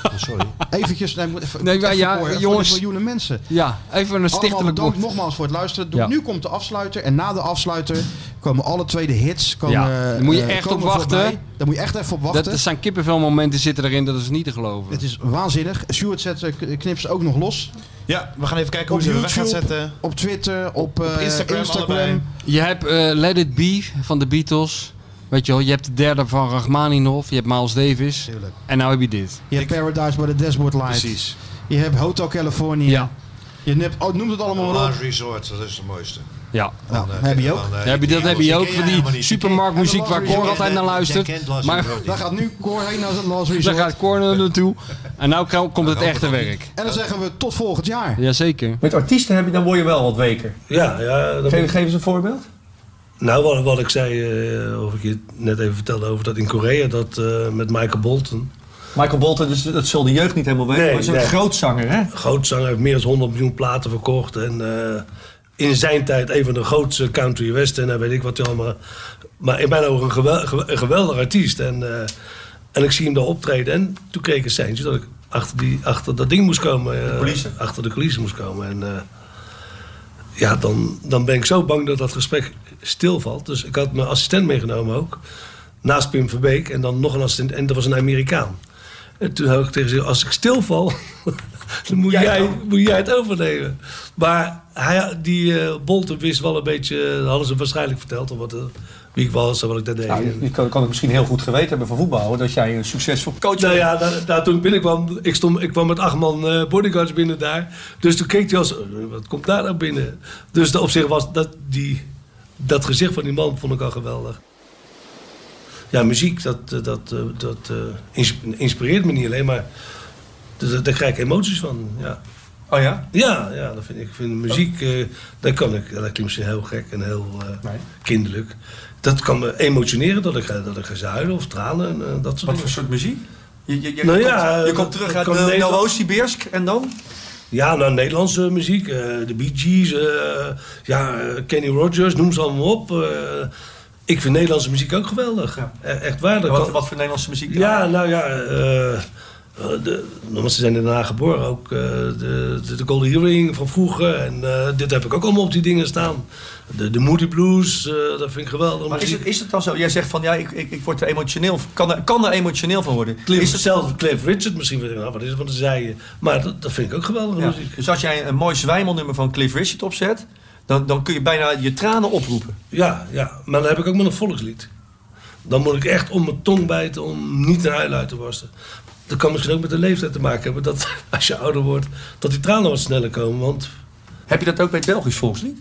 Speaker 4: Oh, Sorry.
Speaker 2: Eventjes, nee, moet even,
Speaker 3: Nee,
Speaker 2: even
Speaker 3: maar ja,
Speaker 2: voor, eh, voor
Speaker 3: jongens.
Speaker 2: die miljoenen mensen.
Speaker 3: Ja, even een
Speaker 2: Allemaal
Speaker 3: stichtelijk
Speaker 2: bedankt
Speaker 3: woord.
Speaker 2: nogmaals voor het luisteren. Doe-
Speaker 3: Ja.
Speaker 2: Nu komt de afsluiter. En na de afsluiter komen alle tweede hits. Komen,
Speaker 3: Ja, daar moet je
Speaker 2: eh,
Speaker 3: echt
Speaker 2: komen
Speaker 3: op wachten.
Speaker 2: voorbij. Daar moet je echt even op
Speaker 3: Dat,
Speaker 2: wachten.
Speaker 3: dat zijn kippenvelmomenten zitten erin, dat is niet te geloven.
Speaker 2: Het is waanzinnig. Stuart zet eh, k- knips ook nog los.
Speaker 7: Ja, we gaan even kijken hoe ze hem weg gaan zetten.
Speaker 2: op Twitter, op, eh,
Speaker 7: Instagram
Speaker 2: Instagram.
Speaker 7: allebei.
Speaker 3: Je hebt eh, Let It Be van de Beatles. Weet je wel, je hebt de derde van Rachmaninoff, je hebt Miles Davis. En nou heb je dit.
Speaker 2: Je hebt Paradise by the Dashboard Light.
Speaker 3: Precies.
Speaker 2: Je hebt Hotel California. Je hebt, oh, noem het allemaal maar op.
Speaker 4: Last Resort, dat is het mooiste.
Speaker 3: Ja.
Speaker 2: Nou,
Speaker 3: eh,
Speaker 2: heb je ook.
Speaker 3: Ja, heb je, dat heb je ook van die supermarktmuziek waar Cor altijd naar luistert. Maar
Speaker 2: Daar gaat nu Cor heen naar zijn Last
Speaker 3: daar
Speaker 2: Resort.
Speaker 3: gaat Cor naar naartoe. En nou ko- komt het echte werk.
Speaker 2: En dan zeggen we tot volgend jaar.
Speaker 3: Jazeker.
Speaker 17: Met artiesten heb je, dan word je wel wat weker.
Speaker 16: Ja, ja. dat-
Speaker 17: Geef, geef eens een voorbeeld.
Speaker 16: Nou, wat, wat ik zei, eh, of ik je net even vertelde over dat in Korea, dat eh, met Michael Bolton.
Speaker 17: Michael Bolton, dus, dat zal de jeugd niet helemaal weten.
Speaker 16: Nee,
Speaker 17: maar hij is
Speaker 16: nee.
Speaker 17: een grootzanger, hè?
Speaker 16: Grootzanger heeft meer dan 100 miljoen platen verkocht. En eh, in zijn tijd een van de grootste country western en weet ik wat allemaal. Maar in mijn ogen een, gewel- gewel- een geweldig artiest. En, eh, en ik zie hem daar optreden. En toen kreeg ik een seintje dat ik achter, die, achter dat ding moest komen. eh, achter de coulissen moest komen. En, eh, ja, dan, dan ben ik zo bang dat dat gesprek stilvalt. Dus ik had mijn assistent meegenomen ook. Naast Pim Verbeek. En dan nog een assistent. En dat was een Amerikaan. En toen had ik tegen ze gezegd, als ik stilval, dan moet jij, moet jij het overnemen. Maar hij, die eh Bolton wist wel een beetje, dat hadden ze waarschijnlijk verteld, of wat, eh, wie ik was en wat ik daar deed.
Speaker 17: Nou, je- je kan, kan het misschien heel goed geweten hebben van voetbal, hoor, dat jij een succesvol coach
Speaker 16: Nou
Speaker 17: bent.
Speaker 16: ja, daar, daar toen ik binnenkwam, ik, stond, ik kwam met acht man eh, bodyguards binnen daar. Dus toen keek hij als, eh, wat komt daar nou binnen? Dus de- op zich was dat, die, dat gezicht van die man vond ik al geweldig. Ja, muziek, dat, eh, dat, eh, dat eh, ins- inspireert me niet alleen, maar d- d- daar krijg ik emoties van. Ja.
Speaker 17: Oh ja? Oh.
Speaker 16: Ja, ja dat vind ik. ik vind muziek, eh dat kan ik. ja, Dat klinkt misschien heel gek en heel eh, kinderlijk. Dat kan me emotioneren dat ik, ga- dat ik ga huilen of tranen en eh, dat soort dingen.
Speaker 17: Wat voor soort muziek? Je, je, je,
Speaker 16: Nou
Speaker 17: komt,
Speaker 16: ja,
Speaker 17: je
Speaker 16: eh,
Speaker 17: komt terug
Speaker 16: ik
Speaker 17: uit
Speaker 16: kan
Speaker 17: eh,
Speaker 16: Nederland-
Speaker 17: Novosibirsk en dan?
Speaker 16: Ja, nou, Nederlandse muziek. eh, de Bee Gees, eh, ja, eh, Kenny Rogers, noem ze allemaal op. eh. ik vind Nederlandse muziek ook geweldig. E- echt waar. dat
Speaker 17: En Wat,
Speaker 16: kan-
Speaker 17: wat voor Nederlandse muziek?
Speaker 16: Ja, nou ja... eh, eh, de, want ze zijn daarna geboren ook. eh, de, de, de Golden Earring van vroeger. En eh, dit heb ik ook allemaal op die dingen staan. De, de Moody Blues, eh, dat vind ik geweldig.
Speaker 17: Maar is het, is het dan zo? Jij zegt van ja, ik, ik, ik word er emotioneel van. Kan er, kan er emotioneel van worden?
Speaker 16: Cliff,
Speaker 17: Is het-
Speaker 16: zelf Cliff Richard misschien. weet ik, Nou, wat is het van de zijen? Maar dat, dat vind ik ook geweldige
Speaker 17: Ja,
Speaker 16: muziek.
Speaker 17: Dus als jij een mooi zwijmelnummer van Cliff Richard opzet, dan, dan kun je bijna je tranen oproepen.
Speaker 16: Ja, ja, maar dan heb ik ook met een volkslied. Dan moet ik echt om mijn tong bijten om niet naar huilen uit te barsten. Dat kan misschien ook met de leeftijd te maken hebben. Dat als je ouder wordt, dat die tranen wat sneller komen. Want...
Speaker 17: Heb je dat ook bij het Belgisch volkslied?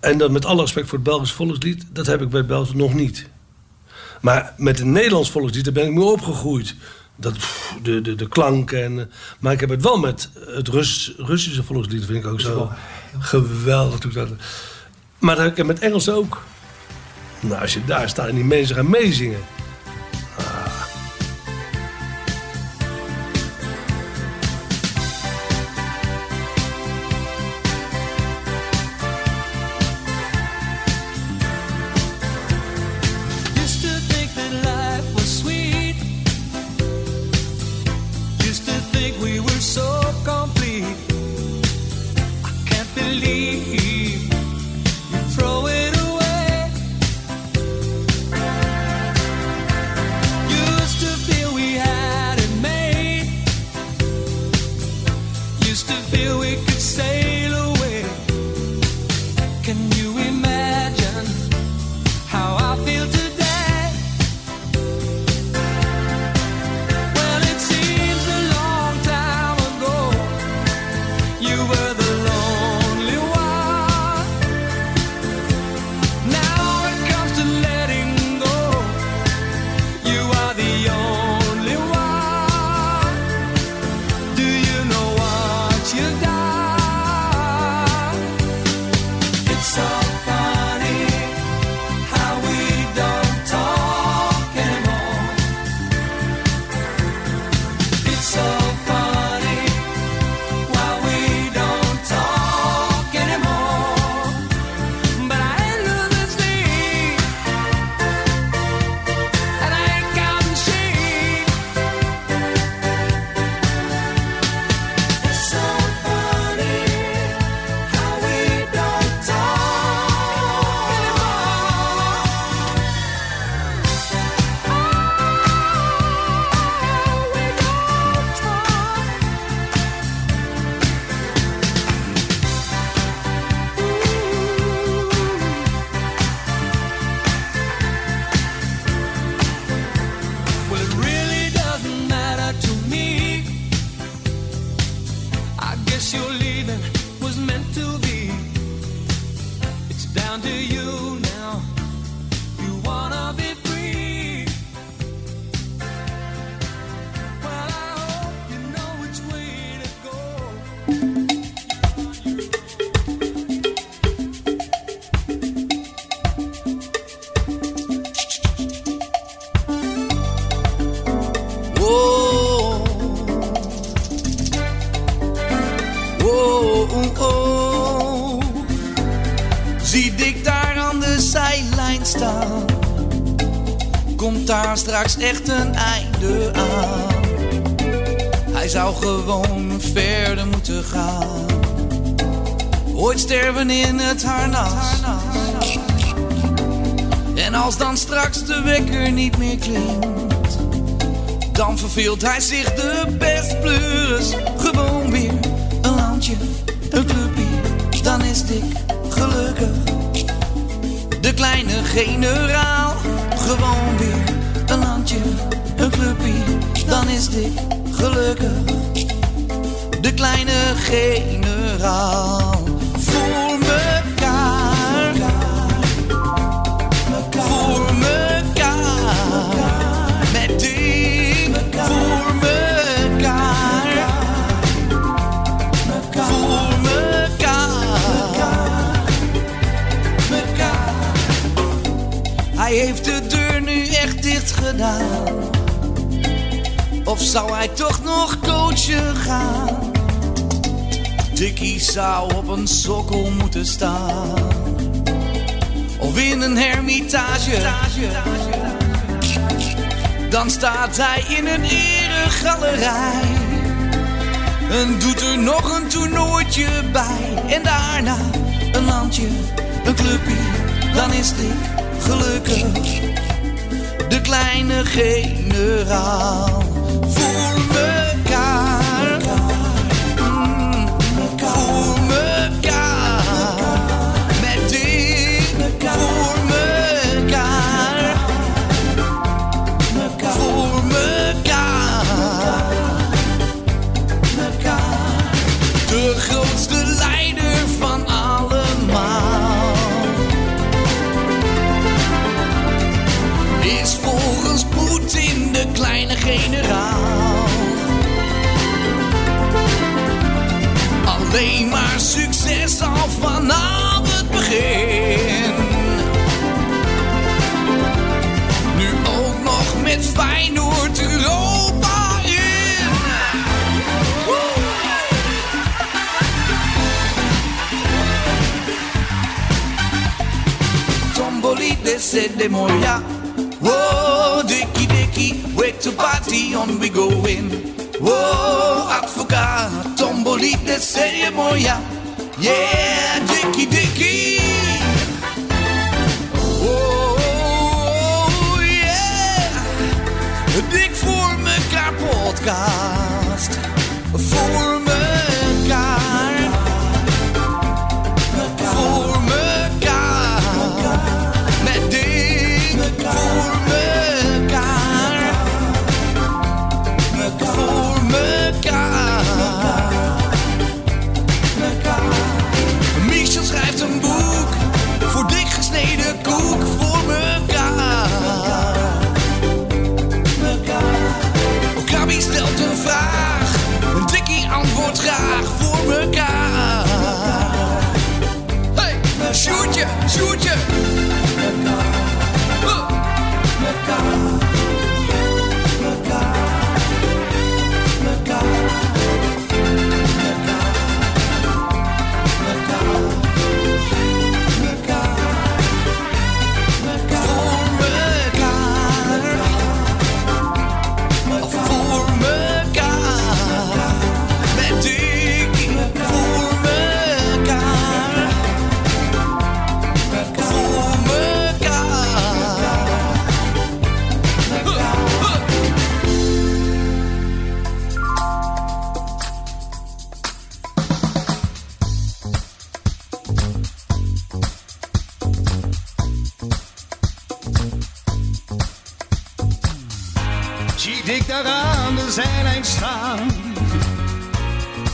Speaker 16: En dat met alle respect voor het Belgisch volkslied, dat heb ik bij het Belgisch nog niet. Maar met het Nederlands volkslied, daar ben ik mee opgegroeid. Dat, pff, de, de, de klank en... eh, Maar ik heb het wel met het Rus, Russische volkslied, dat vind ik ook zo geweldig. toen ik dat- Maar dat heb ik met Engels ook. Nou, als je daar staat en die mensen gaan meezingen.
Speaker 14: Used to think that life was sweet. Used to think we were so complete. I can't believe oh, komt daar straks echt een einde aan. Hij zou gewoon verder moeten gaan. Ooit sterven in het harnas. En als dan straks de wekker niet meer klinkt, dan verveelt hij zich de best pleuris. Gewoon weer een landje, een clubje, dan is dik gelukkig. De kleine generaal, gewoon weer een landje, een clubje, dan is dik gelukkig. De kleine generaal, voor mekaar, voor mekaar, met dik voor mekaar, voor mekaar. Mekaar. Hij heeft de deur nu echt dicht gedaan. Of zou hij toch nog coachen gaan? Dickie zou op een sokkel moeten staan. Of in een hermitage. Dan staat hij in een eregalerij. En doet er nog een toernooitje bij. En daarna een landje, een clubje. Dan is dit gelukkig de kleine generaal. Voor mekaar, Mm, voor mekaar, met dit voor mekaar, voor mekaar, de grootste leider van allemaal. is volgens Poetin de kleine generaal. Alleen maar succes al vanaf het begin. Nu ook nog met Feyenoord Europa in. Woe! Tombolide said de Moria. Whoa, dicky dicky, wake to party on we go in. Whoa, Africa, Tombolide said de Moria. Yeah, dicky dicky. Oh, yeah. Dik voor mekaar podcast. Voor mekaar. Voor mekaar. Met dik voor mekaar. Voor mekaar. Michel schrijft een boek voor dik gesneden koek voor mekaar. Krabi stelt een vraag, een dikkie antwoordt graag voor mekaar. Hey, shootje, shootje. Huh. Voor mekaar. Voor mekaar. Met Dickie. Voor mekaar. Voor mekaar.
Speaker 5: Zie ik daar aan de zijlijn staan.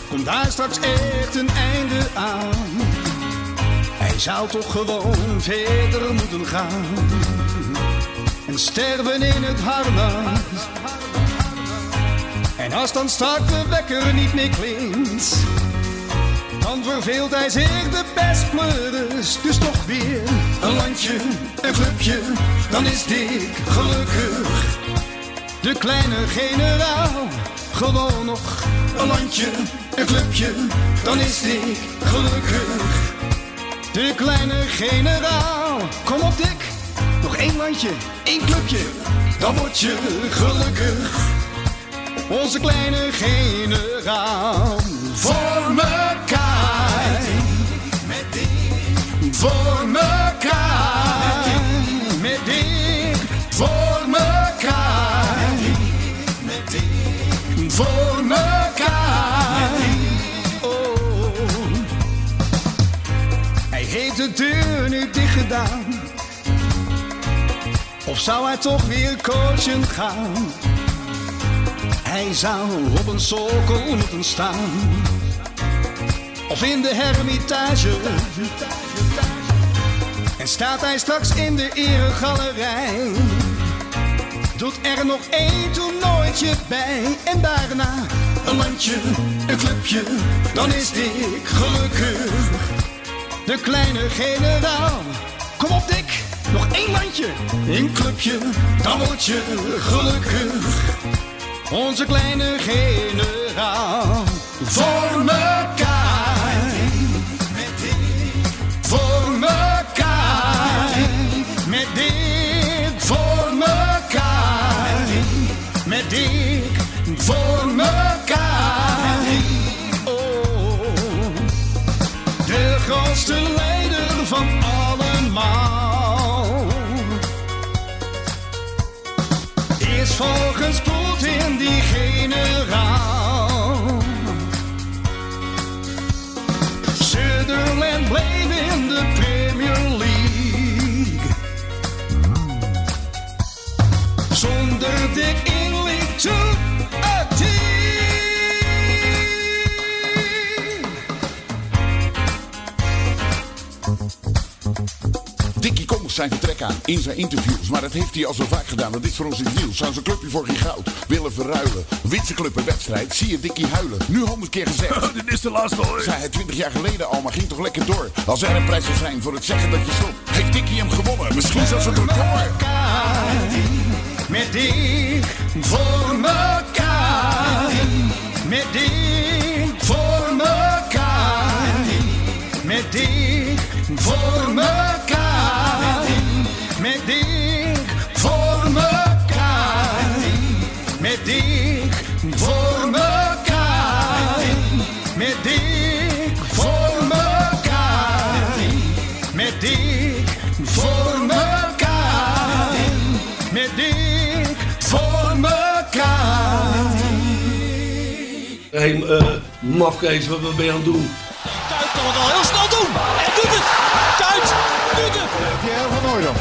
Speaker 5: Komt daar straks echt een einde aan. Hij zou toch gewoon verder moeten gaan. En sterven in het harnas. En als dan straks de wekker niet meer klinkt. Dan verveelt hij zich de pestpleurs. Dus toch weer een landje, een clubje. Dan is Dick gelukkig. De kleine generaal, gewoon nog een landje, een clubje, dan is ik gelukkig. De kleine generaal, kom op dik, nog één landje, één clubje, dan word je gelukkig. Onze kleine generaal voor mekaar. Voor mekaar. Met dik voor mekaar. Voor mekaar. Oh. Hij heeft de deur nu dicht gedaan. Of zou hij toch weer coachen gaan? Hij zou op een sokkel moeten staan. Of in de hermitage. En staat hij straks in de eregalerij. Doet er nog één toernooitje bij. En daarna een landje, een clubje. Dan is Dick gelukkig. De kleine generaal. Kom op, Dick. Nog één landje, één clubje, dan word je gelukkig. Onze kleine generaal. Voor mekaar. Voor mekaar. Met Dick voor mekaar. Met Dick voor mekaar. Oh. De grootste leider van allemaal Is volgespoeld in die generaal Sunderland bleef in de Premier League Zonder Dick Ingelig to a team
Speaker 18: Dickie Kongs zijn vertrek aan in zijn interviews. Maar dat heeft hij al zo vaak gedaan, dat is voor ons iets nieuws. Zou zijn clubje voor geen goud willen verruilen? Wint zijn club een wedstrijd, zie je Dickie huilen. Nu honderd keer gezegd. Dit is de laatste hoor. Zei hij twintig jaar geleden al, maar ging toch lekker door. Als er een prijs zou zijn voor het zeggen dat je stopt, heeft Dickie hem gewonnen. Misschien zelfs een record.
Speaker 5: Met dik voor mekaar. Met dik voor mekaar. Met dik voor mekaar. Met dik voor mekaar. Met dik voor mekaar. Met dik voor mekaar. Met dik voor mekaar. Met dik voor mekaar.
Speaker 16: Hé, hey, eh, mafkees, wat wat ben je aan het doen?
Speaker 19: Kuit kan het al heel snel doen. En doet het. Kuit doet het.
Speaker 20: Pierre van Hooydonk.